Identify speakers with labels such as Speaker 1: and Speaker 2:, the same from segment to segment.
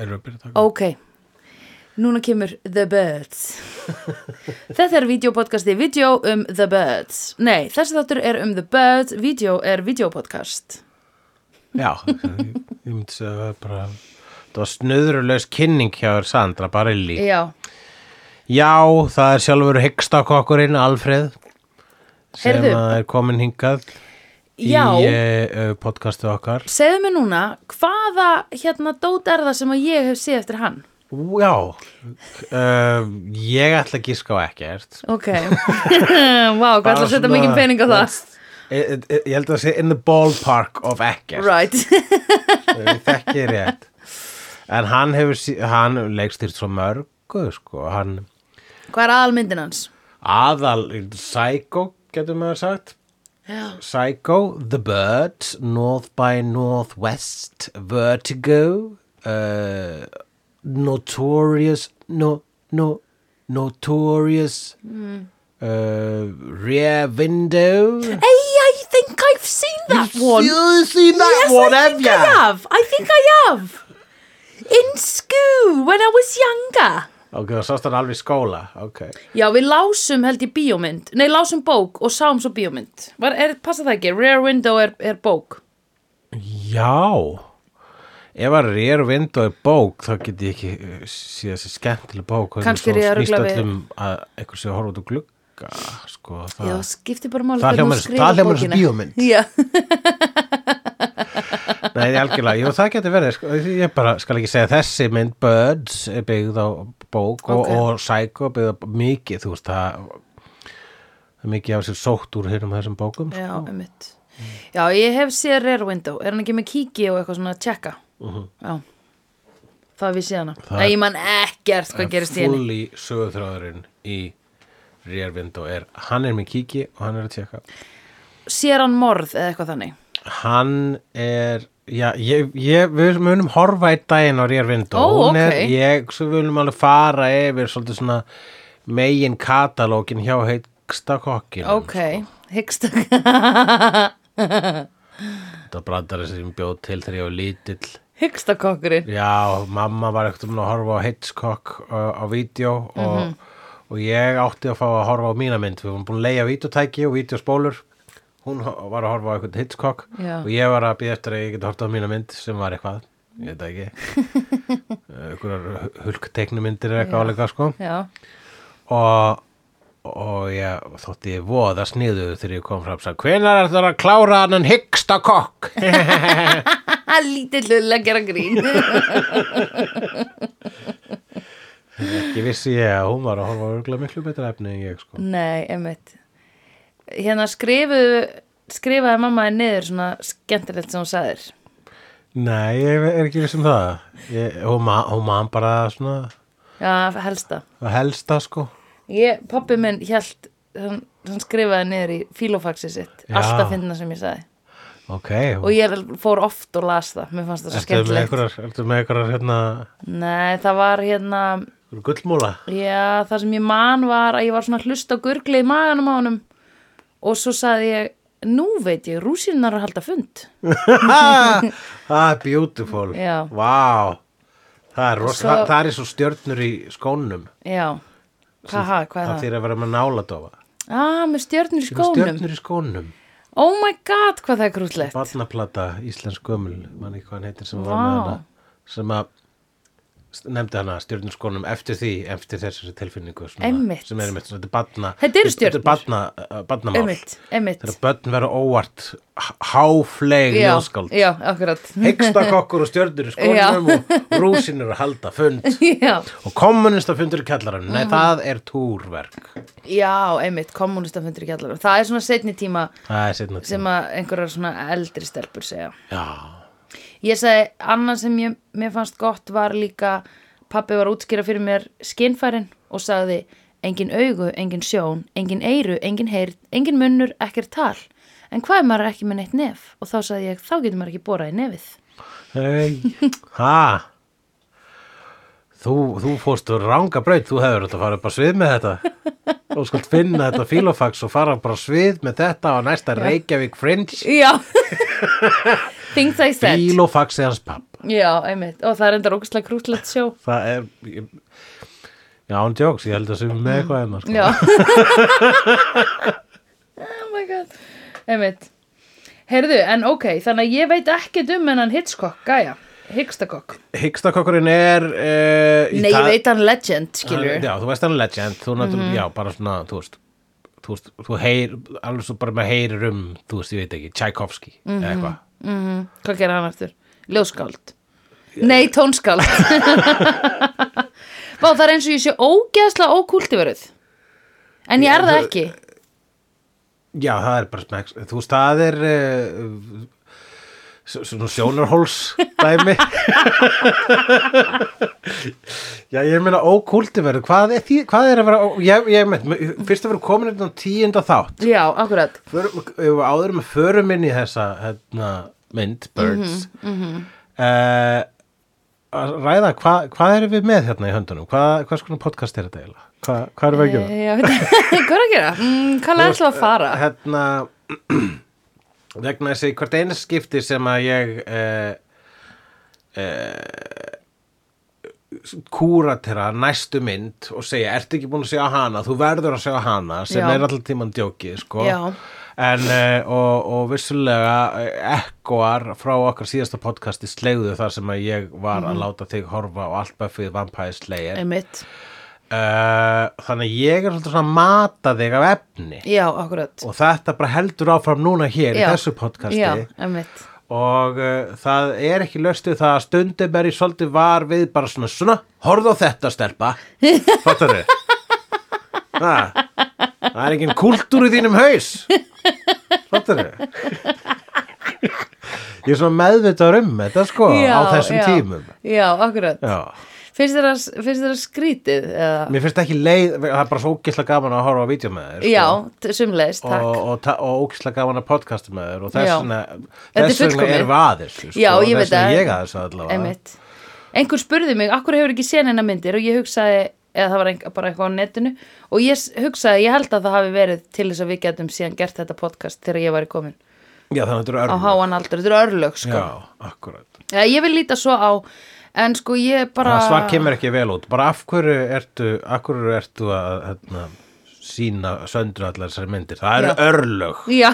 Speaker 1: Erum við að byrja að taka?
Speaker 2: Ok, núna kemur The Birds Þetta er videopodcasti, video um The Birds Nei, þessi þáttur er um The Birds, video er videopodcast
Speaker 1: Já, ég, ég myndi segja að það er bara... Það var snöðrulegs kynning hjá þér Sandra Barilli.
Speaker 2: Já,
Speaker 1: Já, það er sjálfur hyggstakokkurinn Alfreð sem
Speaker 2: Heyrðu.
Speaker 1: að er komin hingað
Speaker 2: já
Speaker 1: í uh, podcastu okkar.
Speaker 2: Segðu mér núna, hvaða hérna dót er það sem að ég hef séð eftir hann?
Speaker 1: Ú, Já, uh, ég ætla að gíska á ekkert.
Speaker 2: Ok, vá, hvað ætla að setja mikið pening á það?
Speaker 1: Ég, eh, ég- ég held að sé in the ballpark of ekkert.
Speaker 2: Right,
Speaker 1: ég þekki rétt en hann hefur sí- hann leikstýrt svo mörgu sko, hann
Speaker 2: hvað er aðalmyndin hans?
Speaker 1: aðal Psycho, getur maður sagt
Speaker 2: Já.
Speaker 1: Psycho, The Birds North by Northwest Vertigo uh, Notorious no, no, Notorious
Speaker 2: Mm.
Speaker 1: uh, Rear Window
Speaker 2: Hey, I think I've seen that one
Speaker 1: You've seen that
Speaker 2: Yes,
Speaker 1: one,
Speaker 2: I
Speaker 1: have
Speaker 2: think I
Speaker 1: ya?
Speaker 2: have. I think I have. In school, when I was younger.
Speaker 1: Ok, það sást hann alveg í skóla Ok
Speaker 2: Já, við lásum held ég bíómynd. Nei, lásum bók og sáum svo bíómynd. Var, er, passa það ekki? Rare Window er, er bók.
Speaker 1: Já Ef að Rear Window er bók þá get ég ekki uh, séð þessi skemmtileg bók hvernig
Speaker 2: Kannski
Speaker 1: svo
Speaker 2: er ég að
Speaker 1: snýst
Speaker 2: rugla við-
Speaker 1: öllum að einhver sé að horfa út og glugga sko, það
Speaker 2: Já, skipti bara máli
Speaker 1: Það
Speaker 2: hvernig
Speaker 1: hljómar-
Speaker 2: þú skrifar
Speaker 1: það hljómar eins og
Speaker 2: bókina.
Speaker 1: bíómynd.
Speaker 2: Já,
Speaker 1: Nei, ég algjörlega, jú, það getur verið sko, ég bara skal ekki segja þessi mynd Birds er byggð á bók og,
Speaker 2: Ok.
Speaker 1: og Psycho er byggð á mikið þú veist það það er mikið af sér sótt úr hérna þessum bókum
Speaker 2: já, um Já, ég hef séð Rare Window. Er hann ekki með kíki og eitthvað svona að tjekka? Já. Það við séð hana.
Speaker 1: Mhm. Það-
Speaker 2: Nei, ég man ekkert hvað gerist í henni.
Speaker 1: fulli sögurþráðurinn í Rear Window er, hann er með kíki og hann er að tjekka
Speaker 2: Sér hann morð eða eitthvað þannig?
Speaker 1: Hann er Já, ég, ég, við munum horfa í daginn á Rear Window
Speaker 2: Ó,
Speaker 1: Hún er,
Speaker 2: ókei.
Speaker 1: Ég, svo við munum alveg fara yfir svolítið svona megin katalógin hjá heiksta kokkin
Speaker 2: Ok, hyggst
Speaker 1: Það brandar þessi sem bjóð til þegar ég var lítill
Speaker 2: Hygstakokkurinn
Speaker 1: Já, mamma var ekkert um að horfa á Hitchcock uh, á vídeo og,
Speaker 2: Mhm.
Speaker 1: og ég átti að fá að horfa á mína mynd við vorum búin að leigja vídeotæki og vídeospólur hún ho- var að horfa á eitthvað Hitchcock
Speaker 2: Já.
Speaker 1: og ég var að býða eftir að ég geti horfa á mína mynd sem var eitthvað, ég veit það ekki Eh, einhverjar hulkteknumyndir eða eitthvað álega sko
Speaker 2: Já,
Speaker 1: og, og ég þótti ég voða sniðu þegar ég kom fram og sagði, hvenær er það að klára hann en hyggsta kokk
Speaker 2: lítið hlull að gera grín
Speaker 1: ég vissi ég að hún var að horfa á örugglega miklu betra efni en ég sko
Speaker 2: Nei, einmitt Hérna skrifuðu skrifaði mamma þér niður svona skemmtilegt sem hún sagðir
Speaker 1: Nei, ég er ekki viss um það. Ég, og, ma og man bara svona
Speaker 2: Já, helsta
Speaker 1: að helsta sko.
Speaker 2: ég, Pappi minn hjælt hann, hann skrifaði niður í fílofaxi sitt
Speaker 1: Já.
Speaker 2: alltaf finna sem ég sagði
Speaker 1: Ok.
Speaker 2: og ég fór oft og las það mér fannst það svo
Speaker 1: Ertu með
Speaker 2: skemmtilegt
Speaker 1: einhverjar, ertu með einhverjar hérna,
Speaker 2: Nei, það var hérna
Speaker 1: einhverjar gullmúla?
Speaker 2: Já, það sem ég man var að ég var svona að hlusta á gurgli í maganum á honum og svo sagði ég, nú veit ég, rúsinar að halda fund.
Speaker 1: ah, beautiful.
Speaker 2: Já.
Speaker 1: Vá. Það er, rosa,
Speaker 2: Svo-
Speaker 1: það, það er svo stjörnur í skónum.
Speaker 2: Já, hvað, ha, hvað
Speaker 1: Það
Speaker 2: er það?
Speaker 1: þýr að vera með náladofa.
Speaker 2: Ah, með stjörnur í
Speaker 1: Þið eru
Speaker 2: skónum.
Speaker 1: Stjörnur í skónum.
Speaker 2: Oh my god, hvað það er grútlegt.
Speaker 1: Barnaplata Íslensk gömul, mann ekki hvað hann heitir sem var
Speaker 2: Vá.
Speaker 1: með hana. Sem að st- nefndi hana stjörnur í skónum eftir því, eftir þessari tilfinningu. Svona,
Speaker 2: Einmitt.
Speaker 1: Sem er einmitt, svona, þetta er barna.
Speaker 2: Þetta eru
Speaker 1: Þetta
Speaker 2: stjörnur.
Speaker 1: er barna, uh, barnamál.
Speaker 2: Emmitt, emmitt.
Speaker 1: Þegar börn vera óvart, h- háfleg
Speaker 2: Já,
Speaker 1: ljóðskáld.
Speaker 2: já, akkurat.
Speaker 1: Hegstakokkur og stjörnur í skónum og rúsinur að halda fund.
Speaker 2: já,
Speaker 1: Og kommunista fundur í kjallarann.
Speaker 2: Mhm.
Speaker 1: Nei, það er túrverk.
Speaker 2: já, emmitt, kommunistafundur í kjallarum. Það er svona setni tíma
Speaker 1: Það er setna tíma.
Speaker 2: sem að einhverjar svona eldri stelpur segja.
Speaker 1: Já.
Speaker 2: Ég sagði, annað sem ég, mér fannst gott var líka, pappi var að útskýra fyrir mér skinnfærin og sagði, engin augu, engin sjón, engin eyru, engin heyrn, engin munnur, ekkert tal. En hvað er maður er ekki með neitt nef? Og þá sagði ég, þá getur maður ekki borað í nefið.
Speaker 1: Hei, ha þú, þú fórstu ranga braut, þú hefur þetta að fara upp á svið með þetta og skalt finna þetta filofax og fara bara á svið með þetta á næsta Reykjavík Fringe
Speaker 2: Já Things I said
Speaker 1: filofaxi hans pappa
Speaker 2: Já, einmitt, og það er enda rókislega krúslegt sjó
Speaker 1: það er ég, já, hann djóks, ég held að sem með eitthvað enn sko.
Speaker 2: Já Oh my god Einmitt Heyrðu, en ok, þannig að ég veit ekkert um hennan Hitchcock, gæja Hickstakokk
Speaker 1: Hickstakokkurinn er uh,
Speaker 2: Nei, ég veit Mhm. hann legend, skilur
Speaker 1: Já, þú veist hann er legend, þú náttúrulega, já, bara svona, þú veist, þú veist, þú heyr, alveg svo bara með heyrir um, þú veist, ég veit ekki, Tchaikovsky, eða eitthvað.
Speaker 2: Mhm, Hvað gerir hann aftur? Ljóskáld Nei, tónskáld Vá, það er eins og ég sé ógeðslega ókultiveruð En ég er það ekki
Speaker 1: Já, það er bara smæks, þú veist, það er, uh, s- svona sjónarhóls dæmi. já, ég meina ókultiverð, hvað er því, hvað er að vera, ó- ég, ég meint, fyrst að vera komin þetta á tíunda þátt.
Speaker 2: Já, akkurat
Speaker 1: förum, ef við áður með förum inn í þessa hérna, mynd, Birds mm að ræða, hva, hvað erum við með hérna í höndunum? Hvað, hvað skona podcast er þetta eiginlega? Hva, hvað erum við að gera?
Speaker 2: Eh, já, veit- Hvað er að gera? Mm, Hvað er alltaf að fara?
Speaker 1: Hérna, vegna þessi hvert einu skipti sem að ég uh, uh, kúratera næstu mynd og segja, ertu ekki búin að segja hana þú verður að segja hana sem
Speaker 2: Já.
Speaker 1: er alltaf tíman djókið sko
Speaker 2: Já.
Speaker 1: en uh, og, og vissulega eh, ekkoar frá okkar síðasta podcasti slegðu þar sem að ég var
Speaker 2: Mhm.
Speaker 1: að láta þig horfa á allt Buffy Vampire Slayer
Speaker 2: Einmitt
Speaker 1: uh, þannig að ég er svolítið svona að mata þig af efni
Speaker 2: Já, akkurat
Speaker 1: og þetta bara heldur áfram núna hér í
Speaker 2: Já.
Speaker 1: þessu podcasti
Speaker 2: Já, einmitt
Speaker 1: og uh, það er ekki löstu það að stundum er ég svolítið var við bara svona svona, horfðu á þetta stelpa fattar þau það er engin kúltúr í þínum haus fattar þau ég er svona meðvitaður um þetta sko á þessum
Speaker 2: já,
Speaker 1: tímum
Speaker 2: Já, akkurat
Speaker 1: já.
Speaker 2: Finnst þér að, finnst þér að skrítið? Eða?
Speaker 1: mér finnst ekki leið, það er bara svo ógislega gaman að horfa á vídeo með þér sko.
Speaker 2: Já, t- sumleis, takk
Speaker 1: og, og, ta- og ógislega gaman að podcasta með þér og þess
Speaker 2: Já.
Speaker 1: vegna
Speaker 2: Þetta er
Speaker 1: þess vegna
Speaker 2: fullkomið.
Speaker 1: er við aðeins sko,
Speaker 2: Já,
Speaker 1: og
Speaker 2: ég veit
Speaker 1: þess vegna
Speaker 2: að-
Speaker 1: ég aðeins allavega
Speaker 2: Einmitt. Einhver spurði mig, akkur hefur ekki séð hennar myndir og ég hugsaði, eða það var ein, bara eitthvað á netinu og ég s- hugsaði, ég held að það hafi verið til þess að við getum síðan gert þetta podcast þegar ég var í komin
Speaker 1: Já, þannig að þetta eru
Speaker 2: á
Speaker 1: örlög.
Speaker 2: háan aldur, þetta er örlög sko.
Speaker 1: Já, akkurat.
Speaker 2: ja, Ég vil líta svo á, en sko ég bara
Speaker 1: Það svar kemur ekki vel út. Bara af hverju ertu, af hverju ertu að hérna, sína söndru allar þessari myndir? Það eru
Speaker 2: Já.
Speaker 1: örlög.
Speaker 2: Já,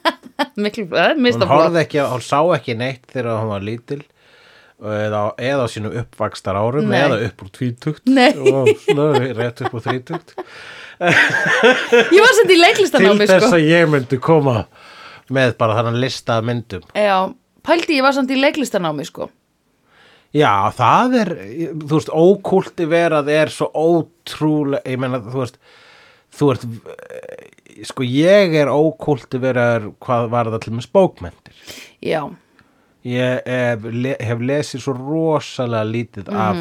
Speaker 2: miklu, eh, það er mista
Speaker 1: Hún horfði ekki, á- hún sá ekki neitt þegar hún var lítil eða, eða á sínum uppvakstar árum
Speaker 2: Nei.
Speaker 1: eða upp úr tvítugt
Speaker 2: Nei.
Speaker 1: og svona rétt upp úr þrítugt
Speaker 2: Ég var sendið í
Speaker 1: til
Speaker 2: leiklistanámi sko.
Speaker 1: þess að ég myndi koma með bara þannig lista af myndum
Speaker 2: Já, pældi ég var samt í leiklistanámi sko
Speaker 1: Já, það er, þú veist, ókulti verað er svo ótrúlega, ég meina, þú veist, þú ert, eh, sko, ég er ókulti verað hvað var það til með spókmentir.
Speaker 2: Já,
Speaker 1: Ég hef, le, hef lesið svo rosalega lítið
Speaker 2: Mhm.
Speaker 1: af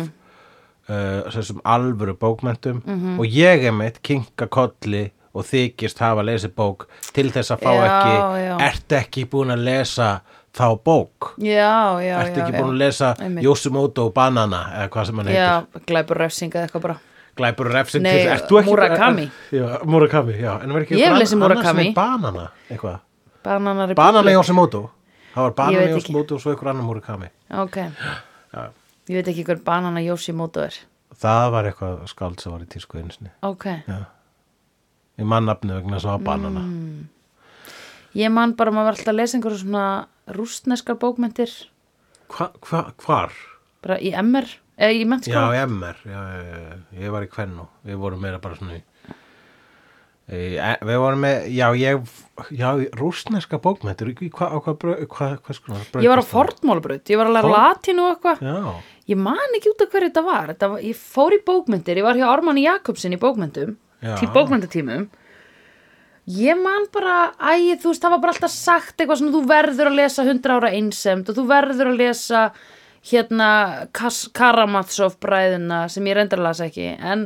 Speaker 1: uh, þessum alvöru bókmentum
Speaker 2: Mhm.
Speaker 1: og ég er meitt kinka kolli og þykist hafa lesið bók til þess að fá
Speaker 2: Já,
Speaker 1: ekki,
Speaker 2: já.
Speaker 1: ert ekki búin að lesa þá bók?
Speaker 2: já, já
Speaker 1: Ertu
Speaker 2: já,
Speaker 1: ekki
Speaker 2: já.
Speaker 1: búin að lesa
Speaker 2: Einmitt.
Speaker 1: Yosemoto og Banana eða hvað sem hann heitir?
Speaker 2: Já, glæpur refsing eða eitthvað bara
Speaker 1: Glæpur og refsing
Speaker 2: Nei,
Speaker 1: til- ert þú ekki-
Speaker 2: Murakami.
Speaker 1: er- er- Já, Murakami, já En var ekki
Speaker 2: Ég hef
Speaker 1: eitthvað
Speaker 2: lesið
Speaker 1: annað- annað
Speaker 2: Murakami.
Speaker 1: sem er Banana, eitthvað
Speaker 2: Banana
Speaker 1: Banana
Speaker 2: Republic.
Speaker 1: Yosemoto Það var
Speaker 2: Ég
Speaker 1: Banana
Speaker 2: veit ekki.
Speaker 1: Yosemoto og svo ykkur annar Murakami
Speaker 2: Ok. Ég veit ekki hver banana Yoshimoto er.
Speaker 1: Það var eitthvað skáld sem var í tísku einsinni
Speaker 2: Ok.
Speaker 1: Í mannafni vegna sem var Banana
Speaker 2: Mm. Ég man bara að maður var alltaf að lesa einhverjum svona rústneskar bókmyndir
Speaker 1: Hva, hva, Hvar?
Speaker 2: bara í MR eða í
Speaker 1: Já,
Speaker 2: mennskóla.
Speaker 1: í MR já, já, já, já. Ég var í Kvennu Við vorum meira bara svona í Í- e- Við vorum með, já, ég, já, rústneska bókmættur, hvað, hvað, hvað, hvað, hvað skoðum
Speaker 2: Ég var á fornmálabraut, ég var að læra
Speaker 1: Forn-
Speaker 2: latínu og eitthvað.
Speaker 1: Já,
Speaker 2: Ég man ekki út af hverju þetta var. þetta var. Ég fór í bókmyndir, ég var hjá Ármanni Jakobsin í bókmyndum,
Speaker 1: Já.
Speaker 2: til bókmyndatímum. Ég man bara, æ, þú veist, það var bara alltaf sagt eitthvað svona, þú verður að lesa 100 ára einsemd og þú verður að lesa hérna Kas Karamatsov bræðina sem ég reyndar las ekki en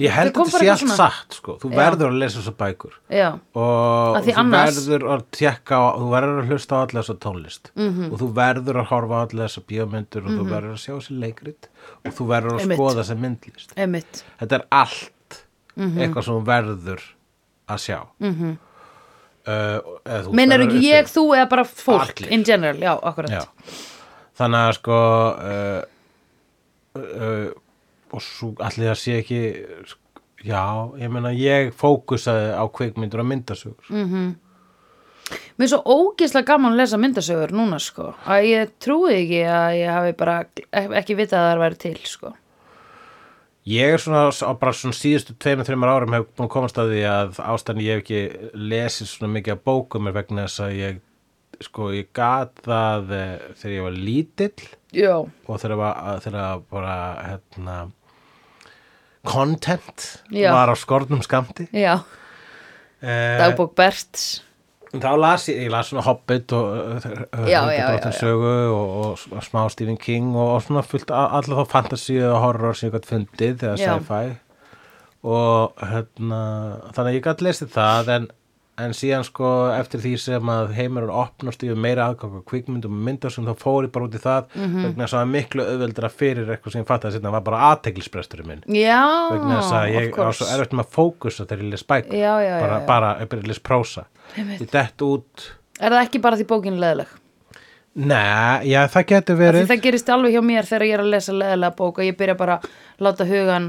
Speaker 1: Ég held
Speaker 2: kom
Speaker 1: að
Speaker 2: bara
Speaker 1: þetta sé
Speaker 2: eitthvað
Speaker 1: allt
Speaker 2: svona.
Speaker 1: satt sko. Þú verður að lesa þessar bækur
Speaker 2: já,
Speaker 1: og
Speaker 2: Af því
Speaker 1: þú
Speaker 2: annars-
Speaker 1: verður að tekka á, þú verður að hlusta á alla þessa tónlist -hmm.
Speaker 2: Mhm.
Speaker 1: og þú verður að horfa á alla þessa bíómyndur og þú verður að sjá þessi leikrit og þú verður að
Speaker 2: Einmitt.
Speaker 1: skoða þessa myndlist
Speaker 2: einmitt
Speaker 1: þetta er allt
Speaker 2: Mhm.
Speaker 1: eitthvað sem þú verður að sjá mm -hmm. uh,
Speaker 2: meinar ekki ég, þú eða bara fólk
Speaker 1: Allir.
Speaker 2: in general, já, akkurat
Speaker 1: Já. þannig að sko uh, uh, og svo allir það sé ekki sk- já, ég meina ég fókusaði á kvikmyndur og myndasögur mm.
Speaker 2: Mér er svo ógeðslega gaman að lesa myndasögur núna sko að ég trúi ekki að ég hafi bara ekki vitað að það væri til sko
Speaker 1: ég er svona á bara svona síðustu tveimur, þreimur árum hef búin að komast að því að ástæðan ég hef ekki lesið svona mikið að bókum er vegna þess að ég sko, ég gat það eh, þegar ég var lítill
Speaker 2: Já,
Speaker 1: og þegar var, að- þegar bara hérna content
Speaker 2: Já.
Speaker 1: var á skornum skamti
Speaker 2: já,
Speaker 1: eh,
Speaker 2: dagbók Berts
Speaker 1: þá las ég, ég las svona Hobbit og uh,
Speaker 2: Já, já, já,
Speaker 1: Höldudróttin
Speaker 2: já.
Speaker 1: sögu og, og sm- smá Stephen King og, og svona fullt a- alla þá fantasíu og horror sem ég gætt fundið þegar
Speaker 2: Já.
Speaker 1: sci-fi og hérna þannig að ég gætt lesið það en, en síðan sko eftir því sem að heimurinn opnast ég hef meira aðgang á kvikmyndum og myndar sem þá fór ég bara út í það
Speaker 2: Mhm.
Speaker 1: vegna þess að það var miklu auðveldra fyrir eitthvað sem ég fattaði að þetta var bara aðteglisbresturinn minn
Speaker 2: Já,
Speaker 1: vegna þess að
Speaker 2: Ah, of
Speaker 1: ég á
Speaker 2: course.
Speaker 1: svo erfitt með að fókusa þegar ég les bækur
Speaker 2: Já, já, já,
Speaker 1: bara,
Speaker 2: já.
Speaker 1: bara ef ég les prósa ég dett út
Speaker 2: Er það ekki bara því bókin er leðileg?
Speaker 1: Nei, já, það getur
Speaker 2: Af Því
Speaker 1: verið
Speaker 2: það gerist alveg hjá mér þegar ég er að lesa leðilega bók og ég byrja bara að láta hugan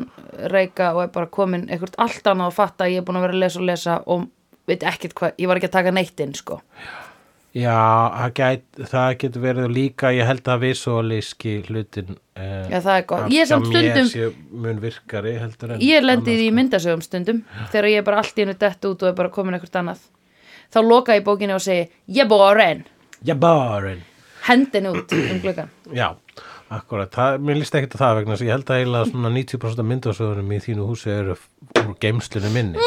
Speaker 2: reyka og er bara komin eitthvað allt annað að fatta að ég er búin að vera að lesa og lesa og veit ekkert hvað, ég var ekki að taka neitt inn sko.
Speaker 1: Já, það, get, það getur verið og líka, ég held að visualíski hlutin eh,
Speaker 2: Já, það er gott.
Speaker 1: af-
Speaker 2: Ég
Speaker 1: hjá
Speaker 2: er samt
Speaker 1: mér
Speaker 2: stundum-
Speaker 1: sé mun virkari heldur en sko.
Speaker 2: Ég lendi því í myndasögum stundum þegar ég er bara allt í hennu dett út og er bara komin eitthvað annað. Þá loka ég bókinu og segi, ég borin,
Speaker 1: Já, barinn
Speaker 2: hendin út um gluggan.
Speaker 1: Já, akkurat, það, mér líst ekkert að það vegna þess að ég held að eiginlega svona 90% af myndasöðunum í þínu húsi eru f- úr geimslinu minni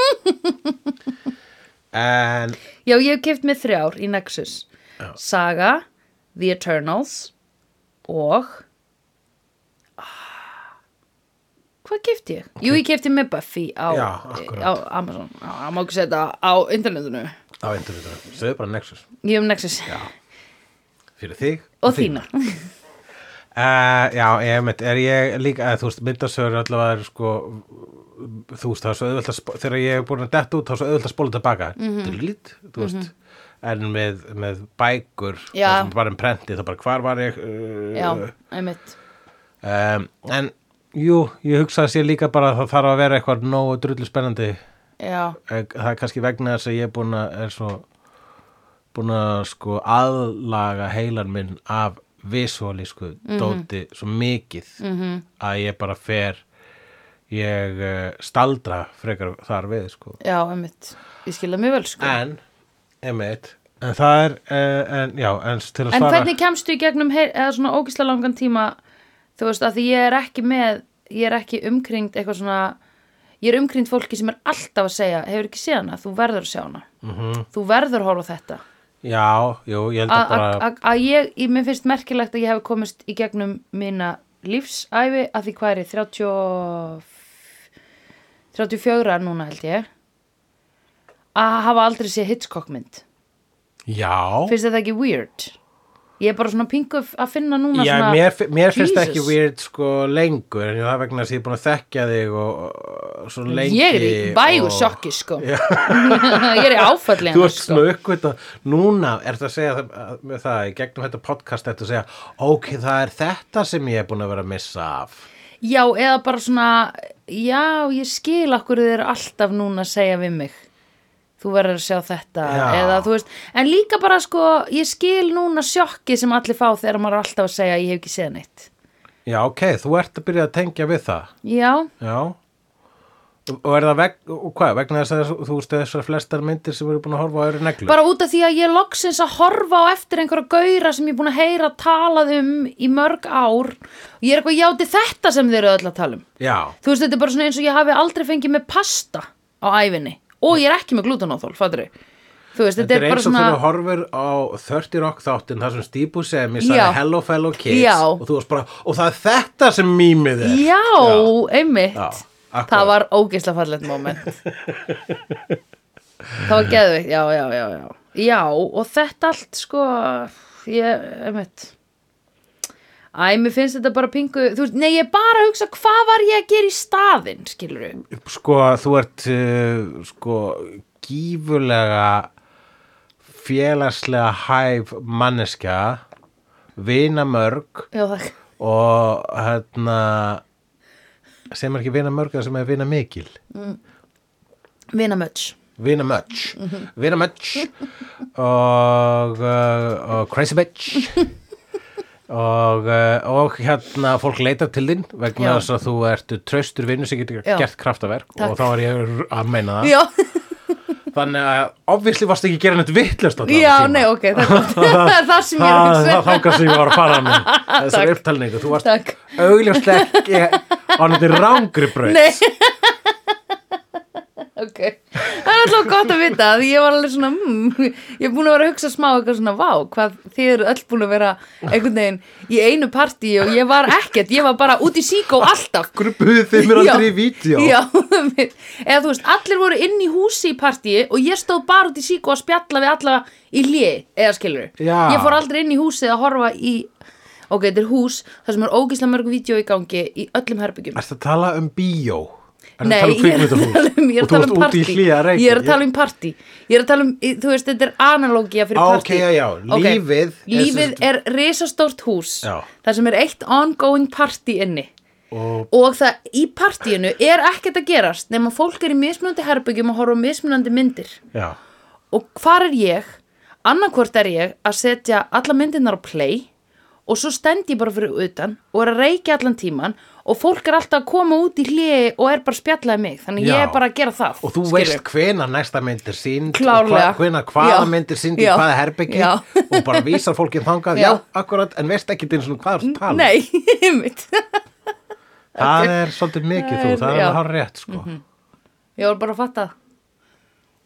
Speaker 1: En
Speaker 2: Já, ég hef keft með þrjár í Nexus. Saga, The Eternals og... Ah, Hvað kefti ég? Jú, ég kefti með Buffy á, eh,
Speaker 1: Já, akkurat.
Speaker 2: á Amazon. Já, Það má ekki setja á internetinu.
Speaker 1: á internetu, segðu bara Nexus
Speaker 2: Ég hef Nexus. Já.
Speaker 1: fyrir þig
Speaker 2: Og þína.
Speaker 1: Uh, já, ég meint, er ég líka, eða, þú veist, myndasögur er allavega er, sko, þú veist, það er svo auðvöld að, sp- þegar ég er búin að detta út, þá er svo auðvöld að spóla tilbaka, mm
Speaker 2: Mhm.
Speaker 1: delete, þú veist, en með, með bækur,
Speaker 2: Já.
Speaker 1: það sem bara en prenti, það bara, hvar var ég,
Speaker 2: Já,
Speaker 1: uh,
Speaker 2: einmitt.
Speaker 1: um, en, jú, ég hugsa að sér líka bara að það þarf að vera eitthvað nógu drullu spennandi,
Speaker 2: Já,
Speaker 1: Eh, það er kannski vegna þess að ég er búin að, er svo, búin að, sko, aðlaga heilan minn af visualísku
Speaker 2: Mhm.
Speaker 1: dóti svo mikið -hmm. að ég bara fer ég eh, staldra frekar þar við sko
Speaker 2: já, einmitt. Ég skilða mjög vel, sko.
Speaker 1: en, einmitt en það er, eh, en, já, en til að
Speaker 2: En
Speaker 1: svara
Speaker 2: hvernig kemstu í gegnum heyr, eða svona ógislega langan tíma þú veist, að því ég er ekki með ég er ekki umkringd eitthvað svona ég er umkringd fólki sem er alltaf að segja hefur ekki séð hana, þú verður að sjá hana -hmm. þú verður að horfa á þetta
Speaker 1: já, jú, Mhm. ég held
Speaker 2: A-
Speaker 1: að bara
Speaker 2: a- a- að ég, ég, mér finnst merkilegt að ég hef komist í gegnum mína lífsæfi að því hvað er ég, 30 og- 34 núna held ég að hafa aldrei séð Hitchcockmynd
Speaker 1: já,
Speaker 2: finnst þetta ekki weird ég er bara svona pingu að finna núna
Speaker 1: Já,
Speaker 2: svona,
Speaker 1: mér, fi- mér finnst það ekki
Speaker 2: Jesus.
Speaker 1: weird sko lengur en það er vegna þess að ég er búin að þekkja þig og, og svo lengi
Speaker 2: ég er í vægur
Speaker 1: og-
Speaker 2: sjokki sko ég er í áfalli
Speaker 1: Þú
Speaker 2: hennar
Speaker 1: ert
Speaker 2: sko
Speaker 1: svona uppgöta, núna ertu að segja það, að- með það, í gegnum þetta podcast ertu að segja, ok, það er þetta sem ég er búin að vera að missa af
Speaker 2: já eða bara svona já ég skil akkur þið eru alltaf núna að segja við mig þú verður að sjá þetta
Speaker 1: Já.
Speaker 2: eða þú veist en líka bara sko ég skil núna sjokki sem allir fá þegar maður er alltaf að segja ég hef ekki séð neitt
Speaker 1: Já, ok, þú ert að byrja að tengja við það
Speaker 2: já
Speaker 1: Já Og er það veg, og hvað, vegna þess að þú veist þessar flestar myndir sem eru búin að horfa á eru neglu
Speaker 2: bara út af því að ég er loksins að horfa á eftir einhverja gauðra sem ég er búin að heyra talað um í mörg ár og ég er eitthvað játi þetta sem þeir eru öll að tala um
Speaker 1: Já,
Speaker 2: þú veist, þetta er bara svona eins og ég hafi aldrei fengið með pasta á æfinni og ég er ekki með glutenóþól, fattur þau þú veist, þetta,
Speaker 1: Þetta er
Speaker 2: er bara
Speaker 1: eins og
Speaker 2: svona
Speaker 1: þú horfir á 30 Rock þáttinn þar sem Stíbu sem ég sagði
Speaker 2: Já.
Speaker 1: Hello Fellow Kids
Speaker 2: Já.
Speaker 1: og þú varst bara, og það er þetta sem mýmið er
Speaker 2: já, einmitt
Speaker 1: Já, akkurat.
Speaker 2: það var ógeisla fallegt moment það var geðvikt já, já, já, já já, og þetta allt sko ég, einmitt Æ, mér finnst þetta bara pingu, þú veist, nei, ég er bara að hugsa hvað var ég að gera í staðinn, skilur
Speaker 1: Sko, þú ert uh, sko gífurlega félagslega hæf manneskja vina mörg
Speaker 2: Já, það,
Speaker 1: og hérna sem er ekki vina mörg eða sem er vina mikil
Speaker 2: vinamöts
Speaker 1: Vina Much Vina Much og, uh, og Crazy Bitch og, uh, og hérna fólk leitar til þín
Speaker 2: Já.
Speaker 1: vegna þess að þú ert traustur vinnu sem getur
Speaker 2: Já.
Speaker 1: gert kraftaverk
Speaker 2: Takk.
Speaker 1: og þá er ég að meina það
Speaker 2: Já,
Speaker 1: þannig að obviously varst ekki að gera neitt vittlust á það
Speaker 2: já, nei, ok, það er það er það sem ég er að
Speaker 1: Það, það
Speaker 2: hugsa
Speaker 1: þangað sem ég var að fara með þessar
Speaker 2: Takk.
Speaker 1: upptalningu, þú varst
Speaker 2: Takk.
Speaker 1: augljóslega ekki á nýttir rángri braut
Speaker 2: Nei Ok, það er alltaf gott að vita að ég var alveg svona, mm, ég er búin að vera að hugsa smá eitthvað svona, vá, hvað þið eru öll búin að vera einhvern veginn í einu partí og ég var ekkert, ég var bara út í síkó alltaf
Speaker 1: Grupuðu þið mér aldrei í vídeo
Speaker 2: Já, einmitt. eða þú veist, allir voru inn í húsi í partíi og ég stóð bara út í síku að spjalla við alla í hljé, eða skilur
Speaker 1: Já.
Speaker 2: Ég fór aldrei inn í húsið að horfa í, ok, þetta er hús, það sem er ógislega mörg vídeo í gangi í öllum herbyggjum
Speaker 1: Ertu að tala um bíó? Ertu
Speaker 2: Nei,
Speaker 1: að tala um
Speaker 2: ég er að
Speaker 1: kvikmyndahús?
Speaker 2: tala um, ég er
Speaker 1: Og
Speaker 2: að
Speaker 1: þú
Speaker 2: tala
Speaker 1: varst
Speaker 2: um
Speaker 1: úti
Speaker 2: partí
Speaker 1: í hlýja reykja.
Speaker 2: Ég er að tala um partí Ég er að tala um, þú veist, þetta er analógia fyrir
Speaker 1: Á,
Speaker 2: partí
Speaker 1: Ah, ok, já, já,
Speaker 2: Ok,
Speaker 1: lífið er sem
Speaker 2: Lífið
Speaker 1: sagt-
Speaker 2: er risastórt hús
Speaker 1: Já.
Speaker 2: Það sem er eitt ongoing partí inni
Speaker 1: Og
Speaker 2: og það í partíinu er ekkert að gerast nema fólk er í mismunandi herbyggjum og horfa á mismunandi myndir
Speaker 1: já,
Speaker 2: og hvar er ég? annarkvort er ég að setja alla myndirnar á play og svo stend ég bara fyrir utan og er að reykja allan tíman og fólk er alltaf að koma út í hliði og er bara að spjallaði mig þannig
Speaker 1: Já.
Speaker 2: ég er bara að gera það
Speaker 1: og þú
Speaker 2: skilurðu.
Speaker 1: veist hvena næsta mynd er sínd
Speaker 2: Klárlega.
Speaker 1: Hvena hvaða
Speaker 2: Já.
Speaker 1: mynd er sínd í
Speaker 2: Já.
Speaker 1: hvaða herbyggi
Speaker 2: Já.
Speaker 1: Og bara vísar fólki þangað Já,
Speaker 2: Já.
Speaker 1: akkurat, en veist ekki eins og hvað er tala um.
Speaker 2: Nei, einmitt
Speaker 1: Það er svolítið mikið þú,
Speaker 2: Það
Speaker 1: það er
Speaker 2: er- já. Mhm.
Speaker 1: að hafa rétt sko.
Speaker 2: Ég var bara að fatta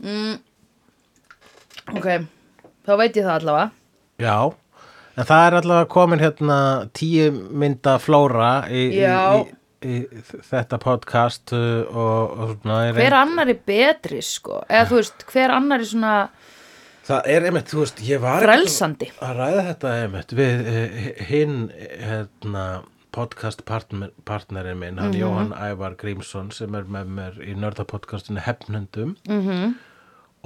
Speaker 2: mm. Ok, þá veit ég það allavega
Speaker 1: Já, en það er allavega komin hérna tíu mynda flóra í, í,
Speaker 2: Já.
Speaker 1: í, í þetta podcast uh, og, og svona ég reyndi-
Speaker 2: Hver annar er betri sko eða þú veist, hver annar er svona
Speaker 1: Það er einmitt, þú veist, ég var
Speaker 2: Frelsandi.
Speaker 1: ekkert að ræða þetta einmitt við eh, hinn eh, hérna, podcast partner, partnerin minn,
Speaker 2: Mhm.
Speaker 1: hann Jóhann Ævar Grímsson sem er með mér í nördapodcastinu Hefnundum
Speaker 2: mhm,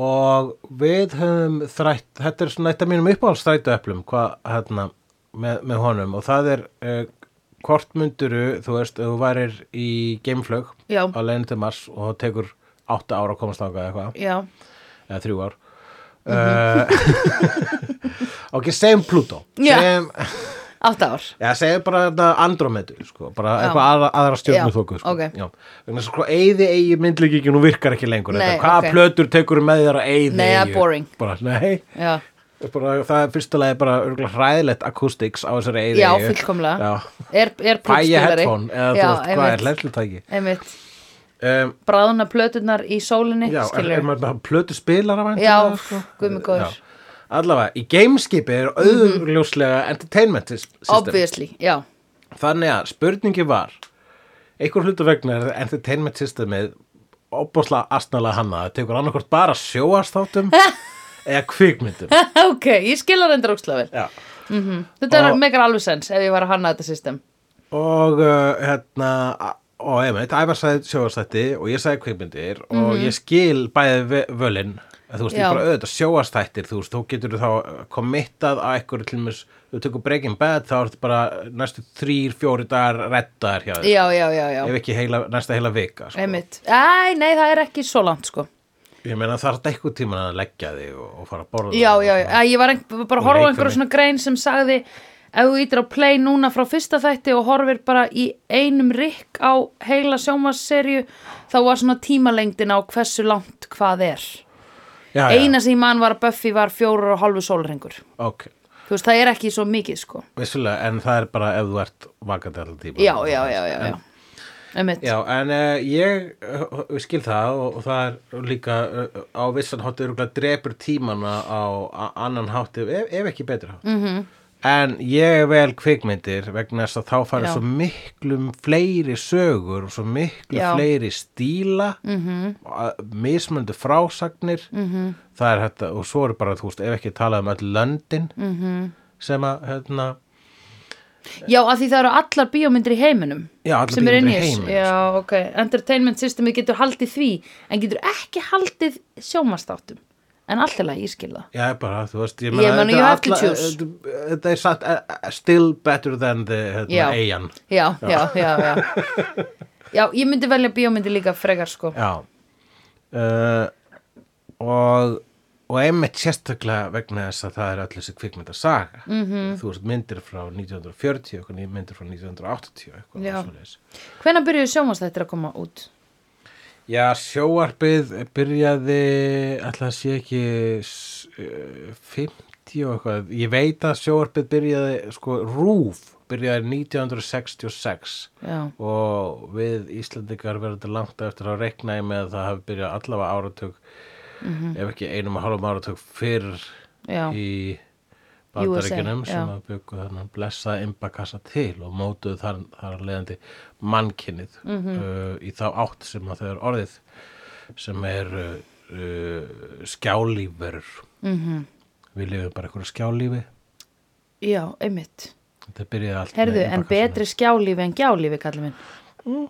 Speaker 1: og við höfum þrætt, þetta er svona eitt af mínum uppáhaldstrætu eflum, hvað hérna með, með honum og það er eh, hvort mynduru, þú veist, ef þú værir í geimflög
Speaker 2: Já.
Speaker 1: á leiðinu til Mars og það tekur átta ára að komast þangað eða eitthvað
Speaker 2: já
Speaker 1: eða þrjú ár uh, ok, segjum Pluto
Speaker 2: Já.
Speaker 1: segjum,
Speaker 2: Átt ár
Speaker 1: já, segjum bara þetta Andromedu sko, bara
Speaker 2: Já.
Speaker 1: eitthvað aðra, aðra stjórnum
Speaker 2: Já,
Speaker 1: þóku sko.
Speaker 2: ok.
Speaker 1: Já. vegna svo sko, eyði eigi myndlíkingin og virkar ekki lengur
Speaker 2: Nei,
Speaker 1: þetta. hvaða
Speaker 2: ok.
Speaker 1: plötur tekur með þér að eyði
Speaker 2: Nei, það er boring.
Speaker 1: bara, nei
Speaker 2: Já,
Speaker 1: bara, það er fyrsta lagi bara örugglega hræðilegt acoustics á þessari eyði
Speaker 2: já fullkomlega
Speaker 1: já.
Speaker 2: Er, er
Speaker 1: Pæja
Speaker 2: plötustýlari.
Speaker 1: headphone, eða þú
Speaker 2: já,
Speaker 1: veist, hvað er hlæðlutæki?
Speaker 2: Einmitt,
Speaker 1: Um,
Speaker 2: bráðuna plöturnar í sólinni
Speaker 1: Já, er,
Speaker 2: skilurðu.
Speaker 1: er maður bara plötu spilar af
Speaker 2: Já,
Speaker 1: sko.
Speaker 2: sko. guð minn góður.
Speaker 1: Allavega, í gameskipi er auðljóslega entertainment sys- system
Speaker 2: Obviously, já
Speaker 1: Þannig að spurningi var einhver hlutu vegna er entertainment systemið óbúslega astnalega hanna það tekur annarkvort bara sjóastáttum eða kvikmyndum
Speaker 2: Ok, ég skilur endur ókslega vel
Speaker 1: Já.
Speaker 2: Þetta er
Speaker 1: Og-
Speaker 2: megar alveg sens ef ég var að hanna þetta system
Speaker 1: og uh, hérna a- og einmitt, Ævar sagði sjóastætti og ég sagði kvikmyndir og ég skil bæði ve- völin að þú veist, ég
Speaker 2: Mhm. Já.
Speaker 1: bara auðvitað sjóastættir þú veist, þú getur þá committað að eitthvað til mér, þú tekur Breaking Bad þá ertu bara næstu þrýr, fjóri dagar reddaðar hjá þér,
Speaker 2: Já, já, já, já Eh.
Speaker 1: ef ekki heila, næsta heila vika sko.
Speaker 2: Einmitt Æ, nei, það er ekki svo langt sko
Speaker 1: ég meina það er eitthvað tíma að leggja þig og, og fara að borða
Speaker 2: já,
Speaker 1: og
Speaker 2: já,
Speaker 1: svona.
Speaker 2: já, ég var einhver, bara
Speaker 1: Og
Speaker 2: að horfa á
Speaker 1: leikfimi.
Speaker 2: einhverju svona grein sem sagði ef þú ítir á play núna frá fyrsta þætti og horfir bara í einum rikk á heila sjómasserju þá var svona tímalengdin á hversu langt hvað er
Speaker 1: já, já.
Speaker 2: eina sem ég mann var að Buffy var fjórar og hálfu sólrengur
Speaker 1: ok,
Speaker 2: þú veist það er ekki svo mikið sko
Speaker 1: vissulega en það er bara ef þú ert vakandi allan tíma
Speaker 2: já, já, já, já, já. einmitt.
Speaker 1: Já, en uh, ég uh, skil það og, og það er líka uh, á vissan hátt öruglega drepur tímana á a- annan hátt ef, ef- ef ekki betur hátt. Mm -hmm.
Speaker 2: Mhm.
Speaker 1: En ég er vel kvikmyndir vegna þess að þá farið
Speaker 2: Já.
Speaker 1: svo miklu fleiri sögur og svo miklu
Speaker 2: Já. Mhm.
Speaker 1: fleiri stíla, mm -hmm. mismundu frásagnir, mm -hmm. það er þetta, og svo eru bara, þú veist, ef ekki talað um öll löndin mm
Speaker 2: Mhm.
Speaker 1: -hmm. sem að, hérna,
Speaker 2: Já, að því það eru allar bíómyndir í heiminum
Speaker 1: Já, allar
Speaker 2: sem eru
Speaker 1: bíómyndir í
Speaker 2: inni þessu.
Speaker 1: heiminum, sko.
Speaker 2: Já, ok, entertainment systemið getur haldið því en getur ekki haldið sjómastáttum en allt er lagi, ég skil það
Speaker 1: Já, bara, þú veist, ég
Speaker 2: Ég meina,
Speaker 1: þetta
Speaker 2: you
Speaker 1: er
Speaker 2: have to
Speaker 1: alla-
Speaker 2: choose.
Speaker 1: þetta- Þetta er satt eh, eh, still better than the
Speaker 2: Já.
Speaker 1: hérna, eigin
Speaker 2: Já, já, já, já Já, ég myndi velja bíómyndir líka frekar sko
Speaker 1: Já uh, og, og einmitt sérstaklega vegna þess að það er öll þessi kvikmynda saga
Speaker 2: Mhm.
Speaker 1: -hmm. Þú veist, myndir frá 1940 og myndir frá 1980 eitthvað
Speaker 2: Já.
Speaker 1: svoleiðis.
Speaker 2: Hvenær byrjuðu sjómastættir að koma út?
Speaker 1: Já, sjóarpið byrjaði alltaf sé ekki s- eh, 50 og eitthvað Ég veit að sjóarpið byrjaði sko, rúf byrjaði 1966
Speaker 2: Já,
Speaker 1: og við Íslandingar verðum þetta langt á eftir að rekna í með að það hafi byrjað allavega áratug ef ekki einum og hálfum áratug fyrr
Speaker 2: já,
Speaker 1: í bandaríkjunum
Speaker 2: USA,
Speaker 1: sem
Speaker 2: já.
Speaker 1: að byggu þannig blessa imbakassa til og mótuðu þar, þar af leiðandi mannkinnið
Speaker 2: Mhm.
Speaker 1: uh, í þá átt sem að þau er orðið sem er uh, uh, skjálífverur
Speaker 2: mhm.
Speaker 1: við lifum bara einhverju skjálífi
Speaker 2: já, einmitt
Speaker 1: þetta byrjaði allt
Speaker 2: Herðu,
Speaker 1: með
Speaker 2: en
Speaker 1: imbakassanum.
Speaker 2: betri skjálífi en gjálífi, kallum minn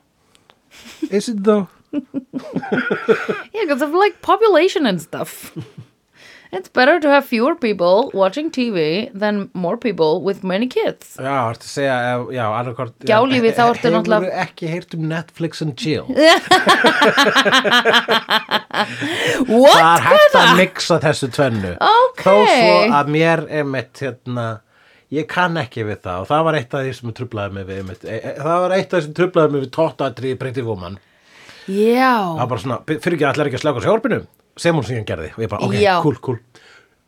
Speaker 1: Is it though?
Speaker 2: Yeah, because of like population and stuff. It's better to have fewer people watching TV than more people with many kids.
Speaker 1: Já, ertu að segja, ef- já, annarkort
Speaker 2: Gjálífið, þá ertu náttúrulega-
Speaker 1: Hefur ekki heyrt um Netflix and Chill Það
Speaker 2: What?
Speaker 1: er hægt að mixa þessu tvennu
Speaker 2: Ok.
Speaker 1: Þó svo að mér einmitt, hérna Ég kann ekki við það og það var eitt af því sem trublaði mig við einmitt, e, e, Það var eitt af því sem trublaði mig við tóttadri Pretty Woman Það
Speaker 2: Já,
Speaker 1: var bara svona, "Bi- fyrir ekki allir ekki að slaka úr sjálfinu sem hún síðan gerði og ég bara, ok,
Speaker 2: Já.
Speaker 1: cool, cool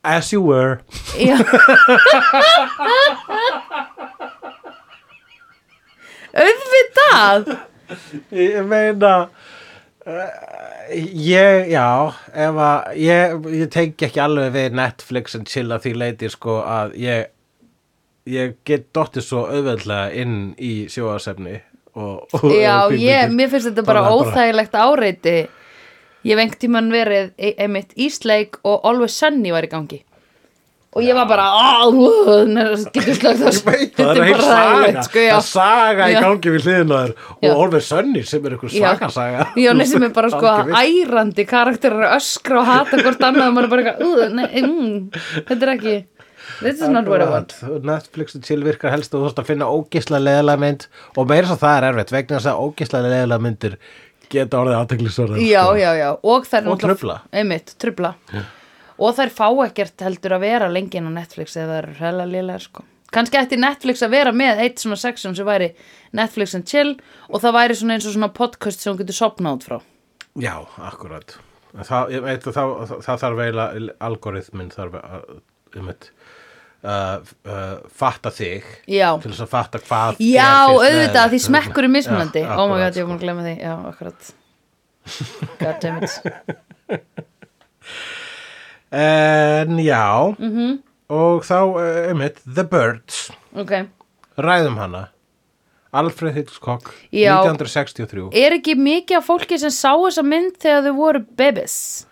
Speaker 1: As you were
Speaker 2: já. Auðvitað.
Speaker 1: Ég meina eh, Ég, já ef að, ég, ég tengi ekki alveg við Netflix en chill að því leiti sko að ég ég get dottið svo auðveldlega inn í sjóðasefni og, og
Speaker 2: Já,
Speaker 1: og kvikmyndir.
Speaker 2: ég, mér finnst þetta bara óþægilegt áreiti. Ég hef einhvern tímann verið e- einmitt Ísleik og Always Sunny var í gangi. Og ég var bara, alveg, getur slögt það.
Speaker 1: Veit,
Speaker 2: Þetta
Speaker 1: það er heil
Speaker 2: hræðilegt,
Speaker 1: saga,
Speaker 2: sko, já.
Speaker 1: það er saga í
Speaker 2: Já.
Speaker 1: gangi við hliðin á þér
Speaker 2: Já.
Speaker 1: og Olveg Sönni sem er einhver
Speaker 2: Já.
Speaker 1: svaka saga
Speaker 2: Já, nei, sem er bara sko
Speaker 1: Algjör vill.
Speaker 2: ærandi karakterar að öskra og hata hvort annað og maður er bara eitthvað, "Ugh, nei, mm, þetta er ekki, this is not what I want.
Speaker 1: Akkurat. Netflix og chill virkar helst og þú þarfst að finna ógisla leðilega mynd og meira svo það er erfitt vegna þess að ógisla leðilega myndir geta orðið sko. aðteglisverðar
Speaker 2: Já, já, já, og þær
Speaker 1: Og
Speaker 2: náttúrulega-
Speaker 1: trufla.
Speaker 2: Einmitt, trubla Og þær fá ekkert heldur að vera lengi inn á Netflix eða það eru hella lélega sko Kannski ætti Netflix að vera með eitt svona section sem væri Netflix and chill og það væri svona eins og svona podcast sem hún getur sopnað út frá
Speaker 1: já akkurat En það, ég veit, að það, það, það þarf eiginlega algoritminn þarf að um eitt, uh, uh, fatta þig
Speaker 2: Já.
Speaker 1: til þess að fatta hvað er
Speaker 2: Já,
Speaker 1: fyrst
Speaker 2: auðvitað,
Speaker 1: leiðilegt.
Speaker 2: því smekkur er mismunandi
Speaker 1: Já,
Speaker 2: Oh my
Speaker 1: akkurat,
Speaker 2: god, ég er búin að glemma því Já, akkurat Goddammit
Speaker 1: En já
Speaker 2: Mhm.
Speaker 1: -hmm. og þá uh, um eitt, The Birds
Speaker 2: Ok
Speaker 1: ræðum hana Alfred Hitchcock
Speaker 2: Já.
Speaker 1: 1963
Speaker 2: Er ekki mikið af fólki sem sá þessa mynd þegar þau voru babies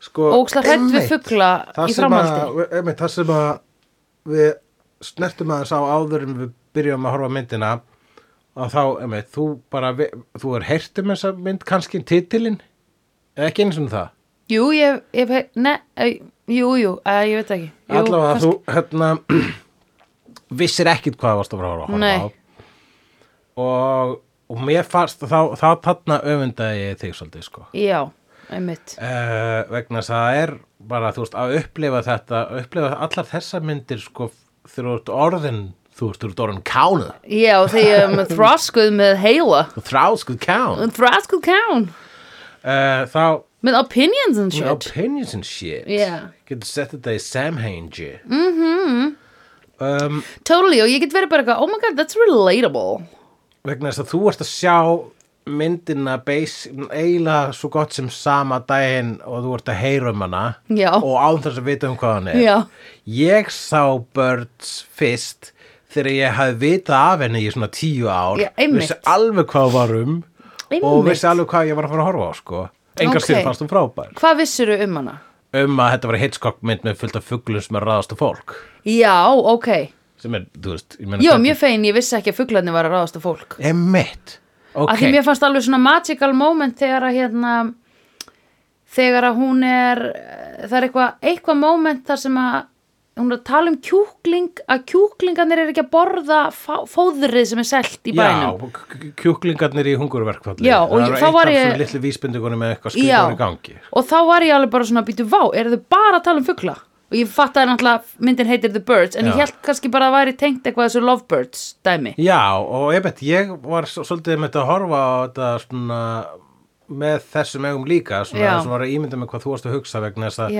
Speaker 1: sko,
Speaker 2: og ókslega hrætt við
Speaker 1: einmitt,
Speaker 2: fugla
Speaker 1: það
Speaker 2: í
Speaker 1: sem
Speaker 2: framhaldi
Speaker 1: að, einmitt, það sem að við snertum aðeins á áður en við byrjum að horfa á myndina að þá, einmitt, þú bara vi- þú er heyrt um þessa mynd kannski titilin, ekki eins og það
Speaker 2: Jú, ég, ég hef, ne, eh, jú, jú, að, ég veit ekki. Jú,
Speaker 1: allavega þú, hérna vissir ekkit hvað það varst að fara að horfa
Speaker 2: Nei.
Speaker 1: á og, og mér fannst þá, þá þarna öfundaði ég þig svolítið sko
Speaker 2: Já, einmitt.
Speaker 1: uh, vegna þess að það er bara þú veist að upplifa þetta upplifa allar þessar myndir sko þegar þú ert orðin þú veist þú ert orðin kánuð
Speaker 2: Já, þegar ég er með þráskuð með heila.
Speaker 1: þú þráskuð kán uh,
Speaker 2: Þráskuð kán.
Speaker 1: Eh, þá
Speaker 2: Með opinions and shit.
Speaker 1: opinions and shit
Speaker 2: Yeah. Mm-hmm.
Speaker 1: getur sett þetta í samhengi um,
Speaker 2: Totally, og ég get verið bara eitthvað, oh my god, that's relatable.
Speaker 1: vegna þess að þú ert að sjá myndina beis, eiginlega svo gott sem sama daginn og þú ert að heyra um hana
Speaker 2: Já.
Speaker 1: og án þess að vita um hvað hann er
Speaker 2: Já.
Speaker 1: ég sá Birds fyrst þegar ég hafði vitað af henni í svona tíu ár
Speaker 2: Já, einmitt.
Speaker 1: vissi alveg hvað hún var um og
Speaker 2: Einmitt.
Speaker 1: vissi alveg hvað ég var að fara að horfa á sko engar
Speaker 2: Ok.
Speaker 1: okay. fannst hún frábær
Speaker 2: Hvað vissirðu um hana?
Speaker 1: um að þetta var Hitchcock mynd með fullt af fuglum sem er að ráðast á fólk
Speaker 2: Já, ok.
Speaker 1: sem er, þú veist, ég meina
Speaker 2: Jó, mjög fegin, ég vissi ekki að fuglarnir var að ráðast á fólk.
Speaker 1: emitt
Speaker 2: Okay. Af því mér fannst alveg svona magical moment þegar að hérna, þegar að hún er, eh, það er eitthvað, eitthvað moment þar sem að hún er að tala um kjúkling, að kjúklingarnir er ekki að borða fá, fóðrið sem er selt í bænum.
Speaker 1: Já, k- k- kjúklingarnir í hungurverkfalli
Speaker 2: Já, og ég- þá var ég-
Speaker 1: Það er eitt af svona litlu vísbendingunum með eitthvað skrifur í gangi
Speaker 2: og þá var ég alveg bara svona að býtu vá, eru þau bara að tala um fugla? Og ég fattaði náttúrulega, myndin heitir The Birds, en ég
Speaker 1: Já.
Speaker 2: held kannski bara að það væri tengt eitthvað þessu Lovebirds dæmi.
Speaker 1: Já, og einmitt, ég var s- svolítið með þetta að horfa á þetta svona með þessum eigum líka svona
Speaker 2: Já.
Speaker 1: þessum var að ímynda með hvað þú varst að hugsa vegna þess að uh,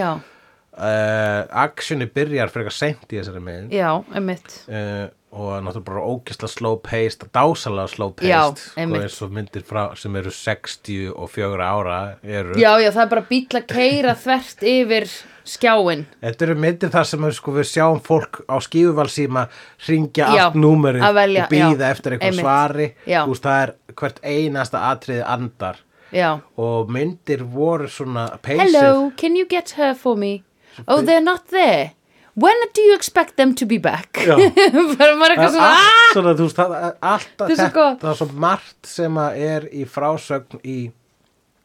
Speaker 2: Já,
Speaker 1: actioni byrjar frekar seint í þessari mynd
Speaker 2: já, einmitt.
Speaker 1: uh, og náttúrulega bara ógisla slow paced dásalega slow
Speaker 2: Já,
Speaker 1: paced sko,
Speaker 2: einmitt.
Speaker 1: eins og myndir frá, sem eru 60 og 4 ára eru
Speaker 2: Já, já, það er bara bíl að keira þvert yfir skjáin.
Speaker 1: Þetta eru myndir þar sem sko, við sjáum fólk á skífuvalsíma ringja
Speaker 2: Já,
Speaker 1: allt númerið
Speaker 2: að velja,
Speaker 1: og býða
Speaker 2: já,
Speaker 1: eftir eitthvað
Speaker 2: einmitt,
Speaker 1: svari
Speaker 2: já.
Speaker 1: Þú veist, það er hvert einasta atriði andar
Speaker 2: Já.
Speaker 1: og myndir voru svona peysið
Speaker 2: Hello, can you get her for me? Oh, they're not there. When do you expect them to be back?
Speaker 1: Já. Ah,
Speaker 2: Bara
Speaker 1: Það
Speaker 2: maður
Speaker 1: er
Speaker 2: eitthvað svona,
Speaker 1: allt
Speaker 2: "Ah!" aaaah!
Speaker 1: svona, þú veist, það er allt
Speaker 2: er svo
Speaker 1: þetta,
Speaker 2: gott.
Speaker 1: það er svo margt sem að er í frásögn í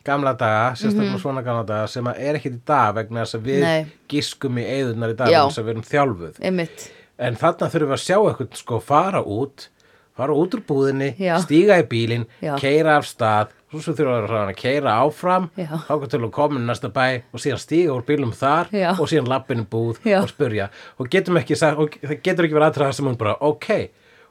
Speaker 1: gamla daga, sérstaklega svona gamla daga sem að er ekkit í dag vegna þess að við
Speaker 2: Mhm. Nei.
Speaker 1: giskum í eigðunar í dag
Speaker 2: Já.
Speaker 1: vegna þess að við erum þjálfuð
Speaker 2: "Ah!" Einmitt.
Speaker 1: En þarna þurfum við að sjá eitthvað sko fara út, fara út úr búðinni,
Speaker 2: Já.
Speaker 1: stíga í bílinn,
Speaker 2: Já.
Speaker 1: keira af stað, svo svo þurfum við að keira áfram,
Speaker 2: Já.
Speaker 1: þá kan til að koma í næsta bæ og síðan stíga úr bílum þar
Speaker 2: Já.
Speaker 1: og síðan lappinu búð
Speaker 2: Já.
Speaker 1: og spurja. Og getum ekki, sagt- og það getur ekki verið aðtræða sem hún bara, ok,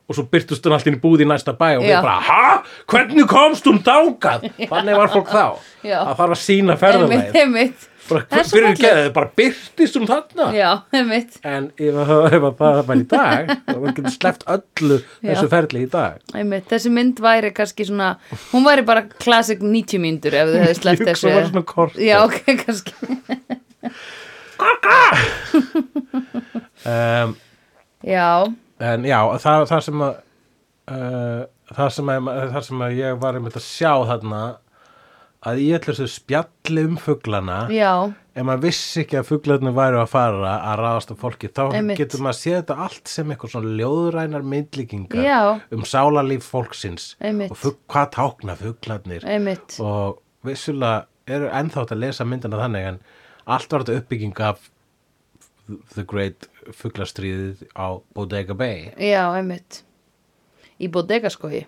Speaker 1: og svo byrtust hún allt inn í búð í næsta bæ og
Speaker 2: Já.
Speaker 1: við bara, ha, hvernig komst hún dágað? Þannig var fólk þá.
Speaker 2: Já.
Speaker 1: Það þarf að sína
Speaker 2: Einmitt,
Speaker 1: ferðarlæð.
Speaker 2: einmitt.
Speaker 1: Bara,
Speaker 2: Það er svo
Speaker 1: fyrir
Speaker 2: fallegt.
Speaker 1: geðið, bara byrtist hún þarna?
Speaker 2: Já, einmitt.
Speaker 1: En ef að ef að það er bara í dag, þá er ekki sleppt öllu þessu ferli í dag.
Speaker 2: Einmitt, þessi mynd væri kannski svona, hún væri bara classic 90 mínútur ef þau hefði sleppt
Speaker 1: Ég hugsa
Speaker 2: þessu.
Speaker 1: hún væri svona kort.
Speaker 2: Já, ok, kannski.
Speaker 1: Um,
Speaker 2: Já,
Speaker 1: en já, það, það sem að, uh, það, sem að það sem að ég var einmitt að sjá þarna, að í öllu þessu spjalli um fuglana,
Speaker 2: já,
Speaker 1: ef maður vissi ekki að fuglarnir væru að fara að ráðast á fólki, þá
Speaker 2: Einmitt.
Speaker 1: getur maður að sé þetta allt sem eitthvað svona ljóðrænar myndlíkingar
Speaker 2: Já.
Speaker 1: um sálarlíf fólksins
Speaker 2: Einmitt.
Speaker 1: og fugg, hvað tákna fuglarnir
Speaker 2: einmitt.
Speaker 1: og vissulega eru ennþátt að lesa myndina þannig en allt var þetta uppbygging af The Great Fuglastríðið á Bodega Bay
Speaker 2: Já, einmitt. Í bodega sko, skoði.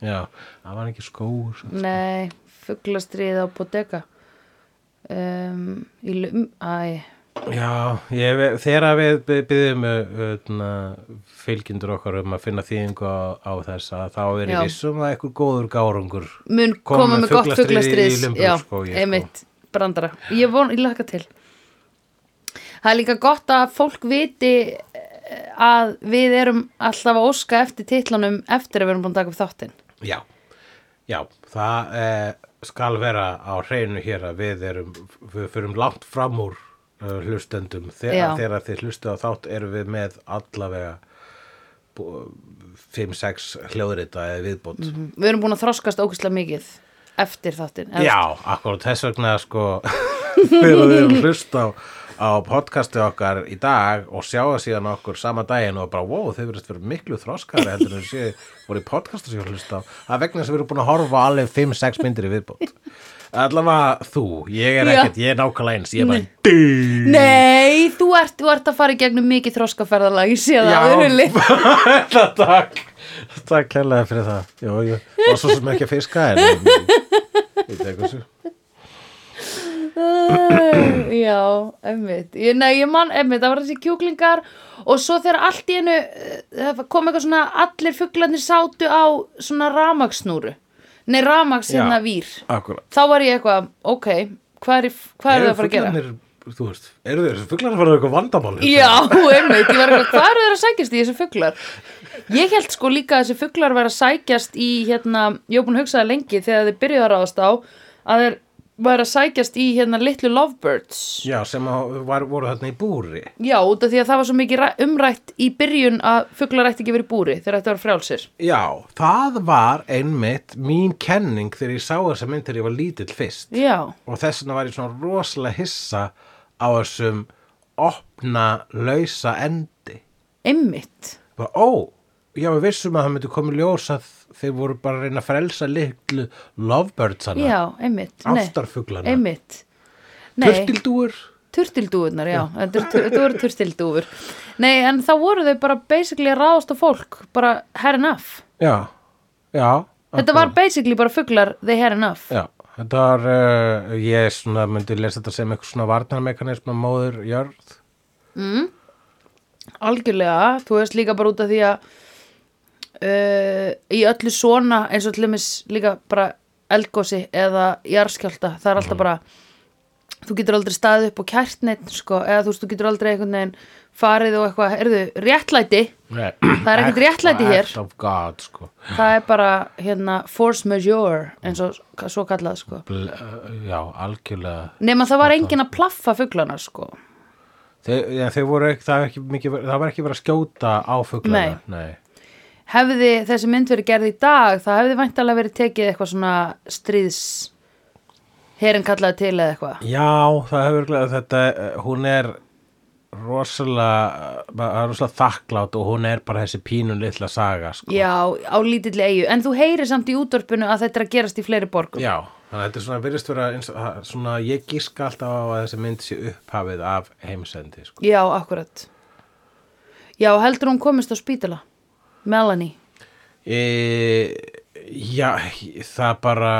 Speaker 1: já, það var ekki skóur
Speaker 2: Nei, fugglastrið á bodega um, í lum, æ
Speaker 1: já, ég, þegar við byggjum öðna, hérna, fylgjendur okkar um að finna þýðingu á, á þess að þá er
Speaker 2: Já.
Speaker 1: ég vissum að einhver góður gárungur
Speaker 2: mun
Speaker 1: Koma
Speaker 2: koma
Speaker 1: með
Speaker 2: með gott
Speaker 1: fuglastrið í- í
Speaker 2: fugglastriðs já,
Speaker 1: Lumburgskógi, sko.
Speaker 2: einmitt, brandara ég von, ég laka til það er líka gott að fólk viti eh, að við erum alltaf að óska eftir titlanum eftir að við erum búin að taka upp þáttinn
Speaker 1: já, já það eh, skal vera á hreinu hér að við erum við förum langt fram úr uh, hlustendum
Speaker 2: Já.
Speaker 1: þegar, þegar þið hlustu á þátt erum við með allavega 5-6 hljóðrita eða viðbót
Speaker 2: við erum búin að þroskast ókvæslega mikið eftir þáttinn eða-
Speaker 1: Já, akkurat þess vegna sko þegar við erum hlust á, á podcasti okkar í dag og sjáða síðan okkur sama daginn og bara wow, þau verðist verið miklu þroskari heldur en séu voru í podcastu sem ég hlust á það er vegna sem við erum búin að horfa á alveg 5-6 myndir í viðbót allavega þú, ég er
Speaker 2: Já.
Speaker 1: ekkert, ég er nákvæmlega eins ég er bara dýr
Speaker 2: Nei, þú ert, þú ert að fara í gegnum mikið þroskaferðalag, ég sé það á þér, Hulli.
Speaker 1: Já, takk Takk kærlega fyrir það Jó, ég var svo sem ekki að fiska en ég, ég tek þessu
Speaker 2: Æ, Já, emmitt ég, Nei, ég man, emmitt, það var þessi kjúklingar og svo þegar allt í einu eh, það kom eitthvað svona, allir fuglarnir sátu á svona ramaksnúru Nei, ramaks
Speaker 1: Já.
Speaker 2: hérna vír
Speaker 1: Akkurat
Speaker 2: Þá var ég eitthvað, ok, hvað er, hvað er það að fara að gera?
Speaker 1: Eru þú veist, eru þeir fuglar að fara eitthvað vandamál hérna?
Speaker 2: Já, einmitt, ég var eitthvað, hvað eru þeir að sækjast í þessi fuglar? Ég held sko líka að þessi fuglar var að sækjast í, hérna, ég var búin að hugsa það lengi þegar þeir byrjuðu að ráðast á, að þeir var að sækjast í, hérna, litlu lovebirds.
Speaker 1: Já, sem að var, voru þarna í búri
Speaker 2: Já, út af því að það var svo mikið ræ- umrætt í byrjun að fuglar ætti ekki verið í búri þegar þetta var frjálsir.
Speaker 1: Já, það var einmitt mín kenning þegar ég sá þessa mynd þegar ég var lítill fyrst
Speaker 2: Já,
Speaker 1: og þess vegna var ég svona rosalega hissa á þessum opna, lausa endi
Speaker 2: einmitt.
Speaker 1: bara, ó, já, við vissum að það myndi komið ljós að þeir voru bara að reyna að frelsa litlu lovebirdsana,
Speaker 2: Já, einmitt. Nei,
Speaker 1: ástarfuglana
Speaker 2: Einmitt. Nei.
Speaker 1: turtildúur
Speaker 2: Turtildúfurnar, já, þetta er- þetta voru turtildúfur. Nei, en þá voru þau bara basically að ráðast á fólk, bara hair enough.
Speaker 1: Já, já
Speaker 2: Þetta var basically bara fuglar, they hair enough.
Speaker 1: Já, þetta var, uh, ég svona myndi lesa þetta sem eitthvað svona varnarmekanism að móður jörð
Speaker 2: Algjörlega, þú veist líka bara út af því að uh, í öllu svona eins og til dæmis líka bara eldgósi eða jarðskjálta, það er alltaf bara þú getur aldrei staðið upp og kært neitt, sko, eða þú veist, þú getur aldrei einhvern veginn farið og eitthvað, erðu, réttlæti
Speaker 1: Nei.
Speaker 2: Það er ekkert réttlæti hér.
Speaker 1: Act of God, sko.
Speaker 2: Það er bara hérna force majeure eins og svo kallað sko.
Speaker 1: Bl uh, já, algjörlega.
Speaker 2: Nefn að það var enginn að plaffa fuglana sko.
Speaker 1: Þe, já, þeir voru ekki, það, var ekki mikið, það var ekki verið að skjóta á fuglana.
Speaker 2: Nei.
Speaker 1: Nei.
Speaker 2: Hefði þessi mynd verið gerð í dag, það hefði væntalega verið tekið eitthvað svona stríðs herin kallaði til eða eitthvað.
Speaker 1: Já, það hefur glæðið þetta, eh, hún er rosalega, eh, bara- rosalega þakklátt og hún er bara þessi pínun litla saga, sko.
Speaker 2: Já, á lítilli eigu. En þú heyrir samt í útvarpinu að þetta er að gerast í fleiri borgum.
Speaker 1: Já, þannig að þetta er svona virðist vera, eins, og- það- svona, ég gíska alltaf á að þessi mynd sé upphafið af heimsendi, sko.
Speaker 2: Já, akkurat. Já, heldur hún komist á spítala. Melanie.
Speaker 1: E, já, það bara,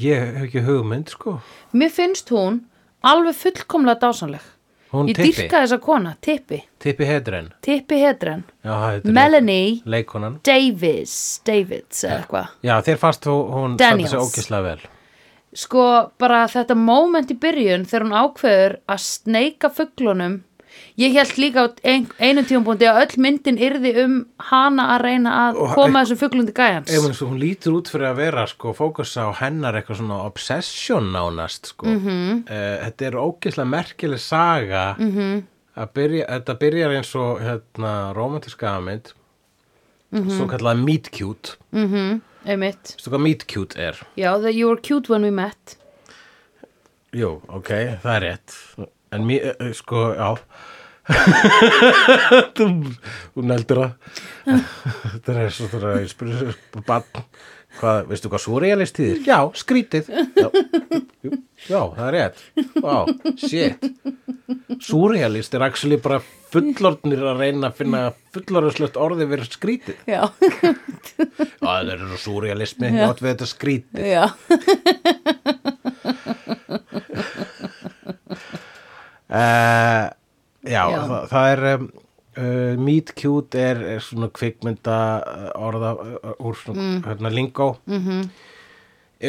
Speaker 1: ég hef ekki hugmynd, sko.
Speaker 2: Mér finnst hún alveg fullkomlega dásanleg.
Speaker 1: Hún
Speaker 2: Ég
Speaker 1: Tippi?
Speaker 2: dýrka þessa kona, tippi.
Speaker 1: Tippi Hedren.
Speaker 2: Tippi Hedren,
Speaker 1: Já, þetta er
Speaker 2: Melanie
Speaker 1: leik- Leikonan.
Speaker 2: Davis, Davids eða eitthvað.
Speaker 1: Já, þér fannst þú, hún
Speaker 2: Daniels.
Speaker 1: standa sig ógislega vel.
Speaker 2: Sko, bara þetta moment í byrjun þegar hún ákveður að sneika fuglunum. Ég held líka á ein, einum tíumbúndi að öll myndin yrði um hana að reyna að
Speaker 1: Og-
Speaker 2: koma þessum fuglundi gæjans.
Speaker 1: Ef hún, svo, hún lítur út fyrir að vera, sko, fókusa á hennar eitthvað svona obsession nánast, sko. Mm
Speaker 2: Mhm.
Speaker 1: -hmm. þetta er ógislega merkileg saga. Mm
Speaker 2: Mhm.
Speaker 1: -hmm. Byrja, þetta byrjar eins og, hérna, romantíska aðmynd,
Speaker 2: Mhm.
Speaker 1: svo kallaða meet cute.
Speaker 2: Mm Einmitt.
Speaker 1: Veistu hvað meet cute er?
Speaker 2: Já, the, you were cute when we met.
Speaker 1: Jú, ok, það er rétt. En mér, eh, eh, sko, já. þú, hún heldur það. það er svo það að ég spyrir bann. Hvað, veistu hvað surrealist þýðir? Já, skrítið. Já, jú, já það er rétt. Vá, shit. Surrealist er actually bara fullorðnir að reyna að finna fullorðslegt orðið verið skrítið.
Speaker 2: Já,
Speaker 1: Já, það er svo surrealismi, já, við þetta skrítið.
Speaker 2: já.
Speaker 1: Uh, já,
Speaker 2: Já.
Speaker 1: Það, það er um, uh, Meet Cute er, er svona kvikmynda uh, orða uh, úr svona hérna, lingó -hmm.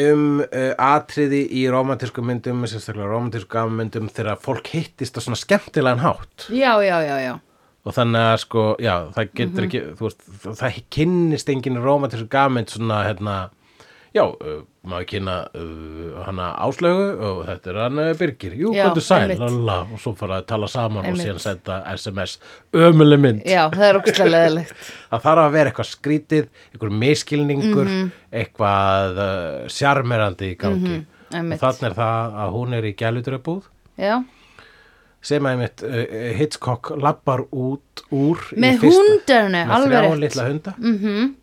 Speaker 1: um uh, atriði í romantískum myndum sérstaklega romantískum myndum þegar fólk hittist á svona skemmtilegan hátt
Speaker 2: Já, já, já, já.
Speaker 1: og þannig að sko, já, það getur
Speaker 2: Mhm.
Speaker 1: ekki þú veist, það, það kynnist enginn romantískum gammynd svona hérna Já, uh, maður kynna uh, hana áslögu og þetta er hann uh, Birgir. Jú,
Speaker 2: Já,
Speaker 1: hvað sæl,
Speaker 2: einmitt.
Speaker 1: lala, og svo fara að tala saman
Speaker 2: Einmitt.
Speaker 1: og síðan senda SMS ömuleg mynd.
Speaker 2: Já, það er ógstlega leðilegt.
Speaker 1: Það þarf að vera eitthvað skrítið, eitthvað miskilningur,
Speaker 2: Mhm.
Speaker 1: eitthvað uh, sjarmerandi í gangi.
Speaker 2: einmitt.
Speaker 1: og þannig er það að hún er í gælutröðbúð
Speaker 2: Já.
Speaker 1: sem að einmitt uh, Hitchcock lappar út úr í
Speaker 2: Með
Speaker 1: fyrsta-
Speaker 2: hundurnu,
Speaker 1: með
Speaker 2: alveg
Speaker 1: þrjá
Speaker 2: rétt. Mhm.
Speaker 1: litla hunda.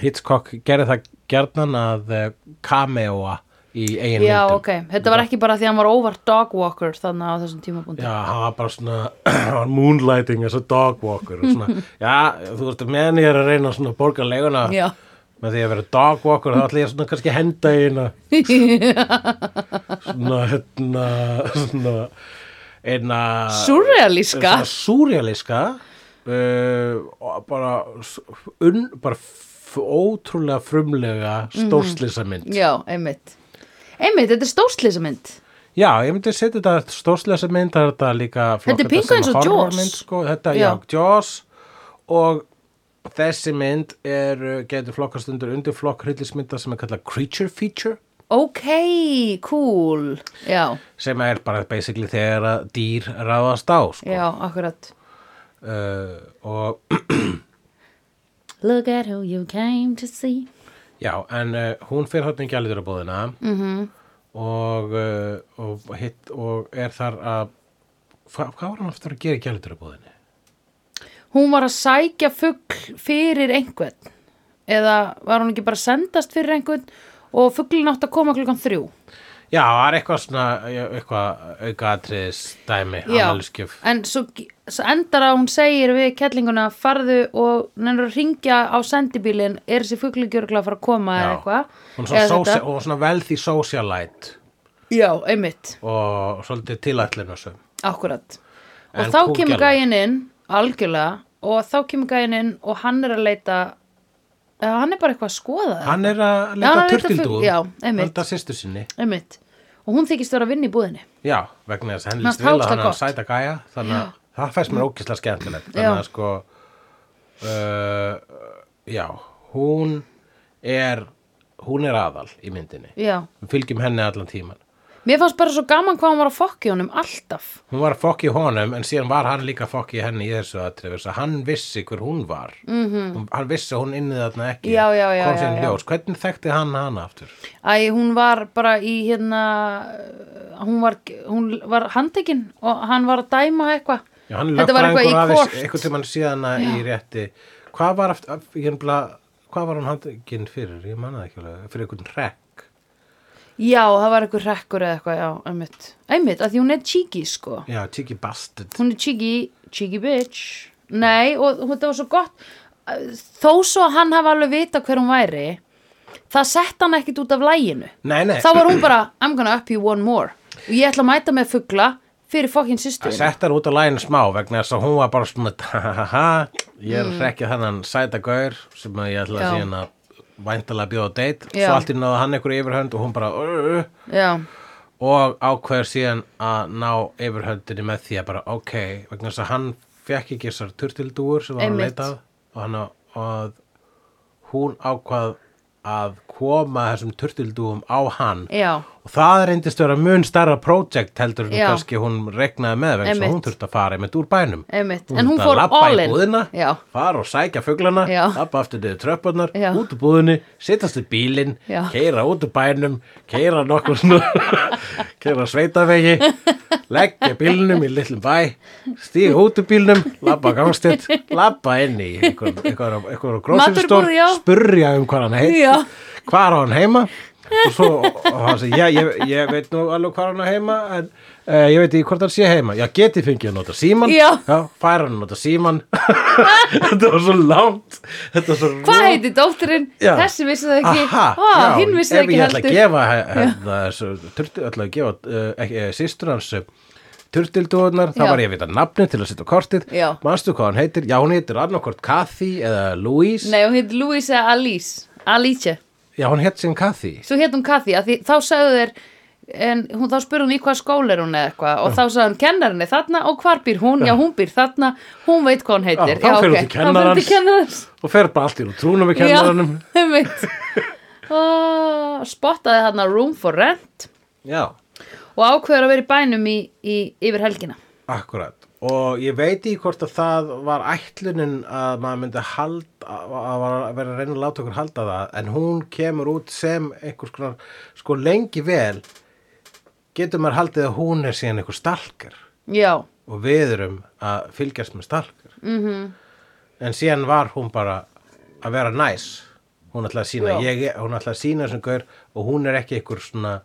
Speaker 1: Hitchcock gerði það gerðnan að uh, cameoa í eigin
Speaker 2: Já,
Speaker 1: myndum.
Speaker 2: ok. Þetta var ekki bara því að hann var over dog walker þannig á þessum tímabundi.
Speaker 1: Já, hann var bara svona hann var moonlighting as a dog walker og svona, já, þú veist, meðan ég er að reyna svona að borga leiguna
Speaker 2: Já.
Speaker 1: með því að vera dog walker, þá ætla ég svona kannski að henda í eina svona, hérna svona, eina
Speaker 2: Surrealíska.
Speaker 1: svona súrjaliska uh, og bara unn, bara f- ótrúlega
Speaker 2: Mhm.
Speaker 1: frumlega stórslisa mynd
Speaker 2: Já, einmitt. Einmitt, þetta er stórslisamynd.
Speaker 1: Já, ég myndi setja þetta stórslega mynd það er þetta líka flokka
Speaker 2: Þetta er pingu
Speaker 1: sem
Speaker 2: eins og
Speaker 1: horror
Speaker 2: Jaws.
Speaker 1: mynd, sko, þetta, já.
Speaker 2: Já.
Speaker 1: Jaws og þessi mynd er getur flokkast undir undirflokk hryllismynda sem er kallað Creature Feature
Speaker 2: Ok, cool Já,
Speaker 1: sem er bara basically þegar að dýr ráðast á sko.
Speaker 2: já, akkurat
Speaker 1: uh, og
Speaker 2: Look at who you came to see
Speaker 1: Já, en uh, hún fyrir hóttin gæliturabúðina mm -hmm.
Speaker 2: Mhm.
Speaker 1: og, uh, og, hitt, og er þar að hva, hvað var hann aftur að gera í gæliturabúðinni?
Speaker 2: Hún var að sækja fugl fyrir einhvern eða var hún ekki bara að sendast fyrir einhvern og fuglin átt að koma klukkan þrjú
Speaker 1: Já, það er eitthvað svona já, eitthvað aukaatriðis dæmi afmælisgjöf.
Speaker 2: en svo, svo endar að hún segir við kettlinguna farðu og nennur að ringja á sendibílinn er þessi fuglugjörgla að fara að koma eða
Speaker 1: Já.
Speaker 2: eitthvað
Speaker 1: Hún er svona,
Speaker 2: Eða
Speaker 1: sósia,
Speaker 2: þetta.
Speaker 1: hún er svona velði socialite
Speaker 2: Já, einmitt,
Speaker 1: og svolítið tilætlinu sem
Speaker 2: akkurat
Speaker 1: En
Speaker 2: og þá
Speaker 1: kúk
Speaker 2: kemur
Speaker 1: gæla.
Speaker 2: gæinn inn algjörlega og þá kemur gæinn inn og hann er að leita eða hann er bara eitthvað að skoða það
Speaker 1: Hann er að
Speaker 2: Já, hann
Speaker 1: leita
Speaker 2: er að leita
Speaker 1: turtildúð
Speaker 2: fugl- já, einmitt.
Speaker 1: Leita sýstu sinni
Speaker 2: einmitt og hún þykist vera að vinna í búðinni
Speaker 1: Já, vegna þess að henni
Speaker 2: Mér
Speaker 1: líst
Speaker 2: fannst
Speaker 1: vel
Speaker 2: það
Speaker 1: að hann
Speaker 2: gott.
Speaker 1: sæta gæja þannig að það fæst mér ókislega skemmtilegt
Speaker 2: Já.
Speaker 1: þannig að sko uh, já, hún er hún er aðal í myndinni
Speaker 2: Já,
Speaker 1: við fylgjum henni allan tíman
Speaker 2: mér fannst bara svo gaman hvað hún var að fokki honum alltaf
Speaker 1: hún var að fokki honum en síðan var hann líka að fokki henni í þessu aðtrefis að hann vissi hver hún var mm -hmm. hann vissi að hún inni þarna ekki
Speaker 2: Mhm. Já, já, já,
Speaker 1: kom
Speaker 2: já,
Speaker 1: sér
Speaker 2: já.
Speaker 1: ljós, hvernig þekkti hann hana aftur?
Speaker 2: Æ, hún var bara í hérna uh, hún var, hún var handtekinn og hann var að dæma eitthvað
Speaker 1: Já, hann
Speaker 2: Þetta var eitthvað í
Speaker 1: lögfræðingur aðeins-
Speaker 2: kort.
Speaker 1: Eitthvað tímann síðan að í rétti. Hvað var, aft, af- ég nefnilega, hvað var hann handikinn fyrir? Ég manna það ekki alveg. Fyrir eitthvað rekk.
Speaker 2: Já, það var eitthvað rekkur eða eitthvað, já, einmitt einmitt, að því hún er cheeky, sko
Speaker 1: Já, Tiki Bastard.
Speaker 2: hún er cheeky, cheeky bitch Nei, og hún- þetta var svo gott þó svo að hann hafa alveg vita hver hún væri það sett hann ekkit út af læginu
Speaker 1: Nei, nei.
Speaker 2: þá var hún bara, I'm gonna up you one more og ég ætla að mæta með fugla fyrir fokkin sýstu
Speaker 1: Það sett hann út á læginu smá vegna þess að hún var bara svona ha-ha-ha, ég er mm. rekkið þannan sæta gaur sem að ég ætla
Speaker 2: Já.
Speaker 1: að síðan að væntalega bjóða á date.
Speaker 2: Já.
Speaker 1: Svo allt í náðu hann einhverju yfirhönd og hún bara uh, uh,
Speaker 2: Já,
Speaker 1: og ákveður síðan að ná yfirhöndinni með því að bara ok, vegna þess að hann fekk ekki þessar turtildúur sem hann var að
Speaker 2: Einmitt.
Speaker 1: leita að og hann á- að hún ákvað að koma þessum turtildúum á hann
Speaker 2: já,
Speaker 1: og það reyndist vera mun starra project heldur en
Speaker 2: Já.
Speaker 1: kannski hún regnaði með vegna þess
Speaker 2: Einmitt.
Speaker 1: að hún þurfti að fara einmitt úr bænum
Speaker 2: einmitt
Speaker 1: Hún
Speaker 2: en hún
Speaker 1: þurfti að
Speaker 2: fór
Speaker 1: labba
Speaker 2: all
Speaker 1: í
Speaker 2: in
Speaker 1: búðina,
Speaker 2: Já,
Speaker 1: fara og sækja fuglana,
Speaker 2: Já.
Speaker 1: labba aftur niður tröppunar,
Speaker 2: Já.
Speaker 1: út úr búðinni, sittast í bílinn,
Speaker 2: Já.
Speaker 1: keira út úr bænum, keira nokkur svona, keira sveitavegi, leggja bílnum í litlum bæ, stíga út úr bílnum, labba gangstitt, labba inn í einhver, einhver, einhver grósinstór,
Speaker 2: Matvörubúð, já.
Speaker 1: spurja um hvað hann heit,
Speaker 2: Já.
Speaker 1: hvar á hann heima og svo og hann segi, já, ég, ég veit nú alveg hvar hann á heima en uh, ég veit ekki hvort hann sé heima já, geti fengið að nota síman
Speaker 2: Já.
Speaker 1: fær hann að nota síman þetta var svo langt þetta var svo
Speaker 2: hvað heiti dótturinn?
Speaker 1: Já.
Speaker 2: Þessi vissi það ekki
Speaker 1: Aha,
Speaker 2: Ó,
Speaker 1: já,
Speaker 2: Hinn vissi það
Speaker 1: ef
Speaker 2: ekki
Speaker 1: ég ætla að
Speaker 2: heldur
Speaker 1: gefa hérna, þessu- turtu- ætla að gefa uh, ekki, eh, systur hans turtildóðunar, þá
Speaker 2: Já.
Speaker 1: var ég að vita nafni til að setja á kortið,
Speaker 2: Já.
Speaker 1: manstu hvað hann heitir já, hún heitir annarkort Kathy eða Louise
Speaker 2: Nei, hún heit Louisa Alice Alice,
Speaker 1: já, hún heit sem Kathy
Speaker 2: svo heit hún Kathy af því, þá sagðu þeir En hún, þá spurði hún í hvað skóla er hún eða eitthvað og þá sagði hún kennarinni þarna og hvar býr hún, já hún býr þarna, hún veit hvað hún heitir.
Speaker 1: Já, þá fer hún
Speaker 2: ok,
Speaker 1: til kennarans.
Speaker 2: Þá fer hún til kennarans.
Speaker 1: og fer bara allt í úr trúnum við kennaranum
Speaker 2: Já, einmitt. Ó, spottaði þarna Room for Rent
Speaker 1: já.
Speaker 2: og ákveður að vera í bænum í, í, yfir helgina.
Speaker 1: Akkurat og ég veit í hvort að það var ætlunin að maður myndi halda að að var að vera að reyna að láta okkur halda það en hún kemur út sem einhvers konar sko lengi vel getur maður haldið að hún er síðan einhver stalker
Speaker 2: Já,
Speaker 1: og við erum að fylgjast með stalker mm
Speaker 2: Mhm.
Speaker 1: -hmm. en síðan var hún bara að vera næs hún ætlaði að sína,
Speaker 2: Já.
Speaker 1: ég, hún ætlaði að sína sem gaur og hún er ekki einhver svona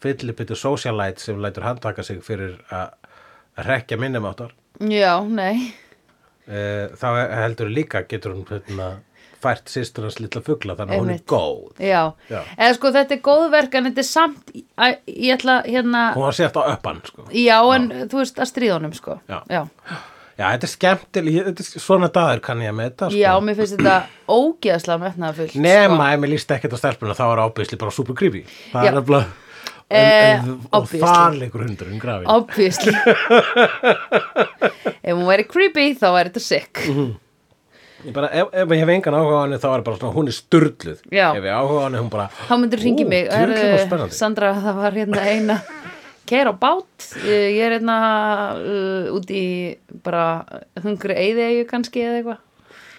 Speaker 1: fyllibittu socialite sem lætur handtaka sig fyrir að að rekja minnumáttar
Speaker 2: já, nei.
Speaker 1: Eh, þá heldur líka getur hún hérna, fært sýstur hans lilla fugla þannig að hún er
Speaker 2: Einmitt.
Speaker 1: góð
Speaker 2: Já.
Speaker 1: Já.
Speaker 2: eða sko þetta er góðverk en þetta er samt, að, ég ætla hérna,
Speaker 1: hún var sért á uppan sko.
Speaker 2: já en þú veist að stríða honum sko.
Speaker 1: Já.
Speaker 2: já.
Speaker 1: já, þetta er skemmtileg ég- þetta er, svona dagar kann ég að meta sko.
Speaker 2: Já, mér finnst þetta ógeðslega metnaðarfullt. sko.
Speaker 1: nema ef mér líst ekkert á stelpuna þá er ábyrðsli bara super creepy það
Speaker 2: Já.
Speaker 1: er nefnilega
Speaker 2: Eh,
Speaker 1: en, og
Speaker 2: obviously.
Speaker 1: þar leikur hundurinn grafin
Speaker 2: Obviously Ef hún væri creepy þá væri þetta sick
Speaker 1: Mhm. ég bara, ef, ef ég hef engan áhuga á henni þá er bara svona, hún er sturdluð
Speaker 2: Já.
Speaker 1: ef ég áhuga á henni, hún bara
Speaker 2: Þá myndur ringi
Speaker 1: Ú,
Speaker 2: mig
Speaker 1: djöfull er það
Speaker 2: "Heyrðu,
Speaker 1: spennandi."
Speaker 2: Sandra það var hérna eina Keir á bát uh, Ég er hérna uh, út í bara hungri eyðiðegu kannski eða eitthvað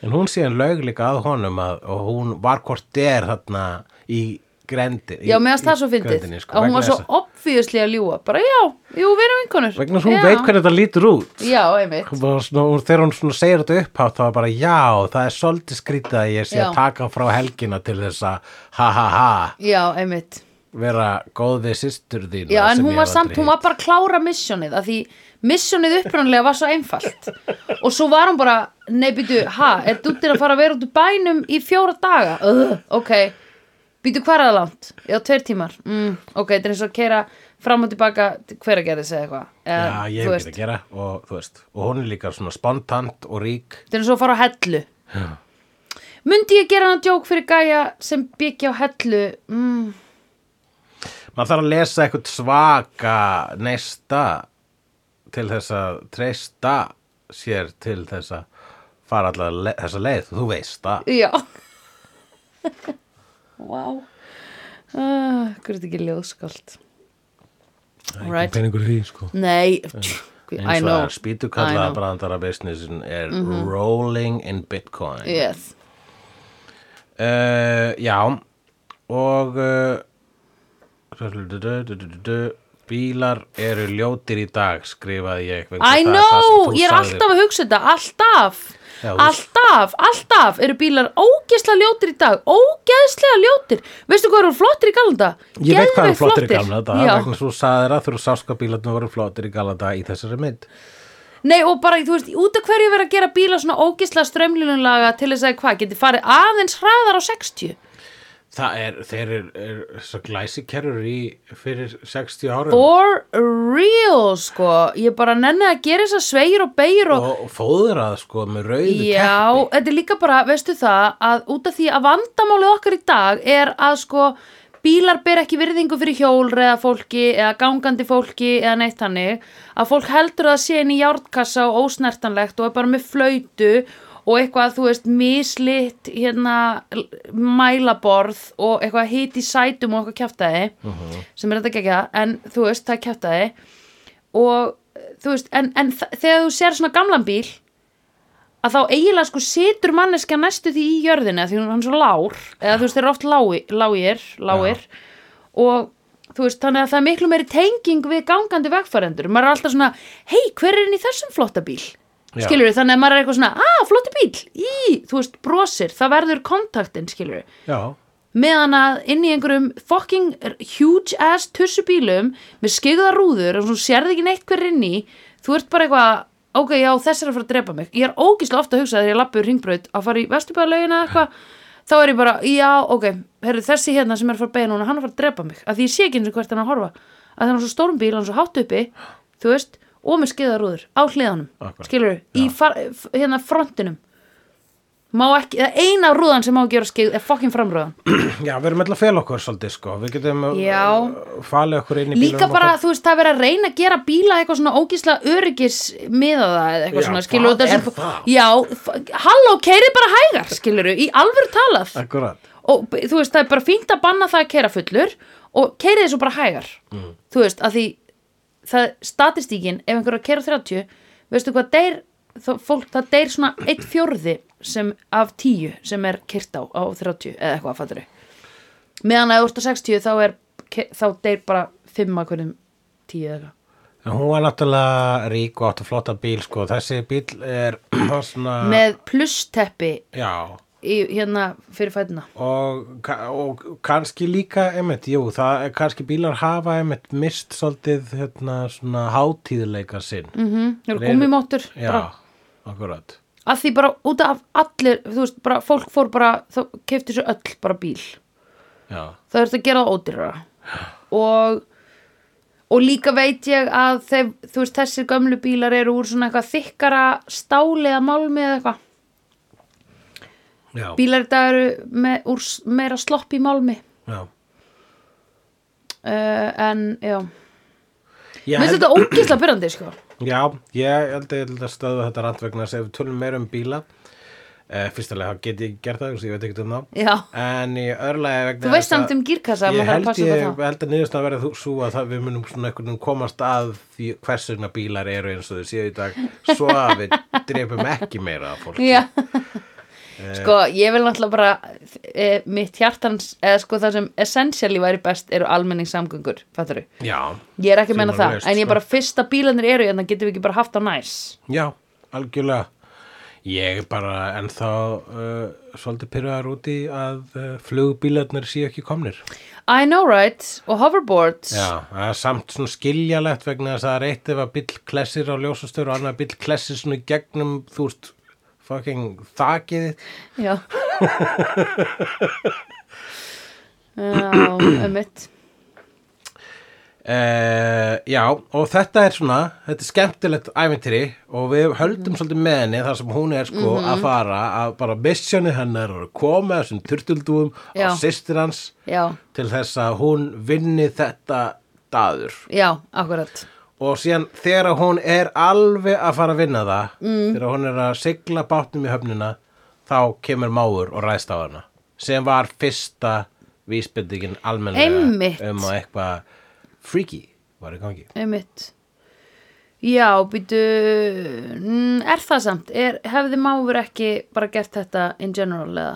Speaker 1: en hún síðan laug líka að honum að, og hún var hvort er þarna í grendi í,
Speaker 2: Já, meðast það
Speaker 1: í
Speaker 2: svo fyndið
Speaker 1: grenndinni, sko,
Speaker 2: að
Speaker 1: vegna
Speaker 2: hún var svo
Speaker 1: þess að-
Speaker 2: obviously að ljúga bara já, jú, við erum vinkonur
Speaker 1: vegna þess að hún
Speaker 2: Já.
Speaker 1: veit hvernig þetta lítur út
Speaker 2: Já, einmitt
Speaker 1: Hún bara svona, og þegar hún svona segir þetta upphátt þá er bara já, það er svolítið skrítið að ég sé
Speaker 2: Já.
Speaker 1: að taka frá helgina til þess að ha ha ha,
Speaker 2: Já, einmitt
Speaker 1: vera góð við systur þín
Speaker 2: Já, en hún var samt, hún var bara að klára missjónið af því missjónið upprannlega var svo einfalt og svo var hún bara nei, býtu, ha, er dúttir að fara að vera út úr bænum í fjóra daga uh, ok, býtu hvar að langt já, tveir tímar, mm, ok, þetta er eins og að keira fram og tilbaka, hver að gera þessi eitthvað
Speaker 1: Já,
Speaker 2: Eða,
Speaker 1: ég
Speaker 2: þú
Speaker 1: hef
Speaker 2: veist,
Speaker 1: ekki að gera og þú veist, og hún er líka svona spontant og rík
Speaker 2: þetta er eins og að fara á hellu
Speaker 1: Já.
Speaker 2: Mundi ég gera hann djók fyrir gæja sem byggja á hellu mm,
Speaker 1: maður þarf að lesa eitthvað svaka neista til þess að treysta sér til þess að fara allar le þessa leið, þú veist það
Speaker 2: Já Vá uh, Hver er þetta ekki ljóðskáld Right.
Speaker 1: peningur í því sko
Speaker 2: Nei, tjú, I
Speaker 1: eins og
Speaker 2: know
Speaker 1: að spýtu
Speaker 2: I
Speaker 1: kalla
Speaker 2: know. Mhm.
Speaker 1: brandara businessin er rolling in bitcoin
Speaker 2: yes.
Speaker 1: uh, já og eh, uh, bílar eru ljótir í dag skrifaði ég vegna það- það
Speaker 2: I
Speaker 1: sem
Speaker 2: know,
Speaker 1: þú
Speaker 2: ég er
Speaker 1: sagðir.
Speaker 2: alltaf að hugsa þetta Alltaf,
Speaker 1: Já, þú-
Speaker 2: alltaf, alltaf Eru bílar ógeðslega ljótir í dag Ógeðslega ljótir Veistu hvað eru flottir í galanda?
Speaker 1: Ég veit hvað er
Speaker 2: Geðveikt
Speaker 1: flottir í gamla daga
Speaker 2: Já.
Speaker 1: vegna svo saðir að þú sást hvað bílarnir voru flottir í gamla daga í þessari mynd
Speaker 2: Nei og bara, þú veist, út af hverju vera að gera bíla svona ógeðslega strömlunulaga til þess að hvað, geti farið aðeins hraðar á 60
Speaker 1: Það er, þeir eru er, svo glæsikerur í fyrir 60 árum
Speaker 2: For real, sko Ég bara nenni að gera þess að sveigir og beigir og,
Speaker 1: og fóðrað sko með rauðu
Speaker 2: Já, þetta er líka bara, veistu það að út af því að vandamálið okkar í dag er að sko bílar ber ekki virðingu fyrir hjólreða fólki eða gangandi fólki eða neitt hannig að fólk heldur að það sé inn í járnkassa og ósnertanlegt og er bara með flöytu og eitthvað, þú veist, mislitt hérna l- mælaborð og eitthvað hiti sætum og eitthvað kjaftaði
Speaker 1: Mhm.
Speaker 2: sem er þetta gegja, en þú veist, það er kjaftaði og þú veist, en, en þa- þegar þú sér svona gamlan bíl að þá eiginlega sko situr manneska næstu því í jörðina því hún hann er svo lár eða þú veist þeir eru oft lái, lágir, lágir og þú veist þannig að það er miklu meiri tenging við gangandi vegfærendur maður er alltaf svona, hei hver er inn í þessum flotta bíl
Speaker 1: Já.
Speaker 2: skilur við þannig að maður er eitthvað svona að flotta bíl, í, þú veist brosir það verður kontaktin skilur við
Speaker 1: Já,
Speaker 2: meðan að inn í einhverjum fucking huge ass tussubílum með skegða rúður og svo sérði ekki neitt hver inn í þú ert bara eitthvað, ok, já, þess er að fara að drepa mig ég er ógislega ofta að hugsa þegar ég lappi úr ringbraut að fara í vesturbæðalaugina eða eitthvað þá er ég bara, já, ok, herru, þessi hérna sem er að fara að beina núna, hann er að fara að drepa mig að því ég sé ekki eins og hvert hann er að horfa að það er hann er svo stórum bíl, hann er svo hátt uppi þú veist, og með skegða rúður á hliðanum,
Speaker 1: Akkurat.
Speaker 2: skilur, í far, f- hérna frontinum má ekki, það er eina rúðan sem má gera skeið er fucking framrúðan
Speaker 1: já við erum alltaf fel okkur svolítið sko Við getum uh,
Speaker 2: Já.
Speaker 1: falið okkur inn í
Speaker 2: líka
Speaker 1: bílunum
Speaker 2: bara,
Speaker 1: um okkar.
Speaker 2: þú veist, það er verið að reyna að gera bíla eitthvað svona ógísla öryggis miða það eða eitthvað
Speaker 1: Já,
Speaker 2: svona,
Speaker 1: hvað
Speaker 2: skilur
Speaker 1: er
Speaker 2: þessum,
Speaker 1: það?
Speaker 2: já, f- halló, keirið bara hægar, skilur í alvöru talað
Speaker 1: Akkúrat.
Speaker 2: og b- þú veist, það er bara fínt að banna það að keira fullur og keirið þessu bara hægar þú veist, að því það, statistíkin, ef einhver er að keira 30 veistu hvað, deyr þó, fólk, það deyr svona eitt fjórði sem, af 10 sem er keirt á á 30 eða eitthvað, fattur meðan að þú ert á 60 þá er ke- þá deyr bara 5 að hverjum 10 eða eitthvað
Speaker 1: En Hún var náttúrulega rík og átti flotta bíl sko Þessi bíl er var svona
Speaker 2: með plussteppi
Speaker 1: Já
Speaker 2: í, hérna fyrir fætina
Speaker 1: og, ka- og kannski líka einmitt, jú, það er kannski bílar hafa einmitt mist svolítið hérna svona hátíðleika sinn mm -hmm.
Speaker 2: það eru gummimóttur Mhm, bara
Speaker 1: Já, akkurat
Speaker 2: að því bara út af allir þú veist, bara fólk fór bara þá kefti svo öll bara bíl
Speaker 1: Já,
Speaker 2: það er þetta að gera það ódýrara og, og líka veit ég að þeir, þú veist, þessir gömlu bílar eru úr svona eitthvað þykkara stáli eða málmi eða eitthvað
Speaker 1: já,
Speaker 2: bílar þetta eru með, úr s- meira slopp í málmi
Speaker 1: já
Speaker 2: uh, en já
Speaker 1: Ég
Speaker 2: Mér
Speaker 1: held-
Speaker 2: finnst þetta ógisla byrjandi sko
Speaker 1: Já, ég held ég held að stöðu þetta rand vegna þess að ef við tölum meira um bíla uh, fyrstulega þá get ég ekki gert það þess að ég veit ekkert um þá
Speaker 2: Já,
Speaker 1: en í örlega vegna
Speaker 2: þú veist
Speaker 1: þess að-
Speaker 2: samt um gírkassa
Speaker 1: ég
Speaker 2: maður þarf að
Speaker 1: held,
Speaker 2: passa
Speaker 1: ég,
Speaker 2: upp á það
Speaker 1: held að niðurstaðan verða þú- sú að það, við munum svona einhvern veginn komast að því hvers vegna bílar eru eins og þau séu í dag svo að við drefum ekki meira af fólki
Speaker 2: Já Sko, ég vil náttúrulega bara e, mitt hjartans, eða sko það sem essentially væri best eru almenningssamgöngur fattur
Speaker 1: Já,
Speaker 2: Ég er ekki að meina það,
Speaker 1: Tvímælalaust,
Speaker 2: en ég
Speaker 1: sko.
Speaker 2: bara fyrsta bílanir eru en það getum við ekki bara haft á næs
Speaker 1: já, algjörlega Ég er bara ennþá uh, svolítið pyrraðar úti að uh, flugbílarnir séu ekki komnir
Speaker 2: I know right, og hoverboards
Speaker 1: Já, það er samt svona skiljalegt vegna þess að það er eitt ef að bíll klessir á ljósastöru og annar bíll klessir svona í gegnum þú veist, fucking þakið þitt.
Speaker 2: Já Já, ömmitt
Speaker 1: Eh, já, og þetta er svona, þetta er skemmtilegt æventýri og við höldum svolítið með henni þar sem hún er sko að fara að bara missioni hennar er að koma þessum turtildúum
Speaker 2: Já.
Speaker 1: á systir hans
Speaker 2: Já,
Speaker 1: til þess að hún vinni þetta daður
Speaker 2: já, akkurat
Speaker 1: og síðan þegar að hún er alveg að fara að vinna það mm. þegar hún er að sigla bátnum í höfnina þá kemur máur og ræðst á hana sem var fyrsta vísbendingin almennlega
Speaker 2: Einmitt.
Speaker 1: um að eitthvað freaky var í gangi
Speaker 2: Einmitt. Já, býtu, mm, er það samt? Er, hefði máfur ekki bara gert þetta in general eða?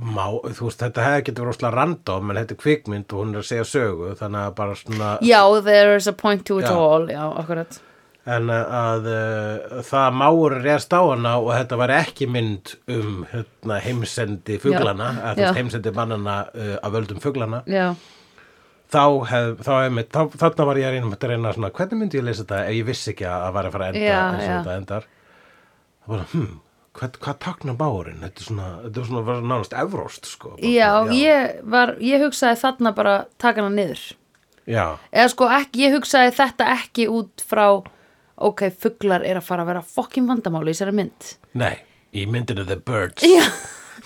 Speaker 1: má, þú veist, þetta hefði getur verið óslega random en þetta er kvikmynd og hún er að segja sögu þannig að bara svona
Speaker 2: Já, there is a point to it
Speaker 1: Já.
Speaker 2: all, já, akkurat.
Speaker 1: en að, að uh, það máur reyðast á hana og þetta var ekki mynd um hérna, heimsendi fuglana,
Speaker 2: Já.
Speaker 1: að þú veist
Speaker 2: Já.
Speaker 1: heimsendi mannana uh, af völdum fuglana
Speaker 2: Já,
Speaker 1: þá hef, þá hef mitt, þá, þarna var ég að reyna, að reyna svona, hvernig myndi ég lesa þetta ef ég vissi ekki að það var að fara að enda
Speaker 2: Já,
Speaker 1: eins og
Speaker 2: já.
Speaker 1: þetta endar það bara, hm, hvað, hvað takna máurinn þetta er svona, þetta er svona, var nánast evróst sko, bara
Speaker 2: já,
Speaker 1: svona,
Speaker 2: Ég, var, ég hugsaði þarna bara taka hana niður.
Speaker 1: já.
Speaker 2: Eða sko, ekki, ég hugsaði þetta ekki út frá, ok, fuglar er að fara að vera fokkin vandamáli í þessari mynd.
Speaker 1: Nei, í myndinu The Birds
Speaker 2: Já.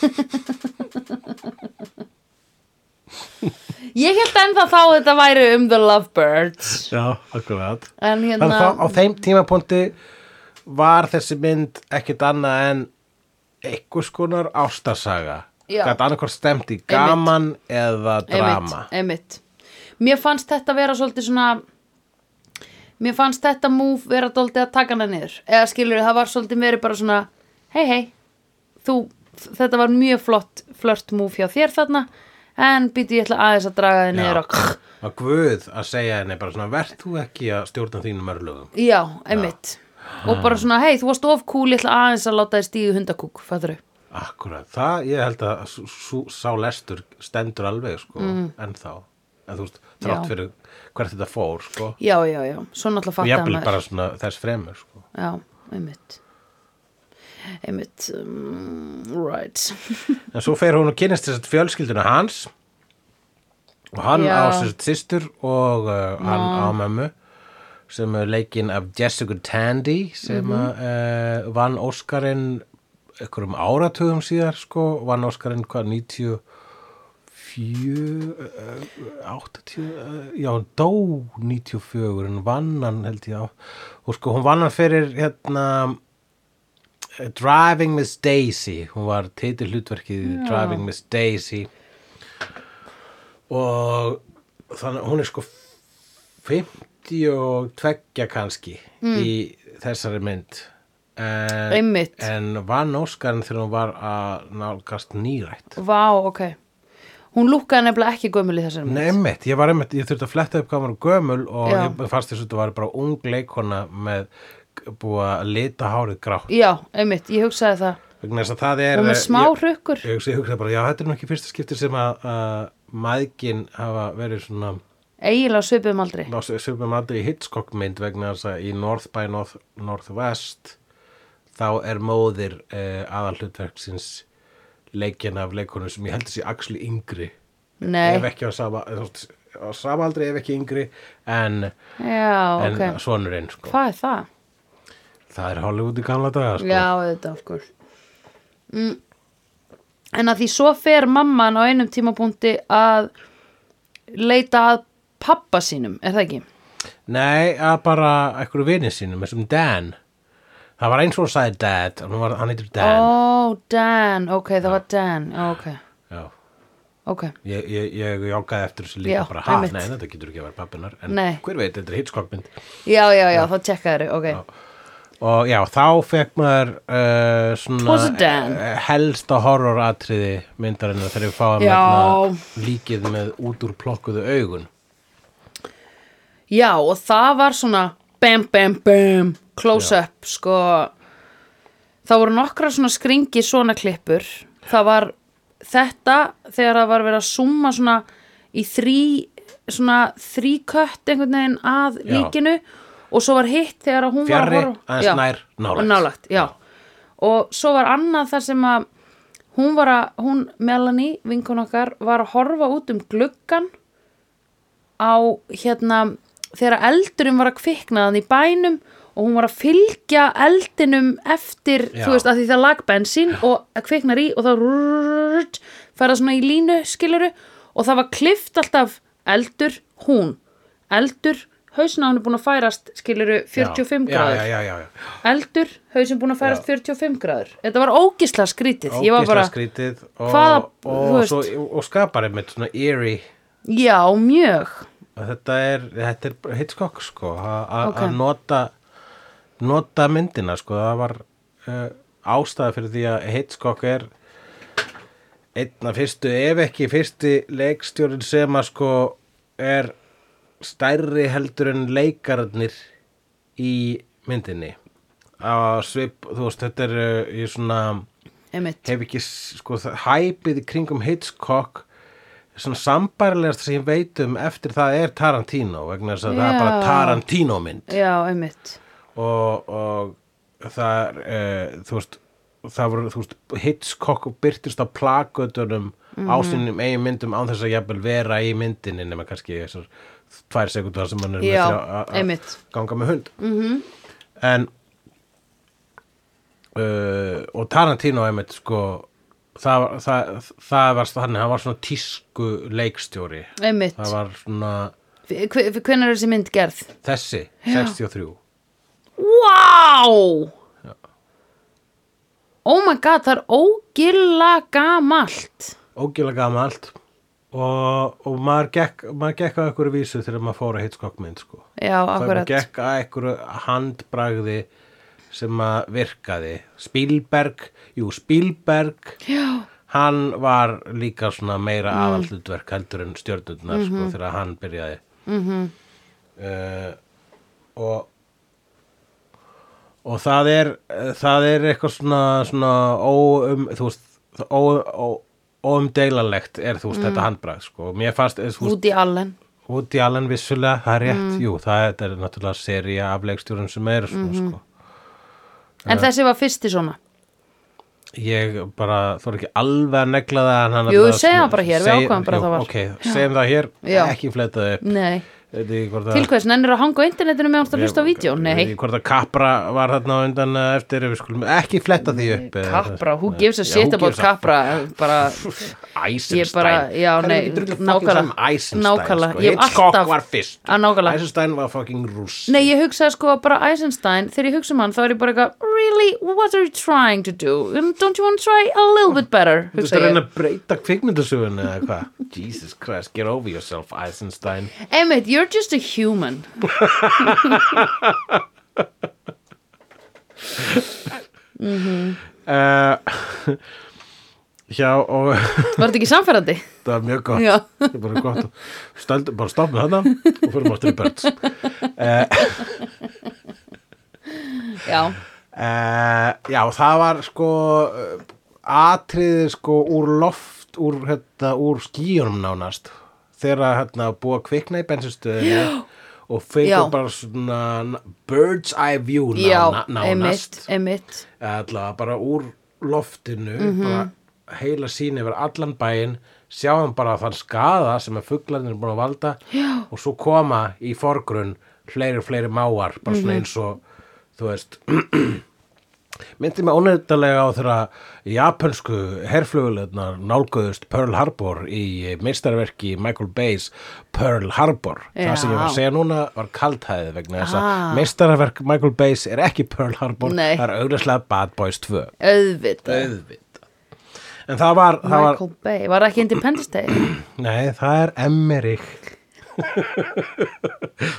Speaker 2: ég held ennþá þá að þetta væri um the lovebirds.
Speaker 1: Já, akkurat
Speaker 2: En hérna...
Speaker 1: Þannig að á þeim tímapunkti var þessi mynd ekkit annað en einhvers konar ástarsaga
Speaker 2: Já.
Speaker 1: Gat annarkvort stemt í gaman eða drama
Speaker 2: einmitt, einmitt. mér fannst þetta vera svolítið svona mér fannst þetta move vera dóltið að taka hana niður eða skilur það var svolítið verið bara svona hei hei þú, þetta var mjög flott flört move hjá þér þarna en býtu ég ætla aðeins að draga þið niður og
Speaker 1: Já, að guð að segja henni bara svona Vert þú ekki að stjórna þínum örlögum
Speaker 2: já, einmitt og bara svona hei þú varst of cool ég ætla aðeins að láta þið stíðu hundakúk fattur
Speaker 1: Akkurat, það ég held að sú, sú, sá lestur stendur alveg sko mm. ennþá, en þú veist,
Speaker 2: Já.
Speaker 1: þrátt fyrir hvert þetta fór sko
Speaker 2: já, já, já, svo náttúrulega
Speaker 1: og
Speaker 2: fatta
Speaker 1: jafnvel bara svona þess fremur sko
Speaker 2: já, einmitt einmitt um, right
Speaker 1: En svo fer hún og kynist þess að fjölskylduna hans og hann
Speaker 2: Já.
Speaker 1: á þess að systur og uh, hann á mömmu sem er leikinn af Jessica Tandy sem mm vann Óskarinn einhverjum áratugum síðar sko, vann Óskarinn hvað 94 eh, 80 eh, já, hún dó 94 en vann hann held ég á og sko hún vann hann fyrir hérna eh, Driving Miss Daisy hún var teitir hlutverkið í Driving Miss Daisy og þannig að hún er sko 52 kannski í þessari mynd en,
Speaker 2: Einmitt.
Speaker 1: en vann Óskarinn þegar hún var að nálgast nýrætt
Speaker 2: Vá, ok. Hún lúkkaði nefnilega ekki gömul í þessari
Speaker 1: Nei, einmitt, ég var einmitt, ég þurfti að fletta upp hvað hann var gömul og
Speaker 2: Já.
Speaker 1: ég fannst þess að þetta var bara ung leikona með búið að lita hárið grátt
Speaker 2: Já, einmitt, ég hugsaði það.
Speaker 1: vegna þess að það er eh,
Speaker 2: Hún með smá
Speaker 1: ég-
Speaker 2: hrukkur.
Speaker 1: Ég hugsaði hugsa bara, já, þetta er nú ekki fyrsta skipti sem að, að maðgin hafa verið svona
Speaker 2: Eiginlega svipum aldrei.
Speaker 1: ná, sem að um í Hitchcock mynd vegna þess að í North by North, Northwest þá er móðir eh, aðalhlutverksins leikin af leikunum sem ég held að sé axli yngri ef
Speaker 2: Nei,
Speaker 1: ekki á sama, þú veist, á sama aldrei ef ekki yngri en,
Speaker 2: já,
Speaker 1: en
Speaker 2: ok.
Speaker 1: sonurinn sko.
Speaker 2: Hvað er það?
Speaker 1: það er Hollywood í gamla daga sko.
Speaker 2: Já, þetta of course. Mm. En að því svo fer mamman á einum tímapunkti að leita að pappa sínum, er það ekki?
Speaker 1: Nei, að bara einhverju vinið sínum, þessum Dan Það var eins og hún sagði Dad og hún var, hann heitir
Speaker 2: Ó,
Speaker 1: Dan
Speaker 2: Oh, Dan, ok, það var Dan, Ó, ok,
Speaker 1: Já,
Speaker 2: ok.
Speaker 1: ég, ég, ég jánkaði eftir þessu líka
Speaker 2: Já,
Speaker 1: bara, ha,
Speaker 2: einmitt.
Speaker 1: nei, þetta getur ekki að vera pappinar en
Speaker 2: Nei.
Speaker 1: hver veit, þetta er Hitchcockmynd
Speaker 2: Já, já, já, þá tjekkaður, ok.
Speaker 1: og já, þá fekk maður uh,
Speaker 2: Was it
Speaker 1: svona
Speaker 2: Dan?
Speaker 1: eh, helsta horroratriði myndarinnar þegar við fáum
Speaker 2: Já.
Speaker 1: hérna líkið með út úr plokkuðu augun
Speaker 2: Já, og það var svona bam, bam, bam, close up, sko. Það voru nokkra svona skringi svona klippur. Það var þetta þegar það var verið að summa svona í þrí, svona þríkött einhvern veginn að
Speaker 1: Já.
Speaker 2: líkinu og svo var hitt þegar að hún
Speaker 1: Fjarri,
Speaker 2: var að horfa.
Speaker 1: aðeins
Speaker 2: Já.
Speaker 1: nær, nálægt.
Speaker 2: Og nálægt, já. Og svo var annað þar sem að hún var að, hún Melanie, vinkun okkar, var að horfa út um gluggan á hérna þegar eldurinn var að kvikna þann í bænum og hún var að fylgja eldinum eftir,
Speaker 1: Já.
Speaker 2: þú veist, að því það lag bensín og að kviknar í og þá rrrrt, fara svona í línu skiluru og það var klift alltaf eldur, hún eldur, hausna hann er búin að færast skiluru
Speaker 1: já,
Speaker 2: 45 gráður
Speaker 1: já, já, já, já.
Speaker 2: eldur, hausinn búin að færast 45 gráður þetta var ógisla skrítið ég var
Speaker 1: ógislega
Speaker 2: bara,
Speaker 1: skrítið og,
Speaker 2: Hvaða- þú
Speaker 1: og,
Speaker 2: veist-
Speaker 1: svo, og skapar einmitt svona eerie
Speaker 2: já, mjög
Speaker 1: að þetta er, þetta er Hitchcock sko, a- a-
Speaker 2: Ok.
Speaker 1: að nota nota myndina sko, það var uh, ástæða fyrir því að Hitchcock er einn af fyrstu, ef ekki fyrsti leikstjórin sem að sko er stærri heldur en leikararnir í myndinni að svip, þú veist, þetta er uh, í svona
Speaker 2: einmitt,
Speaker 1: hef ekki s- sko, það- hæpið í kringum Hitchcock svona sambærilegast sem ég veit um eftir það er Tarantino vegna þess að það er bara
Speaker 2: Já.
Speaker 1: Tarantino mynd
Speaker 2: já, einmitt
Speaker 1: og, og það er eh, þú veist það voru, þú veist, Hitchcock byrtist á plakötunum á
Speaker 2: Mhm.
Speaker 1: sínum eigin myndum án þess að jafnvel vera í myndinni nema kannski þessar tvær sekundar sem hann er með
Speaker 2: Já,
Speaker 1: þrjá- að- að-
Speaker 2: einmitt. Mhm.
Speaker 1: ganga með hund mm -hmm. en uh, og Tarantino einmitt sko það, var- það, það var hann, hann var svona tísku leikstjóri
Speaker 2: einmitt,
Speaker 1: það var svona
Speaker 2: hvernig er þessi mynd gerð?
Speaker 1: þessi, 63
Speaker 2: Wow! Oh my god, það er ógilla gamalt
Speaker 1: ógjöla gamalt og, og maður gekk, maður gekk á einhverju vísu þegar maður fór að Hitchcock mynd sko.
Speaker 2: Já,
Speaker 1: það maður
Speaker 2: akkurat
Speaker 1: gekk að einhverju handbragði sem að virkaði Spielberg, jú Spielberg
Speaker 2: Já,
Speaker 1: hann var líka svona meira mm. aðallutverk heldur en stjörnurnar sko, þegar hann byrjaði mm og og það er það er eitthvað svona, svona óum, þú veist ó, ó, óumdeilanlegt er þú veist þetta handbragð sko, mér fannst eh, þú veist,
Speaker 2: Woody Allen
Speaker 1: Woody Allen vissulega, það er rétt jú, það er, þetta er náttúrulega sería af leikstjórun sem er svona sko
Speaker 2: En þessi var fyrsti svona
Speaker 1: ég bara, þú er ekki alveg að negla það en hann
Speaker 2: Jú,
Speaker 1: allavega
Speaker 2: segjum
Speaker 1: svona-
Speaker 2: það bara hér, við
Speaker 1: seg-
Speaker 2: ákváðum bara
Speaker 1: jú,
Speaker 2: að það var.
Speaker 1: ok, segjum það hér,
Speaker 2: Já.
Speaker 1: ekki fletta upp
Speaker 2: Nei,
Speaker 1: Veit ekki hvort
Speaker 2: til
Speaker 1: að-
Speaker 2: hvers, nennir að hanga á internetinu meðan það
Speaker 1: ég-
Speaker 2: hlusta á vídeo?
Speaker 1: ég veit
Speaker 2: Nei,
Speaker 1: ekki hvort að Capra var þarna á undan eh, eftir, við skulum ekki fletta því upp eh,
Speaker 2: Capra, who gives a
Speaker 1: Já,
Speaker 2: shit
Speaker 1: who
Speaker 2: about
Speaker 1: gives a-
Speaker 2: Capra Bara
Speaker 1: Eisenstein
Speaker 2: Ég bara- já,
Speaker 1: Hvað er
Speaker 2: nei,
Speaker 1: ekki drullu fucking
Speaker 2: nákvæmlega.
Speaker 1: saman Eisenstein,
Speaker 2: Nákvæmlega.
Speaker 1: sko?
Speaker 2: Ég hef
Speaker 1: Hitchcock
Speaker 2: alltaf-
Speaker 1: var fyrst
Speaker 2: Að nákvæmlega.
Speaker 1: Eisenstein var fucking rúss
Speaker 2: Nei, ég hugsaði sko bara Eisenstein, þegar ég hugsa um hann þá er ég bara eitthvað, really, what are you trying to do? And Don't you want to try a little bit better?
Speaker 1: Þú veist að
Speaker 2: hugsaði
Speaker 1: reyna
Speaker 2: ég.
Speaker 1: að breyta kvikmyndasögun eða hvað? Jesus Christ, get over yourself, Eisenstein
Speaker 2: Emmett, you're just a human.
Speaker 1: uh, Já, og
Speaker 2: Var þetta ekki samferðandi?
Speaker 1: það er mjög gott
Speaker 2: Já.
Speaker 1: Það er bara gott að stöldu, bara stopp með þarna og fyrir máttur í börns
Speaker 2: Já,
Speaker 1: Uh, já, það var sko uh, atriðið sko úr loft, úr, hérna, úr skíunum nánast þegar hérna búa að kvikna í bensinstöðinu og
Speaker 2: Já.
Speaker 1: feikur bara svona n- bird's eye view
Speaker 2: já,
Speaker 1: nána, nánast
Speaker 2: Emmett, Emmett.
Speaker 1: allavega bara úr loftinu
Speaker 2: Mhm.
Speaker 1: bara heila sín yfir allan bæinn sjáum bara þann skaða sem að fuglarnir er búin að valda Já. og svo koma í
Speaker 2: Mhm.
Speaker 1: forgrunn fleiri og fleiri máar bara svona eins og þú veist myndi mig ónefndalega á þegar japansku herflugulöðnar nálguðust Pearl Harbor í meistarverki Michael Bay's Pearl Harbor það sem ég var
Speaker 2: Já.
Speaker 1: að segja núna var kaldhæðið vegna þess
Speaker 2: Ah.
Speaker 1: að meistarverk Michael Bay's er ekki Pearl Harbor
Speaker 2: Nei.
Speaker 1: það er auðvitað Bad Boys 2
Speaker 2: auðvitað
Speaker 1: auðvitað en það var, það var
Speaker 2: Michael Bay, var það ekki Independence Day
Speaker 1: nei það er Emmerich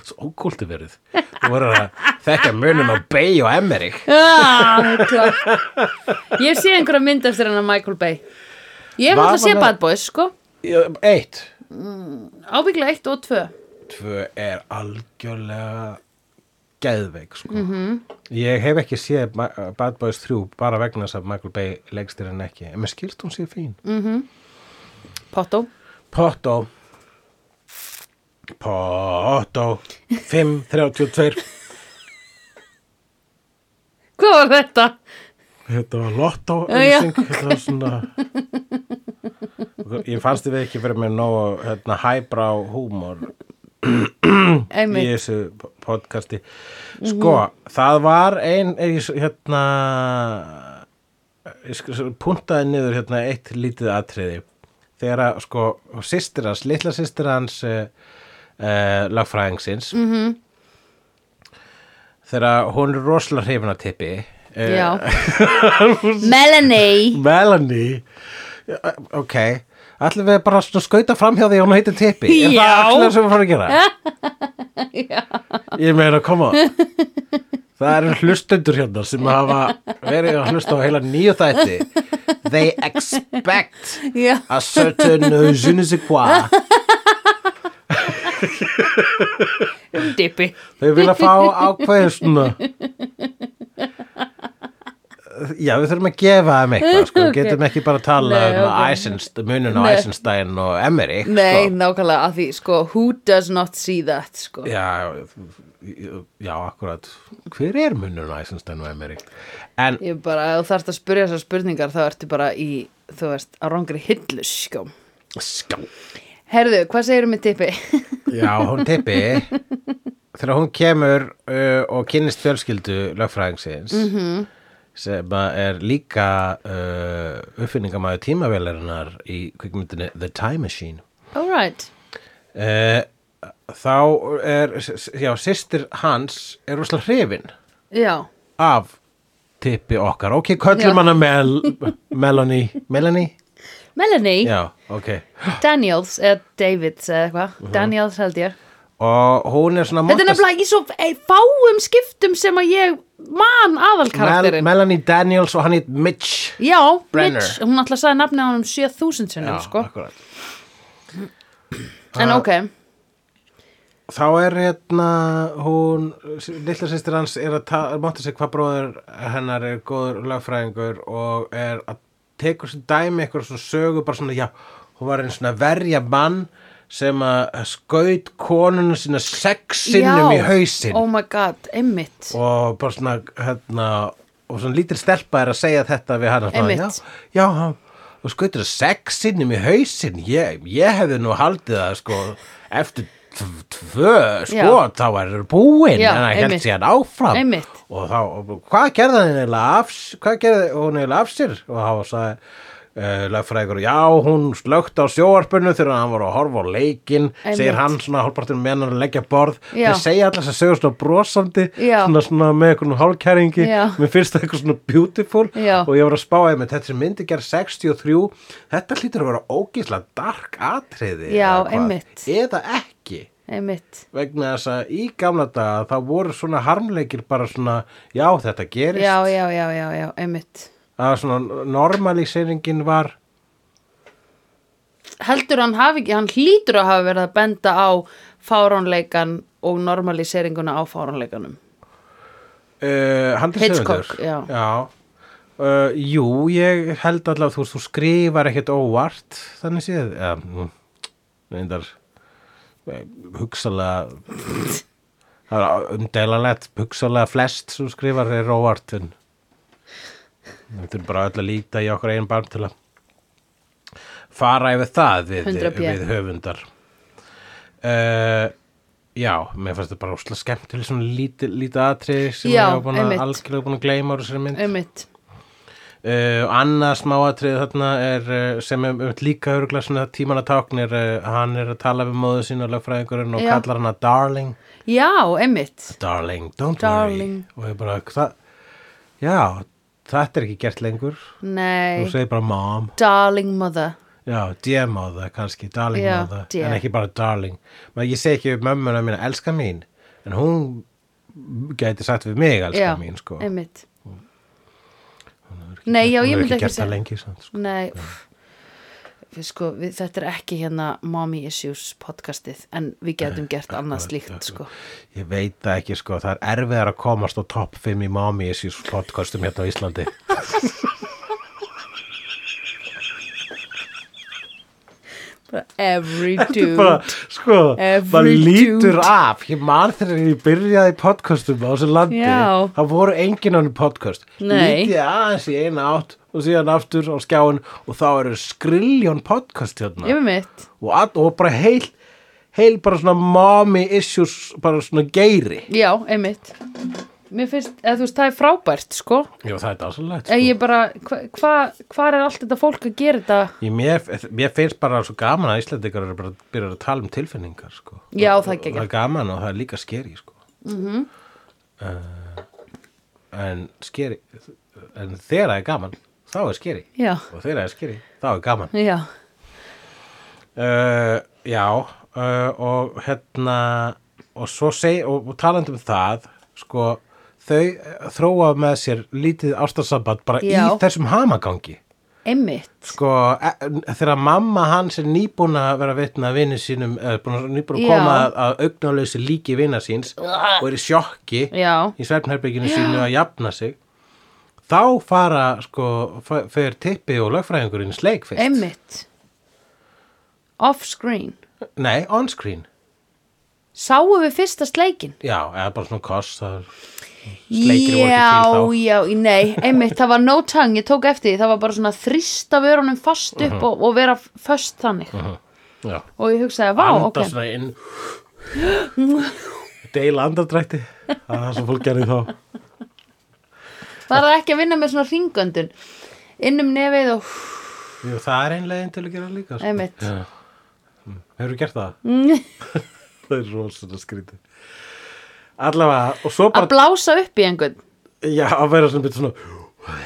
Speaker 1: svo ókúlti verið þú voru að þekka munum á Bay og Emmerich
Speaker 2: Já, það er klart. Ah, Ég sé einhverja mynd eftir hennar Michael Bay Ég hef
Speaker 1: Var
Speaker 2: alltaf sé
Speaker 1: hann að-
Speaker 2: Bad Boys sko
Speaker 1: Já, eitt
Speaker 2: Ábyggla 1 og 2
Speaker 1: tvö er algjörlega geðveik sko.
Speaker 2: Mhm.
Speaker 1: -hmm. ég hef ekki séð Ma- Bad Boys 3 bara vegna þess að Michael Bay leggst þér en ekki, en mér skilst hún sér fín mm.
Speaker 2: Potto
Speaker 1: Potto Potto 532
Speaker 2: Hvað var þetta?
Speaker 1: þetta var Lotto
Speaker 2: Já.
Speaker 1: auglýsing, þetta var svona ég fannst þið ekki fyrir mér nógu hérna, hæbrá húmor í
Speaker 2: Einmitt
Speaker 1: þessu podcasti sko, það var ein ein- hérna ég sk- svo puntaði niður hérna eitt lítið atriði þegar að sko sýstir hans, litla sýstir hans uh, uh, lagfræðingsins mm -hmm.
Speaker 2: Mhm.
Speaker 1: þegar hún er rosalega hrifin að tippi uh,
Speaker 2: Já Eh, Melanie
Speaker 1: Melanie eh, ok, ætlum við bara svona skauta framhjá því að hún heitir tippi er
Speaker 2: Já.
Speaker 1: það allir sem við fórum að gera ég meina, koma það eru hlustendur hérna sem hafa verið að hlusta á heila nýju þætti they expect
Speaker 2: Já
Speaker 1: a certain je ne sais quoi
Speaker 2: Dippi
Speaker 1: þau vilja fá ákveðið svona já, við þurfum að gefa þeim eitthvað sko,
Speaker 2: Ok.
Speaker 1: getum ekki bara að tala
Speaker 2: Nei,
Speaker 1: um
Speaker 2: ok.
Speaker 1: Eisenst, munun á
Speaker 2: Nei.
Speaker 1: Eisenstein og Emmerich
Speaker 2: Nei,
Speaker 1: sko.
Speaker 2: nákvæmlega að því sko Who does not see that sko
Speaker 1: já, já, akkurat hver er munun á Eisenstein og Emmerich en
Speaker 2: Ég bara, ef þú þarft að spyrja þessar spurningar þá ertu bara í, þú veist, á rangri hillu sko
Speaker 1: skjá
Speaker 2: Herðu, hvað segirðu með Dippi?
Speaker 1: Já, hún tippi þegar hún kemur uh, og kynnist fjölskyldu lögfræðingsins
Speaker 2: Mhm.
Speaker 1: -hmm. sem að er líka uh, uppfinningamæðu tímavélarinnar í kvikmyndinu The Time Machine
Speaker 2: All right
Speaker 1: uh, þá er já, sýstir hans er rússlega hrifin
Speaker 2: Já
Speaker 1: af tippi okkar ok, köllum
Speaker 2: Já.
Speaker 1: hana Mel Melanie, Melanie?
Speaker 2: Melanie
Speaker 1: Já, ok
Speaker 2: Daniels eða Davids eða eitthvað
Speaker 1: Mhm.
Speaker 2: Daniels held ég
Speaker 1: og hún er svona
Speaker 2: Þetta
Speaker 1: montast-
Speaker 2: er nefnilega í svo e, fáum skiptum sem að ég man
Speaker 1: Mel
Speaker 2: aðalkarakterinn
Speaker 1: Melanie Daniels og hann heit Mitch
Speaker 2: Já,
Speaker 1: Brenner.
Speaker 2: Mitch, hún alltaf sagði nafnið á hann um 7000 sinnum sko
Speaker 1: akkurat.
Speaker 2: En ok,
Speaker 1: Þá er hérna hún, lilla sýstir hans er að ta- mátta sig hvað bróður hennar er góður lagfræðingur og er að tekur sér dæmi eitthvað svona sögu bara svona, já, hún var einn svona verja mann sem að skaut konuna sína sex sinnum í hausinn
Speaker 2: Oh my god, einmitt
Speaker 1: og bara svona, hérna, og svona lítil stelpa er að segja þetta við hann svona,
Speaker 2: Einmitt.
Speaker 1: já, já, hann- þú skautur sex sinnum í hausinn, ég, ég hefði nú haldið það sko, eftir tv- tvö, sko,
Speaker 2: Já.
Speaker 1: þá er búinn,
Speaker 2: Já,
Speaker 1: en hann held
Speaker 2: einmitt.
Speaker 1: síðan áfram
Speaker 2: Einmitt.
Speaker 1: og þá, og hvað gerði hann eiginlega af, hvað gerði hún eiginlega af sér og þá sagði Uh, lagfræðingur, já, hún slögt á sjóarpinu þegar hann var að horfa á leikinn segir
Speaker 2: Einmitt.
Speaker 1: hann svona hálpartur með hann að leggja borð
Speaker 2: Já.
Speaker 1: þeir segja alltaf að sögur svona brosandi
Speaker 2: Já.
Speaker 1: svona, svona með eitthvað hálkæringi
Speaker 2: Já.
Speaker 1: mér finnst það eitthvað svona beautiful
Speaker 2: Já.
Speaker 1: og ég var að spá einmitt, þetta sem myndi gerð 63 þetta hlýtur að vera ógísla dark atriði
Speaker 2: Já,
Speaker 1: eða hvað.
Speaker 2: einmitt.
Speaker 1: eða ekki
Speaker 2: Einmitt
Speaker 1: vegna þess að í gamla daga þá voru svona harmleikir bara svona já þetta gerist
Speaker 2: Já, já, já, já, já, einmitt
Speaker 1: að svona normaliseringin var
Speaker 2: Heldur hann hafi ekki, hann hlýtur að hafa verið að benda á fáránleikan og normaliseringuna á fáránleikanum
Speaker 1: Uh, Handið
Speaker 2: Hitchcock,
Speaker 1: Sigurður.
Speaker 2: já.
Speaker 1: Uh, jú, ég held allavega þú, veist, þú skrifar ekkert óvart þannig séð ja, reyndar eh, hugsalega það er umdelanlegt hugsalega flest sem þú skrifar er óvart en við þurfum bara öll að líta í okkur einn barm til að fara yfir það við,
Speaker 2: 100 p.
Speaker 1: við höfundar uh, Já, mér fannst þetta bara óslega skemmtileg svona lítið líti atriði sem
Speaker 2: Já,
Speaker 1: ég var búin að
Speaker 2: einmitt.
Speaker 1: algjörlega búin að gleyma úr þessari mynd.
Speaker 2: einmitt
Speaker 1: Uh, annað smáatriði þarna er uh, sem er um, líka örgulega svona tímana táknir, uh, hann er að tala við móðu sín og lögfræðingurinn og
Speaker 2: Já.
Speaker 1: kallar hana darling,
Speaker 2: já, einmitt
Speaker 1: darling, don't
Speaker 2: Darling.
Speaker 1: worry. Og ég bara, hvað? Já, þetta er ekki gert lengur.
Speaker 2: nei,
Speaker 1: Þú segir bara mom,
Speaker 2: darling mother
Speaker 1: já, dear mother kannski, darling
Speaker 2: Já,
Speaker 1: mother,
Speaker 2: dear.
Speaker 1: en ekki bara darling. Men ég segi ekki við mömmuna mína, elska mín, en hún gæti sagt við mig, elska
Speaker 2: já,
Speaker 1: mín, sko.
Speaker 2: einmitt nei, já,
Speaker 1: Hún
Speaker 2: ég
Speaker 1: hefur
Speaker 2: myndi
Speaker 1: ekki
Speaker 2: ekki
Speaker 1: gert það lengi, samt, sko.
Speaker 2: Nei, pff. við sko, við, þetta er ekki hérna Mommy Issues podcastið en við getum gert annað slíkt sko.
Speaker 1: Ég veit það ekki sko, það er erfiðar að komast á topp 5 í Mami Issues podcastum hérna á Íslandi.
Speaker 2: Bara every
Speaker 1: Þetta er bara,
Speaker 2: dude
Speaker 1: sko,
Speaker 2: Every
Speaker 1: maður lítur
Speaker 2: dude.
Speaker 1: af. Ég man þegar ég byrjaði í podcastum á þessu landi.
Speaker 2: Já.
Speaker 1: Það voru engin annir podcast.
Speaker 2: Nei.
Speaker 1: Lítið aðeins í eina átt og síðan aftur á skjáin og þá eru skriljón podcast hérna.
Speaker 2: Ég með mitt,
Speaker 1: Og, all, og bara heil, heil bara svona Mami Issues, bara svona geiri.
Speaker 2: já, einmitt Mér finnst, eða þú veist, það er frábært sko.
Speaker 1: Jó, það er sko. dásalegt.
Speaker 2: eða ég bara, hvað hva, hvar er allt þetta fólk að gera þetta
Speaker 1: Ég, mér, mér finnst bara svo gaman að Íslandingar eru bara að byrja að tala um tilfinningar sko.
Speaker 2: Já, það er
Speaker 1: og,
Speaker 2: geggjað. Mhm.
Speaker 1: það er gaman og það er líka skeri sko. mm uh, En skeri En þegar það er gaman þá er skeri
Speaker 2: Já,
Speaker 1: og þegar það er skeri þá er gaman
Speaker 2: já,
Speaker 1: uh, Já uh, og hérna og svo seg, og, og talandi um það sko, þau eh, þróa með sér lítið ástarsamband bara
Speaker 2: Já.
Speaker 1: í þessum hamagangi
Speaker 2: einmitt
Speaker 1: sko, e- þegar mamma hans er nýbúin að vera vitna að vinni sínum, er búin, nýbúin að
Speaker 2: Já.
Speaker 1: koma að, að augnálausi líki vina síns og er í sjokki
Speaker 2: Já,
Speaker 1: í svefnherbygginu sínu að jafna sig þá fara, sko, f- fer tippi og lögfræðingurinn í sleik fyrst
Speaker 2: einmitt Off screen
Speaker 1: nei, onscreen,
Speaker 2: Sáum við fyrsta sleikin?
Speaker 1: já, eða bara svona koss það er Sleikir voru ekki til
Speaker 2: Já,
Speaker 1: þá.
Speaker 2: já, nei, einmitt, það var no tongue, ég tók eftir því, það var bara svona að þrista vörunum fast upp
Speaker 1: Mhm.
Speaker 2: og, og vera föst þannig
Speaker 1: já,
Speaker 2: og ég hugsaði, vá,
Speaker 1: anda
Speaker 2: ok,
Speaker 1: svona inn deila andardrætti það er það sem fólk gerði þá
Speaker 2: það er ekki að vinna með svona ringöndun innum nefið og
Speaker 1: Jú, það er einlegin til að gera líka sko.
Speaker 2: Einmitt. Mm.
Speaker 1: Já. Mm. Hefurðu gert það? það er rosalega skrítið Allavega, og svo
Speaker 2: að
Speaker 1: bara
Speaker 2: blása upp í einhvern
Speaker 1: Já, að vera svona bitur svona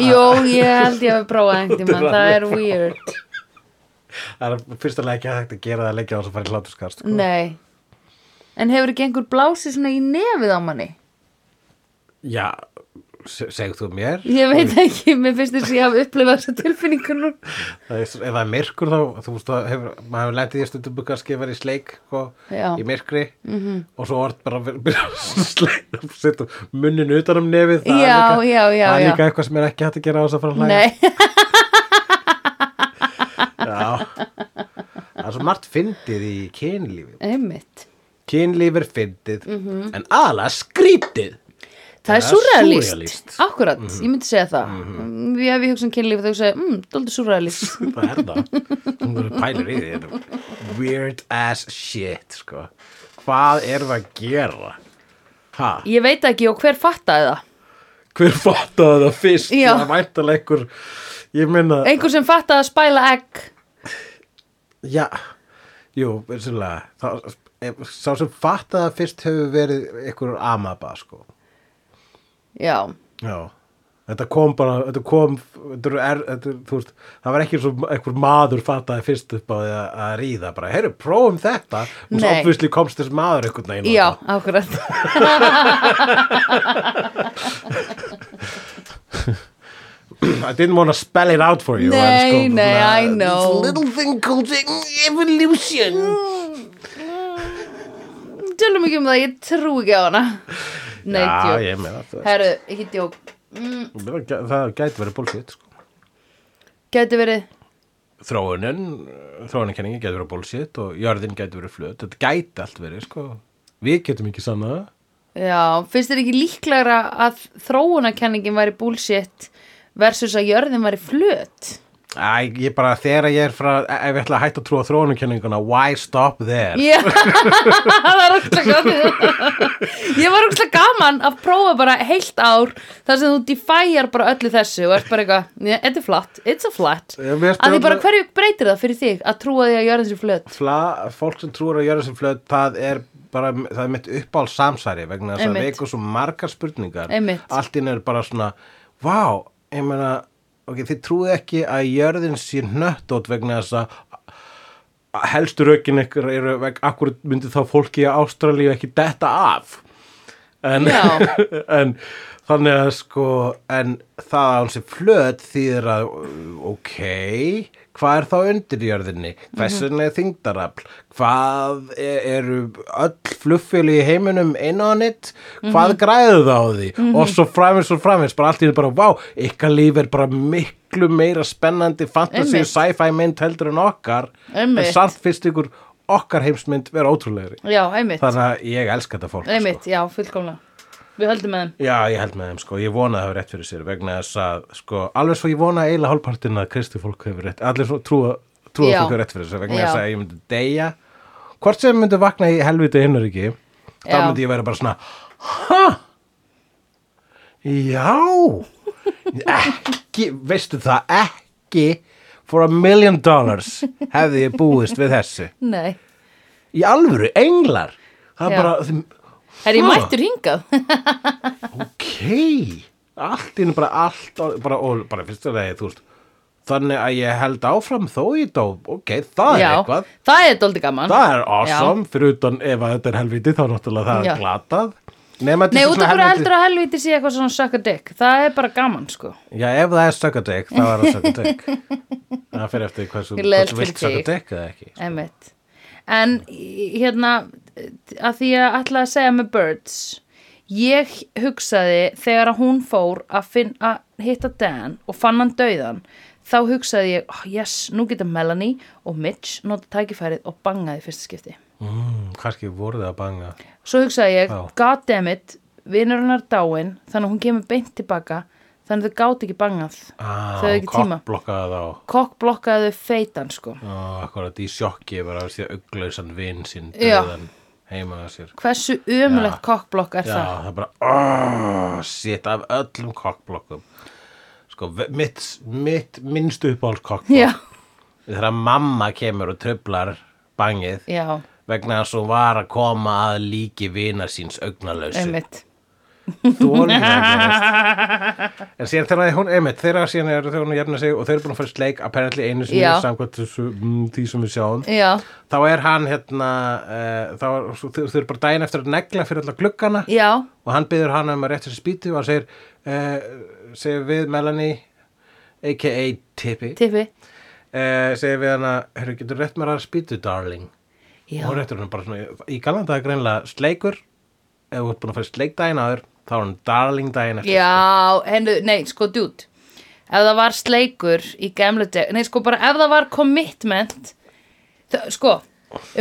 Speaker 2: Jó, ég held ég að prófa einhvern tímann, það er weird
Speaker 1: Það er fyrst að leggja hægt að gera það leggja þess að fara í hlátuskast sko.
Speaker 2: Nei En hefur ekki einhver blásið svona í nefið á manni?
Speaker 1: Já, se- segðu þú mér
Speaker 2: Ég veit ekki, mér finnst þess að ég hafa upplifað þessa tilfinningu nú
Speaker 1: Það er, ef það er myrkur þá, þú veist, það hefur, maður hefur lendið í stundum kannski að vera í sleik og,
Speaker 2: Já. Mhm.
Speaker 1: í myrkri -hmm. og svo orð bara að byrja að sleik og setja munnin utan um nefið það er
Speaker 2: Já,
Speaker 1: líka-
Speaker 2: já, já,
Speaker 1: Það er
Speaker 2: já.
Speaker 1: líka eitthvað sem er ekki hægt að gera á þess að fara að hlæja
Speaker 2: Nei,
Speaker 1: Já, það er svo margt fyndið í kynlífi.
Speaker 2: einmitt
Speaker 1: Kynlíf er fyndið, en ala skrítið.
Speaker 2: Það er Mhm.
Speaker 1: Það er
Speaker 2: surrealist,
Speaker 1: súrrealískt.
Speaker 2: akkurat, ég myndi segja það mm Við hefum hugsa um kynlíf þegar þú segja, mm, dóldi surrealist
Speaker 1: Það er það. Hún verður pælir í því. þetta er Weird ass shit, sko. Hvað erum við að gera? Ha?
Speaker 2: Ég veit ekki og hver fattaði það
Speaker 1: Hver fattaði það fyrst?
Speaker 2: Já.
Speaker 1: Það væntalega einhver, ég minna,
Speaker 2: Einhver sem fattaði að spæla egg
Speaker 1: já, jú, vissulega, þá, ef- sá sem fattaði það fyrst hefur verið einhver amaba, sko.
Speaker 2: Já,
Speaker 1: Já, þetta kom bara, þetta kom, þetta eru er, þetta, er- þú veist, það var ekki svo einhver maður fattaði fyrst upp á því að, að ríða, bara, heyrðu, prófum þetta, og svo
Speaker 2: Nei.
Speaker 1: obviously komst þess maður einhvern veginn. á
Speaker 2: já,
Speaker 1: þetta.
Speaker 2: akkurat
Speaker 1: I didn't want to spell it out for you. en
Speaker 2: Nei,
Speaker 1: sko,
Speaker 2: nei,
Speaker 1: svona,
Speaker 2: I know.
Speaker 1: This little thing called evolution.
Speaker 2: Tölum ekki um það, ég trú ekki á hana Nei,
Speaker 1: já,
Speaker 2: djók
Speaker 1: ég meina, það,
Speaker 2: Herru, ekki djók mm,
Speaker 1: það, það gæti verið bullshit, sko.
Speaker 2: Gæti verið,
Speaker 1: Þróunin, þróuninkenningi gæti verið bullshit og jörðin gæti verið flöt, þetta gæti allt verið, sko. Við getum ekki sannað það.
Speaker 2: já, finnst þér ekki líklegra að þróunakenningin væri bullshit versus að jörðin væri flöt
Speaker 1: Æ, ég bara, þegar ég er frá, ef ég ætla að hætta að trúa þróununkenninguna, why stop there?
Speaker 2: Já, það var ógstlega gaman Ég var ógstlega gaman að prófa bara heilt ár þar sem þú defæjar bara öllu þessu og ert bara eitthvað, "Yeah, þetta er flatt, it's a flat
Speaker 1: Ég veist
Speaker 2: að því
Speaker 1: að-
Speaker 2: bara hverju breytir það fyrir þig að trúa því að jörðin sér flöt
Speaker 1: Fla, fólk sem trúar að gjöra sem flöð, það er bara, það er mitt uppál samsæri vegna þess að
Speaker 2: Einmitt.
Speaker 1: við eitthvað svo margar spurningar.
Speaker 2: Einmitt.
Speaker 1: Allt inn er bara svona, vá, ég meina, ok, þið trúið ekki að jörðin sé hnöttótt vegna þess að helstu rökin ykkur eru, veg, akkur myndi þá fólki í Ástralíu ekki detta af? en,
Speaker 2: Já.
Speaker 1: en þannig að sko en það að hún sé flöt þýðir að ok hvað er þá undir jörðinni
Speaker 2: Mhm.
Speaker 1: hversun er þingdarafl hvað er, eru öll flugfjölu í heiminum inn á nýtt
Speaker 2: Mhm.
Speaker 1: hvað græðu það á því og svo framins og framins bara allt í því bara vá ykkar líf er bara miklu meira spennandi fantasy og
Speaker 2: Einmitt.
Speaker 1: sci-fi mynd heldur en okkar en
Speaker 2: Einmitt.
Speaker 1: samt finnst ykkur okkar heimsmynd vera ótrúlegri
Speaker 2: Já, einmitt,
Speaker 1: þannig að ég elska þetta fólk sko.
Speaker 2: einmitt, já, fullkomlega Við höldum með þeim
Speaker 1: Já, ég held með þeim, sko, ég vona að það hefur rétt fyrir sér vegna þess að, sko, alveg svo ég vona eiginlega hálfpartin að kristi fólk hefur rétt allir svo trúa, trúa
Speaker 2: Já.
Speaker 1: fólk hefur rétt fyrir sér vegna
Speaker 2: Já.
Speaker 1: þess að ég myndi deyja hvort sem ég myndi vakna í helviti hinnaríki þá
Speaker 2: Já.
Speaker 1: myndi ég vera bara svona ha, já ekki, veistu það ekki for a million dollars hefði ég búist við þessu
Speaker 2: Nei,
Speaker 1: í alvöru, englar það
Speaker 2: Já.
Speaker 1: er bara,
Speaker 2: er
Speaker 1: Ha?
Speaker 2: ég mættur hingað?
Speaker 1: ok allt inn bara allt á- bara, og bara fyrst að þú veist þannig að ég held áfram þó ég dó ok, það er
Speaker 2: já,
Speaker 1: eitthvað
Speaker 2: það er dóldi gaman
Speaker 1: það er awesome, fyrir utan ef að þetta er helviti þá náttúrulega það
Speaker 2: Já.
Speaker 1: er glatað Nefna,
Speaker 2: Nei, út af hverju heldur að helviti sé eitthvað svona suck a dick Það er bara gaman, sko
Speaker 1: Já, ef það er sökkadekk, þá er það sökkadekk Það fer eftir hversu,
Speaker 2: Ég leðst
Speaker 1: hversu vilt
Speaker 2: fyrir þig.
Speaker 1: sökkadekk eða ekki
Speaker 2: Einmitt. En í- hérna, að því að ætla að segja með Birds, ég hugsaði þegar að hún fór að, finn, að hitta Dan og fann hann dauðan, þá hugsaði ég, oh, yes, nú geta Melanie og Mitch nota tækifærið og bangaði í fyrsta skipti.
Speaker 1: mm, Kannski voru það að banga
Speaker 2: Svo hugsaði ég,
Speaker 1: Já.
Speaker 2: god damn it, vinnur hennar dáin, þannig að hún kemur beint tilbaka, þannig að þau gáti ekki bangað.
Speaker 1: ah,
Speaker 2: Þau hefðu ekki tíma.
Speaker 1: Blokkað þá
Speaker 2: Kokk blokkaði þau feitan, sko.
Speaker 1: ah, Akkurat í sjokki bara að sé auglausan vin sín
Speaker 2: Já.
Speaker 1: dauðan heima að sér
Speaker 2: Hversu ömulegt kokkblokk er
Speaker 1: Já,
Speaker 2: það?
Speaker 1: það er bara, oh, shit, af öllum kokkblokkum. Sko, ve- mitt, mitt minnst uppáhalds kokkblokk,
Speaker 2: Já,
Speaker 1: þegar mamma kemur og tröflar bangið
Speaker 2: já,
Speaker 1: vegna þess að hún var að koma að líki vina síns augnalausu.
Speaker 2: einmitt.
Speaker 1: Þólum það gerast. En síðan þegar hún, einmitt, þeirra síðan eru þegar hún að jafna sig og þeir eru búin að fara í sleik apparently einu sinni
Speaker 2: Já.
Speaker 1: samkvæmt þessu, mm, því sem við sjáum.
Speaker 2: Já,
Speaker 1: Þá er hann, hérna, uh, þá er, svo- þau þau eru bara daginn eftir að negla fyrir alla gluggana.
Speaker 2: já,
Speaker 1: og hann byður hana um að rétt sér spýtu og hann segir, uh, segir við Melanie a.k.a. Tippi uh,
Speaker 2: tippi
Speaker 1: segir við hana, herru, getur rétt mér að spýtu darling
Speaker 2: Já.
Speaker 1: og hún réttur hann bara svona í galanda er greinlega sleikur ef þú ert búin að fara í sleik daginn áður þá er hann darling daginn eftir
Speaker 2: Já, hennu, nei, sko, dude Ef það var sleikur í gamla dag Nei, sko, bara ef það var commitment þ- Sko,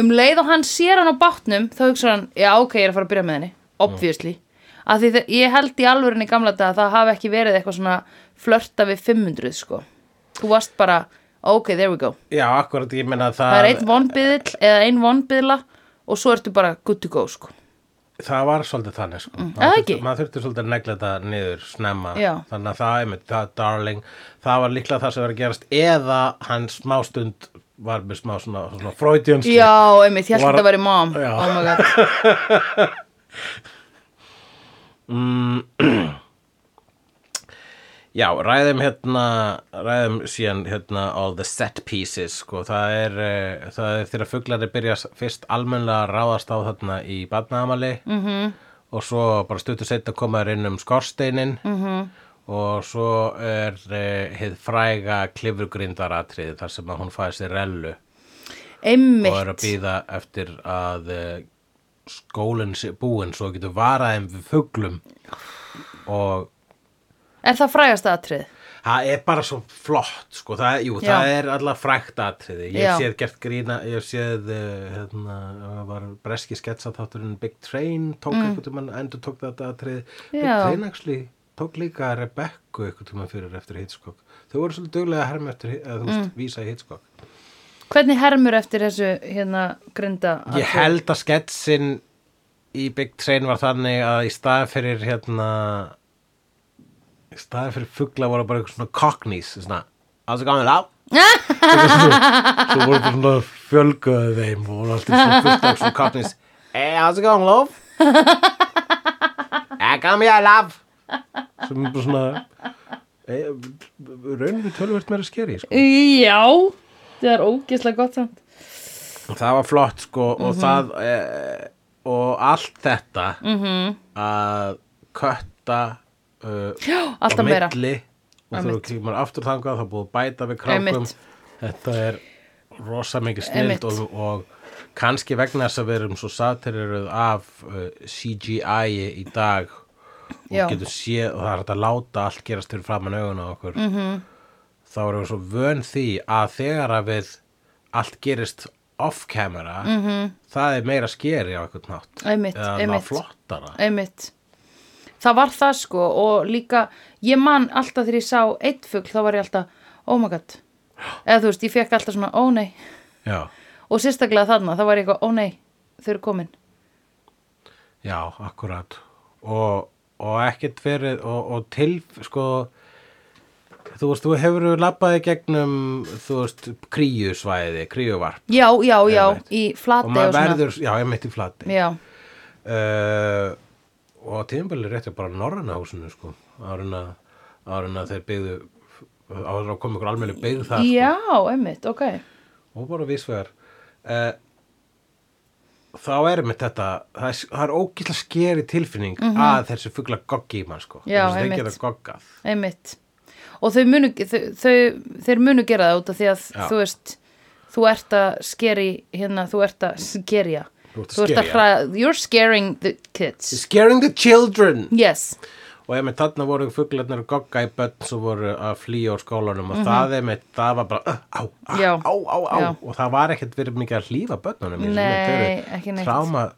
Speaker 2: um leið og hann sér hann á bátnum Þá hugsa hann, já, ok, ég er að fara að byrja með henni Obviously Af því þe- ég held í alvörinni gamla dag að Það hafi ekki verið eitthvað svona Flörta við 500, sko Þú varst bara, ok, there we go
Speaker 1: já, akkurat, ég meina að það
Speaker 2: Það er einn vonbyðill eða einn vonbyðla Og svo ertu bara good to go, sko
Speaker 1: það var svolítið þannig sko. mm,
Speaker 2: eða
Speaker 1: maður,
Speaker 2: ekki?
Speaker 1: þurfti, maður þurfti svolítið að negla þetta niður snemma
Speaker 2: Já.
Speaker 1: þannig að það, einmitt, það, darling það var líklega það sem var að gerast eða hann smástund var með smá svona, svona freudiansk
Speaker 2: Já, einmitt, ég held
Speaker 1: Var-
Speaker 2: að þetta væri mom
Speaker 1: Já.
Speaker 2: Oh my god
Speaker 1: já, ræðum hérna ræðum síðan hérna all the set pieces sko. það, er, uh, það er þegar fuglari byrja fyrst almennlega að ráðast á þarna í badnaðamali mm -hmm. og svo bara stuttu seitt að koma þér inn um skorsteinin mm -hmm. og svo er uh, hið fræga klifurgrindaratriði þar sem að hún fæði sér rellu og er að
Speaker 2: Einmitt,
Speaker 1: býða eftir að eh, skólinn sé búinn svo getur varaðið við fuglum og
Speaker 2: er það frægast aðtrið?
Speaker 1: það er bara svo flott sko, það, jú,
Speaker 2: Já.
Speaker 1: það er alltaf frækt atriði ég
Speaker 2: Já.
Speaker 1: hef séð gert grína ég hef séð, eh, hérna, það var breski sketsa þátturinn Big Train tók mm. einhvern veginn endur tók þetta atriði Big
Speaker 2: Já.
Speaker 1: Train actually tók líka Rebekku eitthvað tíma fyrir eftir Hitchcock þau voru svolítið duglega að herma eftir að þú
Speaker 2: Mm.
Speaker 1: veist, vísa í Hitchcock
Speaker 2: Hvernig hermur eftir þessu hérna grinda?
Speaker 1: Ég held að sketsin í Big Train var þannig að í staðan fyrir hérna í staðan fyrir fugla voru bara eitthvað svona cockneys svona, að það gaman á svo voru bara svona fjölgaðu þeim og voru alltaf svona fullt af svona cockneys Hey, how's it going, love? I come here, love sem er bara svona eh, rauninu tölvöld meira skeri sko.
Speaker 2: Já, það er ógeðslega gott samt.
Speaker 1: það var flott sko og það eh, og allt þetta -hmm. að kötta uh,
Speaker 2: alltaf
Speaker 1: á
Speaker 2: meira.
Speaker 1: milli og þú kemur aftur þangað þá er búið að bæta við krákum
Speaker 2: Einmitt.
Speaker 1: þetta er rosa mikið
Speaker 2: Einmitt.
Speaker 1: snild og, og kannski vegna þess að við erum svo satiruð af uh, CGI í dag og
Speaker 2: Já.
Speaker 1: getur séð og það er hægt að láta allt gerast fyrir framan augun á okkur mm
Speaker 2: Mhm.
Speaker 1: -hmm. þá erum við svo vön því að þegar að við allt gerist off camera -hmm. það er meira skeri á eitthvað nátt
Speaker 2: Mhm. Einmitt,
Speaker 1: eða
Speaker 2: einmitt.
Speaker 1: það flottara
Speaker 2: Einmitt. Það var það sko og líka, ég man alltaf þegar ég sá eitt fugl þá var ég alltaf, oh my god. Eða þú veist, ég fekk alltaf svona, ó nei.
Speaker 1: já,
Speaker 2: Og sérstaklega þarna, þá var ég eitthvað, ó nei, þau eru komin.
Speaker 1: já, akkurat og, og ekkert verið og, og til, sko þú veist, þú hefur labbaði gegnum, þú veist, kríusvæði kríuvarp
Speaker 2: Já, já, já,
Speaker 1: Einmitt.
Speaker 2: í
Speaker 1: og
Speaker 2: flati og,
Speaker 1: maður
Speaker 2: svona.
Speaker 1: verður, já, ég meitt í flati
Speaker 2: Já,
Speaker 1: uh, og tíðanbæli rétti bara norræna húsinu sko árin að, árin að þeir byggðu áður að koma ykkur almenni byggð það
Speaker 2: já, einmitt, ok.
Speaker 1: sko, og bara vísvegar uh, þá er einmitt þetta það er, það er ógísla skeri tilfinning að þessi fugla goggi í mann sko
Speaker 2: Mhm. Já,
Speaker 1: Þessi þeir
Speaker 2: einmitt.
Speaker 1: geta goggað
Speaker 2: Einmitt. Og þau munu, þau, þau, þeir munu gera það út af því að
Speaker 1: Já.
Speaker 2: þú veist, þú ert að skeri, hérna, þú ert að skerja.
Speaker 1: Þú ert að skerja.
Speaker 2: hræða, you're scaring the kids.
Speaker 1: scaring the children
Speaker 2: Yes,
Speaker 1: og einmitt þarna voru fuglarnir að gogga í börn sem voru að flýja úr skólanum og það einmitt, það var bara uh, á, á,
Speaker 2: Mhm. Já.
Speaker 1: á, á, á
Speaker 2: Já.
Speaker 1: og það var ekkert verið mikið að hlýfa börnunum í þessu mynd.
Speaker 2: Nei,
Speaker 1: Þau eru
Speaker 2: ekki neitt.
Speaker 1: tráma-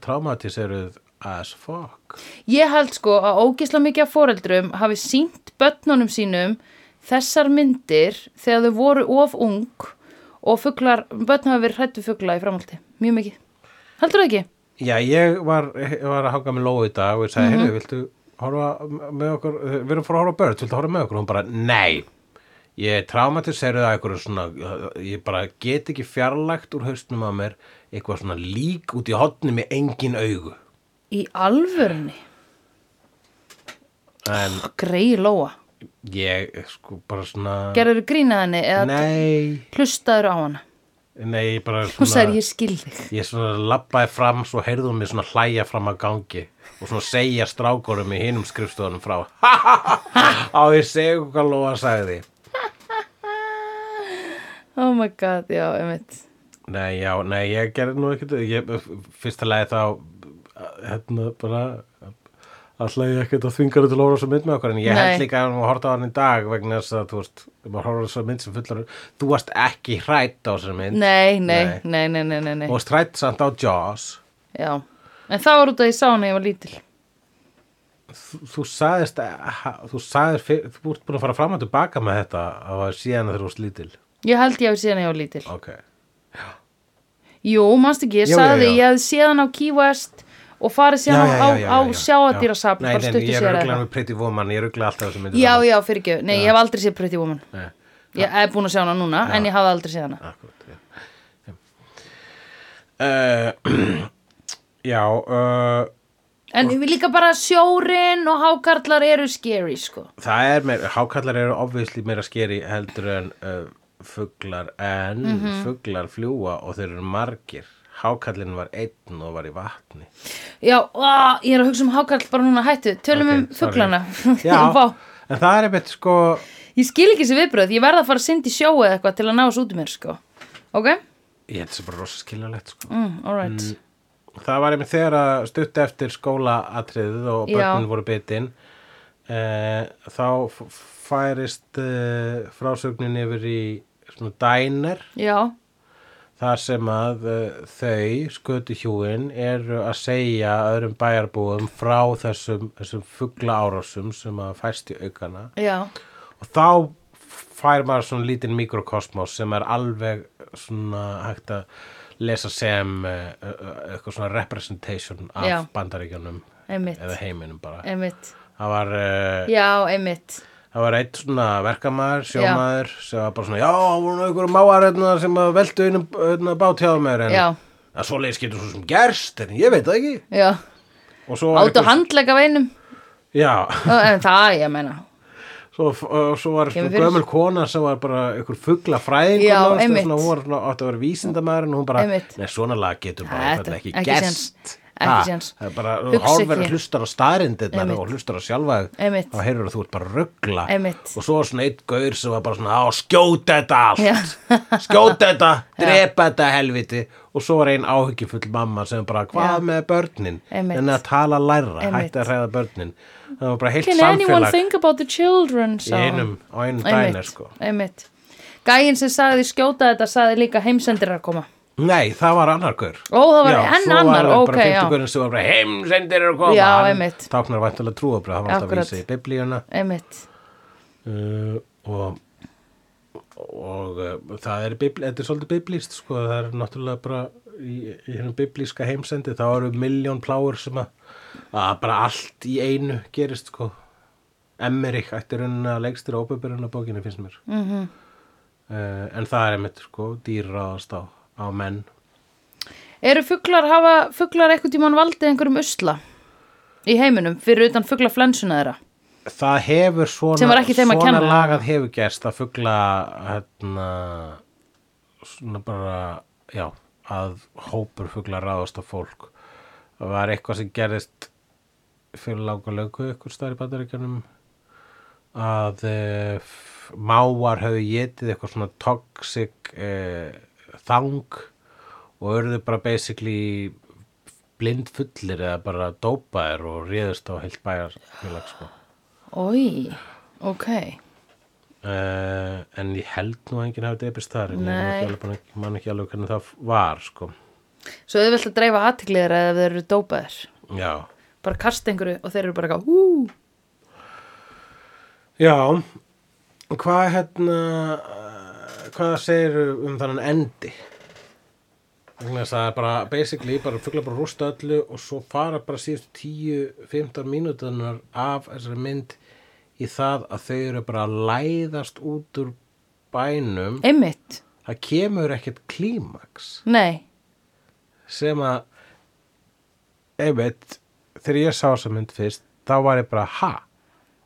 Speaker 1: traumatiseruð as fuck
Speaker 2: ég held sko að ógisla mikið af foreldrum hafi sínt börnunum sínum þessar myndir þegar þau voru of ung og fuglar, börn hafi verið hrættu fugla í framhaldi, mjög mikið. Heldur það ekki?
Speaker 1: Já, ég var, ég var að hanga með Lóu í dag og ég sagði, mm
Speaker 2: Mhm.
Speaker 1: heyrðu, viltu horfa með okkur, við erum að fara að horfa á börn, viltu horfa með okkur? Og hún bara, nei, ég traumatiseruð að einhverju svona, ég bara get ekki fjarlægt úr haustnum að mér eitthvað svona lík út í hotni með engin augu.
Speaker 2: Í alvörunni?
Speaker 1: En
Speaker 2: Grei lóa.
Speaker 1: Ég, sko, bara svona
Speaker 2: Gerður grínað henni eða
Speaker 1: Nei,
Speaker 2: hlustaður á hana?
Speaker 1: nei, ég bara
Speaker 2: Hún
Speaker 1: svona
Speaker 2: sagði ég skil þig.
Speaker 1: Ég svona labbaði fram, svo heyrði hún mig svona hlæja fram að gangi og svona segja strákurum í hinum skrifstofunum frá á ég segja hvað Lóa sagði
Speaker 2: Oh my god, já, einmitt.
Speaker 1: Nei, já, nei, ég gerði nú ekkert ég, fyrsta lagi þá hérna bara alltaf ég ekkert að þvinga þau til að horfa á svo mynd með okkur en ég
Speaker 2: Nei.
Speaker 1: held líka að hún horta á hann í dag vegna þess að þú veist, maður horfa á svo mynd sem fullar þú varst ekki hrætt á þessari mynd
Speaker 2: Nei, nei, nei, nei, nei, nei, nei.
Speaker 1: og strætt samt á Jaws
Speaker 2: Já. En það var út af því ég sá hana þegar ég var lítil.
Speaker 1: þú, þú sagðist ha- þú sagðist, fyr- þú ert búin að fara fram og tilbaka með þetta að síðan þegar þú slítil
Speaker 2: Ég held ég hafi séð hana þegar ég var lítil.
Speaker 1: ok,
Speaker 2: Jú, manst ekki, ég
Speaker 1: Já, já,
Speaker 2: sagði
Speaker 1: já.
Speaker 2: ég hefði séð hana á Key West og farið séð hana á, á sjáadýrasafn
Speaker 1: Nei,
Speaker 2: bara
Speaker 1: nei,
Speaker 2: stuttu
Speaker 1: ég
Speaker 2: sér
Speaker 1: er
Speaker 2: eða
Speaker 1: rugglega
Speaker 2: eitthvað.
Speaker 1: með Pretty Woman, ég rugglega alltaf þessum myndir
Speaker 2: Já, já, fyrir ekki. Nei, ég hef aldrei séð Pretty Woman.
Speaker 1: Nei,
Speaker 2: Ég hef búin að sjá hana núna, en ég hafði aldrei séð hana.
Speaker 1: akkurat, já. Uh, já, uh,
Speaker 2: En við líka bara sjórin og hákarlar eru scary, sko.
Speaker 1: það er meir, hákallar eru ofvisli meira skeri heldur en uh, fuglar en
Speaker 2: Mhm.
Speaker 1: fuglar fljúa og þeir eru margir. Hákallin var einn og var í vatni.
Speaker 2: Já, á, ég er að hugsa um hákarl bara núna, hættu, tölum
Speaker 1: Ok,
Speaker 2: um
Speaker 1: sorry.
Speaker 2: fuglana.
Speaker 1: Já,
Speaker 2: Vá.
Speaker 1: en það er einmitt sko
Speaker 2: Ég skil ekki þessi viðbröð, ég verða að fara að syndi sjó eða eitthvað til að ná þessu út um mér, sko. Ok?
Speaker 1: Ég held þessi bara rosa skiljanlegt sko
Speaker 2: Mm, all right.
Speaker 1: Það var einmitt þegar að stutt eftir skólaatriðið og
Speaker 2: Já.
Speaker 1: börnin voru bitin eh, Þá f- færist eh, frásögnin yfir í svona dæner
Speaker 2: Já,
Speaker 1: þar sem að uh, þau skötuhjúin eru að segja öðrum bæjarbúum frá þessum, þessum fugla árásum sem að fæst í aukana
Speaker 2: Já,
Speaker 1: og þá fær maður svona lítinn mikrokosmos sem er alveg svona hægt að lesa sem uh, uh, eitthvað svona representation af
Speaker 2: Já.
Speaker 1: bandaríkjunum
Speaker 2: einmitt,
Speaker 1: eða heiminum bara.
Speaker 2: einmitt.
Speaker 1: Það var, uh,
Speaker 2: Já, einmitt.
Speaker 1: það var eitt svona verkamaður, sjómaður sem var bara svona, já, það voru nú einhverju máar hérna, sem að veldu einum hérna, bát hjá mér en
Speaker 2: Já,
Speaker 1: að svo leiðis getur svo sem gerst en ég veit það ekki.
Speaker 2: já.
Speaker 1: Og svo var
Speaker 2: Áttu
Speaker 1: einhver-
Speaker 2: handlega veinum.
Speaker 1: Já,
Speaker 2: En það, ég meina.
Speaker 1: svo, og svo var
Speaker 2: Kemur
Speaker 1: svona
Speaker 2: fyrir.
Speaker 1: gömul kona sem var bara einhver fuggla fræðingur
Speaker 2: Já,
Speaker 1: nánast,
Speaker 2: einmitt.
Speaker 1: svona, hún var svona, átti að vera vísindamaður en hún bara,
Speaker 2: Einmitt.
Speaker 1: nei svona lag getur bara
Speaker 2: Þetta-
Speaker 1: einfaldlega ekki,
Speaker 2: ekki
Speaker 1: gerst
Speaker 2: séns. Ekki
Speaker 1: Ha,
Speaker 2: séns.
Speaker 1: það er bara,
Speaker 2: Hugsa
Speaker 1: hálfverð
Speaker 2: ekki.
Speaker 1: hlustar á staðrindirnar
Speaker 2: Einmitt.
Speaker 1: og hlustar á sjálfa þig,
Speaker 2: Einmitt.
Speaker 1: þá heyrur að þú ert bara að ruggla
Speaker 2: Einmitt.
Speaker 1: og svo var svona eitt gaur sem var bara svona á skjóta þetta
Speaker 2: Já.
Speaker 1: allt skjóta þetta, drepa þetta helviti og svo var ein áhyggjufull mamma sem bara, hvað
Speaker 2: Já.
Speaker 1: með börnin
Speaker 2: Einmitt.
Speaker 1: en að tala læra,
Speaker 2: Einmitt.
Speaker 1: hætti að hræða börnin það var bara heilt
Speaker 2: Can anyone
Speaker 1: samfélag
Speaker 2: think about the children?
Speaker 1: í einum, á einum dæna
Speaker 2: einmitt,
Speaker 1: sko.
Speaker 2: einmitt. Gæinn sem sagði skjóta þetta sagði líka heimsendir að koma.
Speaker 1: Nei, það var annar gaur.
Speaker 2: Ó, það var enn
Speaker 1: svo
Speaker 2: annar,
Speaker 1: var það
Speaker 2: ókei,
Speaker 1: bara
Speaker 2: já.
Speaker 1: fimmtugurinn sem var bara heimsendir eru að koma.
Speaker 2: Já,
Speaker 1: Hann
Speaker 2: einmitt.
Speaker 1: Táknar væntalega trúabröð, það var alltaf
Speaker 2: Akkurat.
Speaker 1: að vísa í biblíuna
Speaker 2: Einmitt.
Speaker 1: uh, og, og uh, það er, bibli, þetta er svolítið biblíst, sko, það er náttúrulega bara í, í hennum biblíska heimsendi, þá eru miljón pláur sem að, að bara allt í einu gerist, sko. Emmerich ætti raunin að leikstir óböbyrun á bókinu, finnst mér.
Speaker 2: Mm
Speaker 1: Uh, en það er einmitt, sko, dýr ráðast á, á menn.
Speaker 2: Eru fuglar, hafa fuglar eitthvað tímann valdið einhverjum usla í heiminum fyrir utan fuglaflensuna þeirra?
Speaker 1: það hefur svona
Speaker 2: Sem var ekki þeim að
Speaker 1: svona
Speaker 2: kenna.
Speaker 1: lagað hefur gerst að fugla hérna svona bara já, að hópur fugla ráðast á fólk það var eitthvað sem gerðist fyrir langa löngu ykkur staðar í bandaríkjanum að eh, f- mávar höfðu getið eitthvað svona toxic eh, þang og örðu bara basically blindfullir eða bara dópaðir og réðust á heilt bæjarfélag sko.
Speaker 2: Ói, ok.
Speaker 1: Uh, en ég held nú að enginn hafi debist þar en
Speaker 2: Nei.
Speaker 1: ég man ekki, man ekki alveg hvernig það var sko.
Speaker 2: Svo þau vilt að dreifa aðtiklið þeirra ef þeir eru dópaðir.
Speaker 1: já,
Speaker 2: Bara kasta einhverju og þeir eru bara eitthvað, hú.
Speaker 1: já hvað hérna eh, hvað segir um þannan endi vegna þess að það er bara basically bara fugla bara rústa öllu og svo fara bara síðust 10-15 mínútunar af þessari mynd í það að þau eru bara að læðast út úr bænum
Speaker 2: Einmitt.
Speaker 1: það kemur ekkert klímaks
Speaker 2: Nei.
Speaker 1: sem að einmitt, þegar ég sá þessa mynd fyrst þá var ég bara, ha,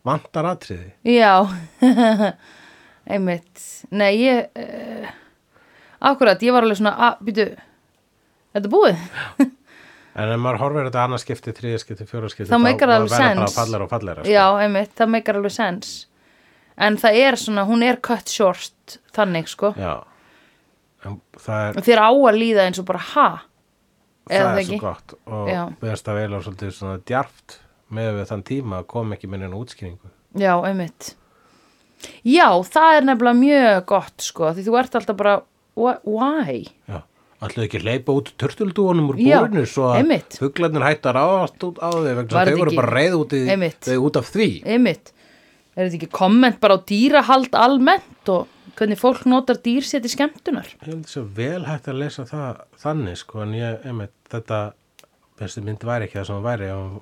Speaker 1: vantar atriði
Speaker 2: Já, einmitt. Nei, ég, uh, akkurat, ég var alveg svona, að, býtu, þetta er búið?
Speaker 1: en ef maður horfir þetta annars skipti, þriða skipti, fjóra skipti
Speaker 2: Þá meikar það alveg
Speaker 1: verða bara
Speaker 2: sens.
Speaker 1: fallera og sko. fallera
Speaker 2: Já, einmitt, það meikar alveg sens. En það er svona, hún er cut short, þannig, sko.
Speaker 1: já. En það er,
Speaker 2: Þér á að líða eins og bara, ha?
Speaker 1: það er
Speaker 2: ekki?
Speaker 1: svo gott og
Speaker 2: Já.
Speaker 1: best að veila svolítið svona djarft með við þann tíma að koma ekki með neina útskýringu
Speaker 2: Já, einmitt. Já, það er nefnilega mjög gott, sko, því þú ert alltaf bara, wha- why?
Speaker 1: já. Ætluðu ekki að leipa út turtuldúanum úr
Speaker 2: Já,
Speaker 1: búrinu svo að
Speaker 2: einmitt.
Speaker 1: fuglarnir hættu að ráðast út á þau vegna þess
Speaker 2: Var
Speaker 1: að
Speaker 2: þetta
Speaker 1: þau voru
Speaker 2: ekki-
Speaker 1: bara reið út, í,
Speaker 2: Einmitt.
Speaker 1: þau út af því
Speaker 2: Einmitt. Er þetta ekki komment bara á dýrahald almennt og hvernig fólk notar dýr sér til skemmtunar?
Speaker 1: Ég held þess að vel hægt að lesa það þannig sko en ég, einmitt, þetta þessi mynd væri ekki það sem hún væri ef hún,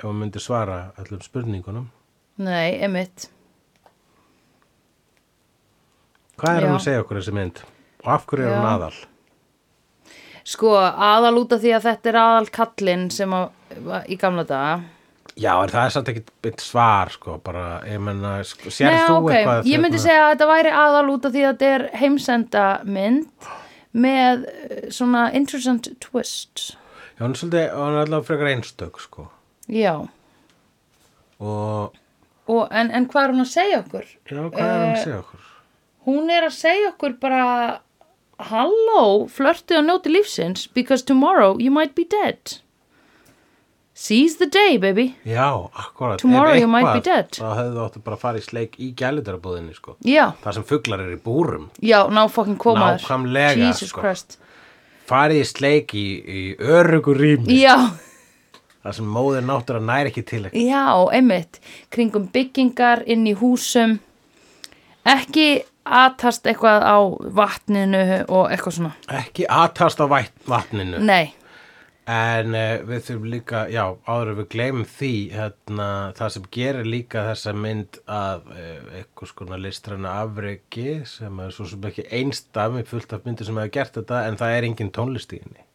Speaker 1: ef hún myndi svara allum spurningunum
Speaker 2: Nei, emitt.
Speaker 1: Hvað er
Speaker 2: Já.
Speaker 1: hún að segja okkur þessi mynd? Og af hverju er hún
Speaker 2: Já.
Speaker 1: aðal?
Speaker 2: Sko, aðal út af því að þetta er aðal kallinn sem að, var í gamla daga.
Speaker 1: Já, en það er samt ekki eitt svar sko bara, ég menna, sko, sér
Speaker 2: Nei,
Speaker 1: þú
Speaker 2: ok,
Speaker 1: eitthvað hérna?
Speaker 2: Ég myndi segja að þetta væri aðal út af því að þetta er heimsenda mynd með eh, svona interessant twist.
Speaker 1: Já, hún er svolítið, hún er allavega frekar einstök sko
Speaker 2: Já,
Speaker 1: og,
Speaker 2: Og, en, en hvað er hún að segja okkur?
Speaker 1: já, hvað er
Speaker 2: Eh,
Speaker 1: hún að segja okkur?
Speaker 2: Hún er að segja okkur bara Halló, flörtu og njóti lífsins because tomorrow you might be dead. Seize the day, baby.
Speaker 1: Já, akkurat
Speaker 2: Tomorrow
Speaker 1: Ef
Speaker 2: you might be
Speaker 1: eitthvað,
Speaker 2: dead.
Speaker 1: Þá hefðu þú áttu bara að fara í sleik í gælutarabúðinni sko
Speaker 2: Já,
Speaker 1: Það sem fuglar er í búrum
Speaker 2: já, ná fucking komaður.
Speaker 1: Nákvæmlega,
Speaker 2: Jesus
Speaker 1: sko.
Speaker 2: Christ.
Speaker 1: farið í sleik í, í örugur rými
Speaker 2: Já,
Speaker 1: þar sem móðir náttúra nær ekki til ekki.
Speaker 2: já, einmitt kringum byggingar, inn í húsum ekki aðtast eitthvað á vatninu og eitthvað svona
Speaker 1: ekki aðtast á vætt, vatninu
Speaker 2: Nei,
Speaker 1: en uh, við þurfum líka já, áður en við gleymum því hérna, það sem gerir líka þessa mynd af uh, einhvers konar listræna afreki sem er svo sem ekki einstami fullt af myndir sem hefur gert þetta en það er engin tónlist í henni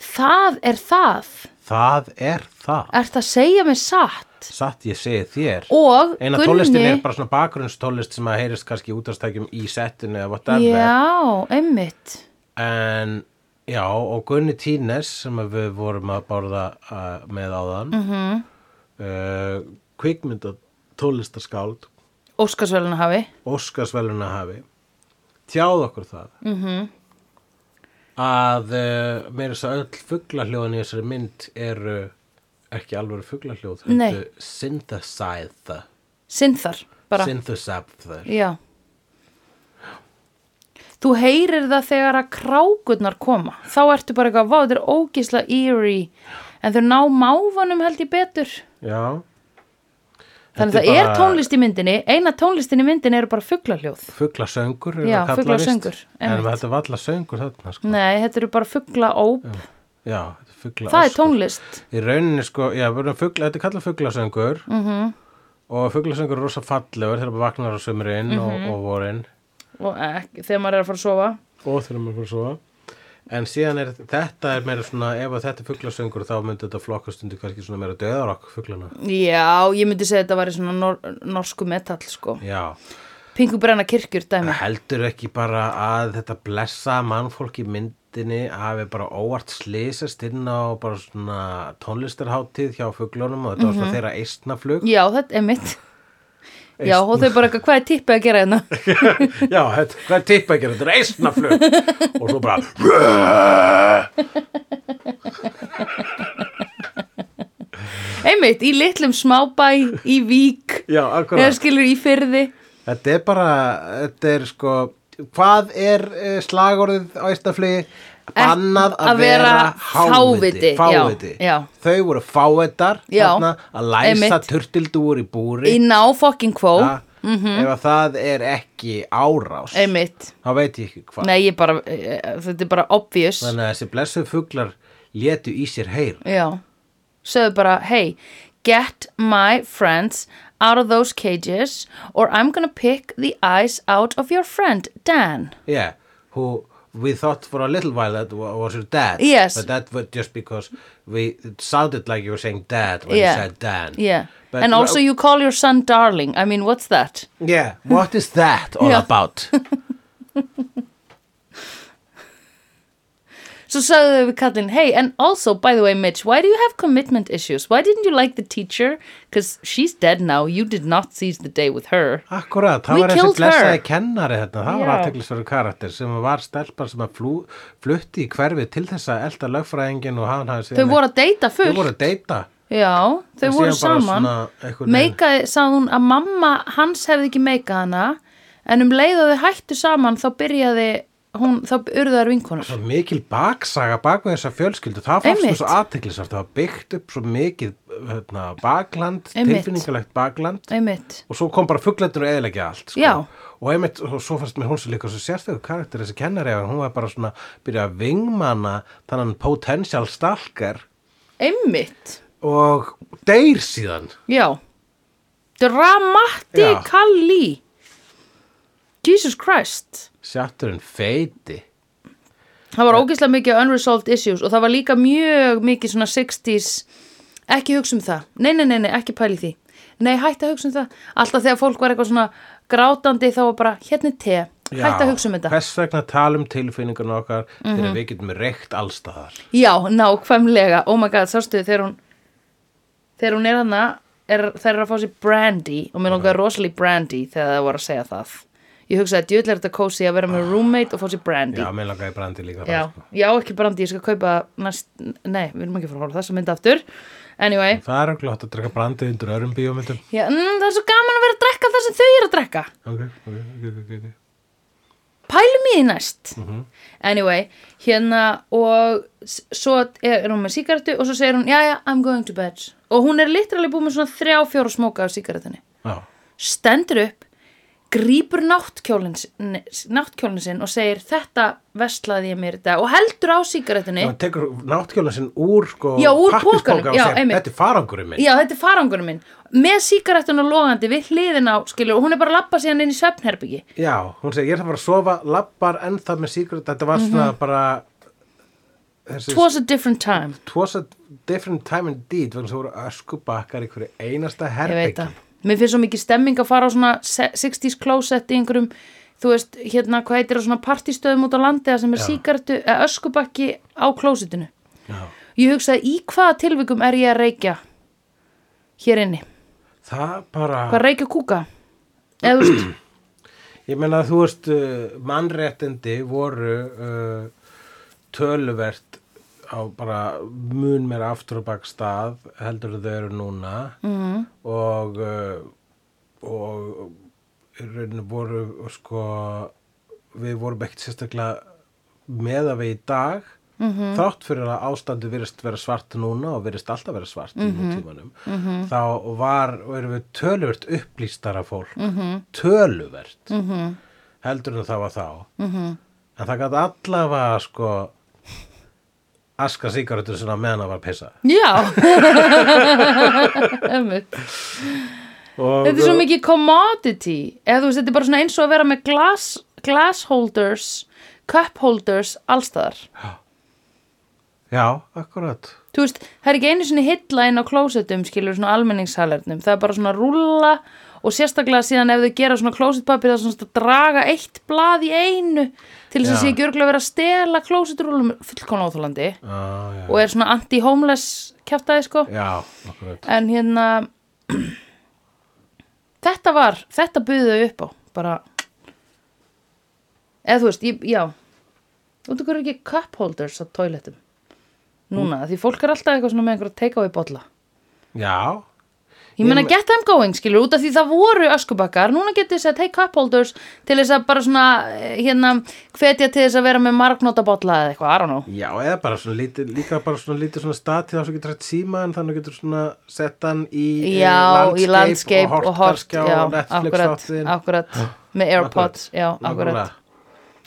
Speaker 2: það er það
Speaker 1: það er það
Speaker 2: Ert að segja mér satt
Speaker 1: satt ég segi þér
Speaker 2: Og
Speaker 1: Eina tónlistin er bara svona bakgrunnstónlist sem að heyrist kannski í útastækjum í settinu eða whatever.
Speaker 2: Já, einmitt
Speaker 1: En já, og Gunni Tínes sem að við vorum að borða uh, með áðan, mm -hmm.
Speaker 2: Mhm.
Speaker 1: uh, kvikmynda tónlistaskáld,
Speaker 2: Óskarsveluna hafi
Speaker 1: Óskarsveluna hafi, tjáð okkur það. Mm -hmm.
Speaker 2: Mhm.
Speaker 1: Að uh, meira þess að öll fuglahljóðan í þessari mynd eru ekki alveg fuglahljóð,
Speaker 2: Nei.
Speaker 1: heldur synthesizer,
Speaker 2: Sinþar bara
Speaker 1: synthesizer.
Speaker 2: Já Þú heyrir það þegar að krákurnar koma Þá ertu bara eitthvað, vá, þetta er ógisla eerie En þau ná mávanum held ég betur
Speaker 1: Já.
Speaker 2: Þannig
Speaker 1: Þetta
Speaker 2: það er
Speaker 1: bara-
Speaker 2: tónlist í myndinni Eina tónlistin í myndinni eru bara fuglahljóð
Speaker 1: Fuglasöngur er
Speaker 2: Já,
Speaker 1: það kallað
Speaker 2: fuglasöngur,
Speaker 1: víst. En
Speaker 2: einmitt. Mm.
Speaker 1: þetta var alltaf söngur þarna sko.
Speaker 2: Nei, þetta eru bara fuglaóp
Speaker 1: Já, þetta er fugla
Speaker 2: Það er
Speaker 1: öskur.
Speaker 2: tónlist
Speaker 1: Í rauninni sko, já, við erum fugla, þetta er kallað fuglasöngur -hmm. og fuglasöngur er rosa fallegur þegar maður vaknar á sömurinn og, og vorin
Speaker 2: Og ekki, þegar maður er að fara að sofa
Speaker 1: og þegar maður fyrir svo en síðan er þetta er meira svona ef að þetta er fuglasöngur þá myndi þetta flokkast undir kannski svona meira döðarokk fuglana
Speaker 2: Já, ég myndi segja að þetta væri svona nor norsku metall, sko.
Speaker 1: Já,
Speaker 2: Pingu brenna kirkjur, dæmi.
Speaker 1: heldur ekki bara að þetta blessa mannfólk í myndinni hafi bara óvart slýsast inn á bara svona tónlistarháttíð hjá fuglunum og þetta var svona þeirra eistnaflug
Speaker 2: Já, þetta er mitt. Já, og þau bara eitthvað, hvað er tippið að gera hérna?
Speaker 1: Já, þetta, hvað er tippa að gera? Þetta er eisnaflug og svo bara
Speaker 2: Einmitt, í litlum smábæ, í vík,
Speaker 1: Já,
Speaker 2: eða
Speaker 1: akkurat
Speaker 2: skilur í fyrði.
Speaker 1: Þetta er bara, þetta er sko hvað er eh, slagorðið á eisnaflugi? Bannað að,
Speaker 2: að vera
Speaker 1: vera háviti
Speaker 2: háviti, já,
Speaker 1: Fáviti
Speaker 2: já.
Speaker 1: Þau voru fávitar
Speaker 2: Já,
Speaker 1: þarna, að læsa
Speaker 2: einmitt.
Speaker 1: turtildúur í búri
Speaker 2: Í ná fokkin kvó,
Speaker 1: ja, Ef að það er ekki árás
Speaker 2: einmitt.
Speaker 1: þá veit ég ekki hvað
Speaker 2: Nei, ég bara, eh, þetta er bara obvious.
Speaker 1: Þannig að þessi blessuð fuglar létu í sér heyra
Speaker 2: Já, sögðu bara, hey, get my friends out of those cages or I'm gonna pick the eyes out of your friend, Dan.
Speaker 1: Yeah, who we thought for a little while that wa- was your dad.
Speaker 2: Yes.
Speaker 1: But that was just because we it sounded like you were saying dad when
Speaker 2: Yeah.
Speaker 1: you said Dan.
Speaker 2: Yeah.
Speaker 1: But
Speaker 2: and also
Speaker 1: well-
Speaker 2: you call your son darling. I mean, what's that?
Speaker 1: Yeah. What is that all
Speaker 2: Yeah.
Speaker 1: about?
Speaker 2: So so we cut in, hey, and also, by the way, Mitch, why do you have commitment issues? Why didn't you like the teacher? Because she's dead now. You did not seize the day with her.
Speaker 1: Akkurat, það
Speaker 2: We
Speaker 1: var þessi
Speaker 2: killed
Speaker 1: blessaði
Speaker 2: her.
Speaker 1: kennari þetta, það var
Speaker 2: Já.
Speaker 1: aðteklisverður karakter sem var stelpar sem að flú, flutti í hverfi til þess að elta lögfræðingin og hann hafði
Speaker 2: Þau voru að deyta
Speaker 1: Þau
Speaker 2: full.
Speaker 1: voru að deyta.
Speaker 2: Já, þau
Speaker 1: En
Speaker 2: voru
Speaker 1: síðan bara
Speaker 2: saman.
Speaker 1: svona einhvern veginn-
Speaker 2: Meikaði, sagði hún að mamma hans hefði ekki meikað hana, en um leið að þau hættu saman þá byrjaði hún, þá urðu þær vinkonur.
Speaker 1: Svo mikil baksaga bak við þessa fjölskyldu, það fannst
Speaker 2: Einmitt.
Speaker 1: mér svo aðteklisverð, það var byggt upp svo mikið hérna, bakland,
Speaker 2: Einmitt.
Speaker 1: tilfinningalegt bakland
Speaker 2: Einmitt.
Speaker 1: og svo kom bara fugglendur og eðilegja allt sko.
Speaker 2: Já.
Speaker 1: og einmitt, og svo fannst mér hún sem líka svo sérstöðu karakter þessi kennari að hún var bara svona byrja að vingmana þannan potential stalker
Speaker 2: Einmitt.
Speaker 1: og deyr síðan
Speaker 2: Já. Dramatikali. Jesus Christ.
Speaker 1: sjátturinn feiti
Speaker 2: Það var ógeðslega mikið unresolved issues og það var líka mjög mikið svona 60s ekki hugsa um það, nei, nei, nei, nei ekki pæli því nei, hætt að hugsa um það alltaf þegar fólk var eitthvað svona grátandi þá var bara, hérna er te, hætt að hugsa um þetta Mhm.
Speaker 1: hvers vegna talum tilfinningarna okkar þegar við getum reykt allstaðar
Speaker 2: já, nákvæmlega, oh my god, sástu þegar hún þegar hún er hana er, þær eru að fá sér brandy og mér
Speaker 1: Mhm.
Speaker 2: langaði rosalega í brandy þegar það var að segja það ég hugsaði að djöðlega þetta kósi að vera með roommate og fá sér brandy
Speaker 1: Ah. já, mér langaði brandi líka það,
Speaker 2: Já,
Speaker 1: sko.
Speaker 2: já, ekki brandi, ég skal kaupa næst, nei, við erum ekki að fara að horfa á þessa mynd aftur Anyway,
Speaker 1: það er okkur hægt að drekka brandi undir öðrum bíómyndum
Speaker 2: já, mm, það er svo gaman að vera að drekka það sem þau eru að drekka
Speaker 1: ok, ok, ok, ok, ok
Speaker 2: Pælum í í því næst anyway, hérna og s- svo er hún með sígarettu og svo segir hún, já já, I'm going to bed og hún er literally búin með svona þrjá fjóra smóka af sígarettunni,
Speaker 1: já,
Speaker 2: stendur upp grípur náttkjólin sin- náttkjólin sinn og segir þetta vestlaði ég mér í dag og heldur á sígarettunni
Speaker 1: hann tekur náttkjóla sinn úr sko,
Speaker 2: Já, úr
Speaker 1: pappírspoka
Speaker 2: pokanum,
Speaker 1: og
Speaker 2: já,
Speaker 1: segir,
Speaker 2: einmitt.
Speaker 1: þetta er farangurinn minn
Speaker 2: Já, þetta er farangurinn minn með sígarettuna logandi við hliðina á skilur og hún er bara að lappa síðan inn í svefnherbyggi
Speaker 1: já, hún segir, ég er það bara að sofa lappar ennþá með síkrut, þetta var
Speaker 2: Mhm.
Speaker 1: svona bara þessi
Speaker 2: It was a different time
Speaker 1: it was a different time indeed þannig að það voru öskubakkar í hverju einasta
Speaker 2: Ég veit
Speaker 1: herbyggi
Speaker 2: það Mér finnst svo mikið stemming að fara á svona se- 60s closet í einhverjum þú veist, hérna, hvað heitir það svona partistöðum út á landi þar sem er
Speaker 1: Já.
Speaker 2: sígarettu eða öskubakki á closetinu
Speaker 1: Já.
Speaker 2: Ég hugsaði í hvaða tilvikum er ég að reykja hér inni
Speaker 1: það bara
Speaker 2: Hvað reykja kúka? Eða, þú veist,
Speaker 1: Ég meina að þú veist, uh, mannréttindi voru uh, töluvert á bara mun meira aftur og bak stað heldur en þau eru núna -hmm. og, uh, og í rauninu voru sko, við vorum ekkert sérstaklega með að við í dag mm -hmm. þrátt fyrir að ástandu virðist vera svart núna og virðist alltaf vera svart í nútímanum -hmm. þá var, erum við töluvert upplýstara fólk mm -hmm. töluvert mm -hmm. heldur en það var þá mm
Speaker 2: Mhm.
Speaker 1: -hmm. en það gæti allavega sko aska sígarettur sinna meðan að var pissa
Speaker 2: já Ömmut
Speaker 1: og,
Speaker 2: Þetta er svo mikið commodity eða þú veist, þetta er bara svona eins og að vera með glass, glass holders cup holders allstaðar
Speaker 1: já, akkurat
Speaker 2: þú veist, það er ekki einu sinni hilla inn á klósettum skilur svona almenningssalernum það er bara svona rúlla og sérstaklega síðan ef þau gera svona klósettpapir það er svona að draga eitt blað í einu til þess
Speaker 1: Já.
Speaker 2: að sé ekki örgulega vera að stela klósettrúlum fullkomna óþólandi
Speaker 1: ah, já.
Speaker 2: og er svona anti-homeless kjaftaði sko
Speaker 1: já, akkurat
Speaker 2: en hérna þetta var, þetta buðu þau upp á bara eða þú veist, ég, já út okkur ekki cup holders á toilettum núna, því fólk er alltaf eitthvað svona með einhverja take-away bolla
Speaker 1: já,
Speaker 2: ég meina get them going, skilur, út af því það voru öskubakkar, núna getið þess að take cup holders til þess að bara svona eh, hérna, hvetja til þess að vera með margnóta bolla eða eitthvað, I don't know
Speaker 1: Já, eða bara svona lítið, líka bara svona lítið svona stað til það sem getur hægt síma en þannig getur svona sett hann í eh,
Speaker 2: Já, í landscape
Speaker 1: og
Speaker 2: og hort
Speaker 1: hortarskjá
Speaker 2: já,
Speaker 1: og Netflix
Speaker 2: akkurat,
Speaker 1: þáttinn
Speaker 2: akkurat, með Airpods, já, akkurat
Speaker 1: Nákvæmlega.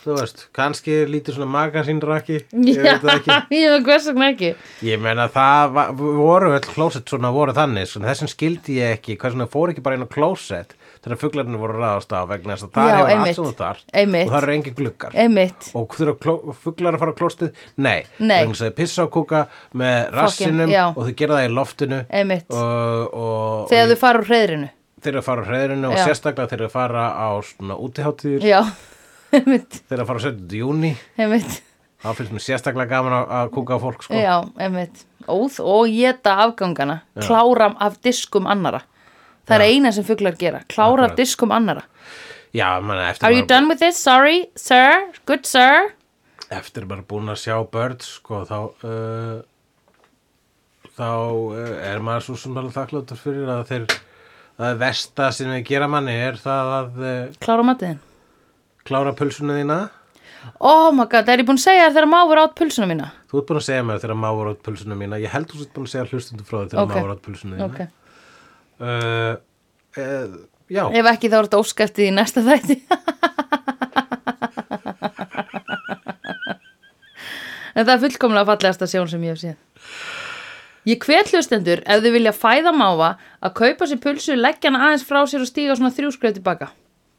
Speaker 1: Þú veist, kannski lítið svona magasínraki
Speaker 2: Já,
Speaker 1: Ég veit það ekki
Speaker 2: ég veit hvers vegna ekki
Speaker 1: Ég meina það va- voru öll klósett svona voru þannig svona, þessum skildi ég ekki, hvað svona fór ekki bara inn á klósett þegar fuglarnir voru ráðast á vegna þess að það
Speaker 2: Já,
Speaker 1: hefur
Speaker 2: einmitt.
Speaker 1: allt sem þú þar
Speaker 2: Einmitt.
Speaker 1: og það eru engin gluggar
Speaker 2: Einmitt,
Speaker 1: og þurfa kló- fuglar að fara á klóstið nei,
Speaker 2: Nei.
Speaker 1: vegna þess að þau pissa á kúka með rassinum
Speaker 2: já.
Speaker 1: og þau gera það í loftinu
Speaker 2: Einmitt.
Speaker 1: og, og
Speaker 2: þegar þau fara úr hreðrinu
Speaker 1: þeir að fara á hreðrinu og
Speaker 2: Já.
Speaker 1: sérstaklega þeir að fara á svona útiháttíður
Speaker 2: Já, einmitt,
Speaker 1: þeir að fara á 17. júni
Speaker 2: einmitt
Speaker 1: þá finnst mér sérstaklega gaman að, að kúka á fólk sko.
Speaker 2: Já, einmitt Óð og geta afgangana Kláram af diskum annara Það er eina sem fuglar gera Klára af
Speaker 1: Akkurat.
Speaker 2: diskum annara
Speaker 1: já, manna, eftir,
Speaker 2: Are you
Speaker 1: bara,
Speaker 2: done with this? Sorry, sir, good sir
Speaker 1: eftir bara búin að sjá börn sko, þá uh, þá uh, er maður svo sem alveg þakkláttur fyrir að þeir að versta sem við gera manni er það að uh,
Speaker 2: Klára matiðin
Speaker 1: klára pulsuna þína
Speaker 2: Oh my god, er ég búin að segja þér þegar máfur átt pulsuna mína?
Speaker 1: Þú ert búin að segja mér þegar mávar átt pulsuna mína Ég held þú sett búin að segja hlustundu frá þér þegar
Speaker 2: Ok.
Speaker 1: okay. mávar átt pulsuna
Speaker 2: Ok,
Speaker 1: mína okay. uh, uh, Já,
Speaker 2: ef ekki þá er þetta óskæftið í næsta þætti En það er fullkomlega fallegasta sjón sem ég hef séð. Ég hvet hlustendur ef þau vilja fæða máva að kaupa sér pulsu, leggja hana aðeins frá sér og stíga svona þrjú skref tilbaka.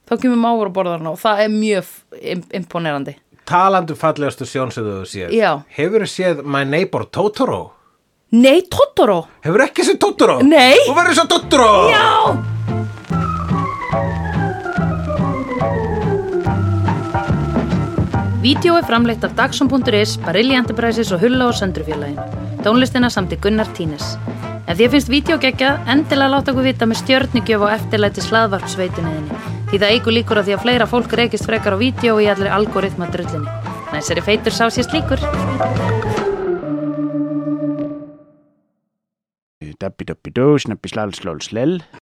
Speaker 2: Þá kemur mávar og borðar hana og það er mjög f- im- imponerandi.
Speaker 1: talandu fallegastu sjón sem um þú hefur séð
Speaker 2: Já.
Speaker 1: Hefur þú séð My Neighbor Totoro?
Speaker 2: Nei, Totoro!
Speaker 1: Hefur ekki séð Totoro?
Speaker 2: Nei.
Speaker 1: Þú verður svo Totoro
Speaker 2: Já! Vídeó er framleitt af Dagsum.is, Barilli Enterprises og Hulla og Söndrufjörlægin. Tónlistina samti Gunnar Tínes. Ef þér finnst vídeo geggjað, endilega láta okkur vita með stjörnigjöf og eftirlæti slaðvarpsveituninni. Því það eigur líkur að því að fleira fólk reykist frekar á vídeo í allri algoritma drullinni. Næsari feitur sá sér slíkur.
Speaker 3: Dabbi dabbi dó, snabbi slal slól slell.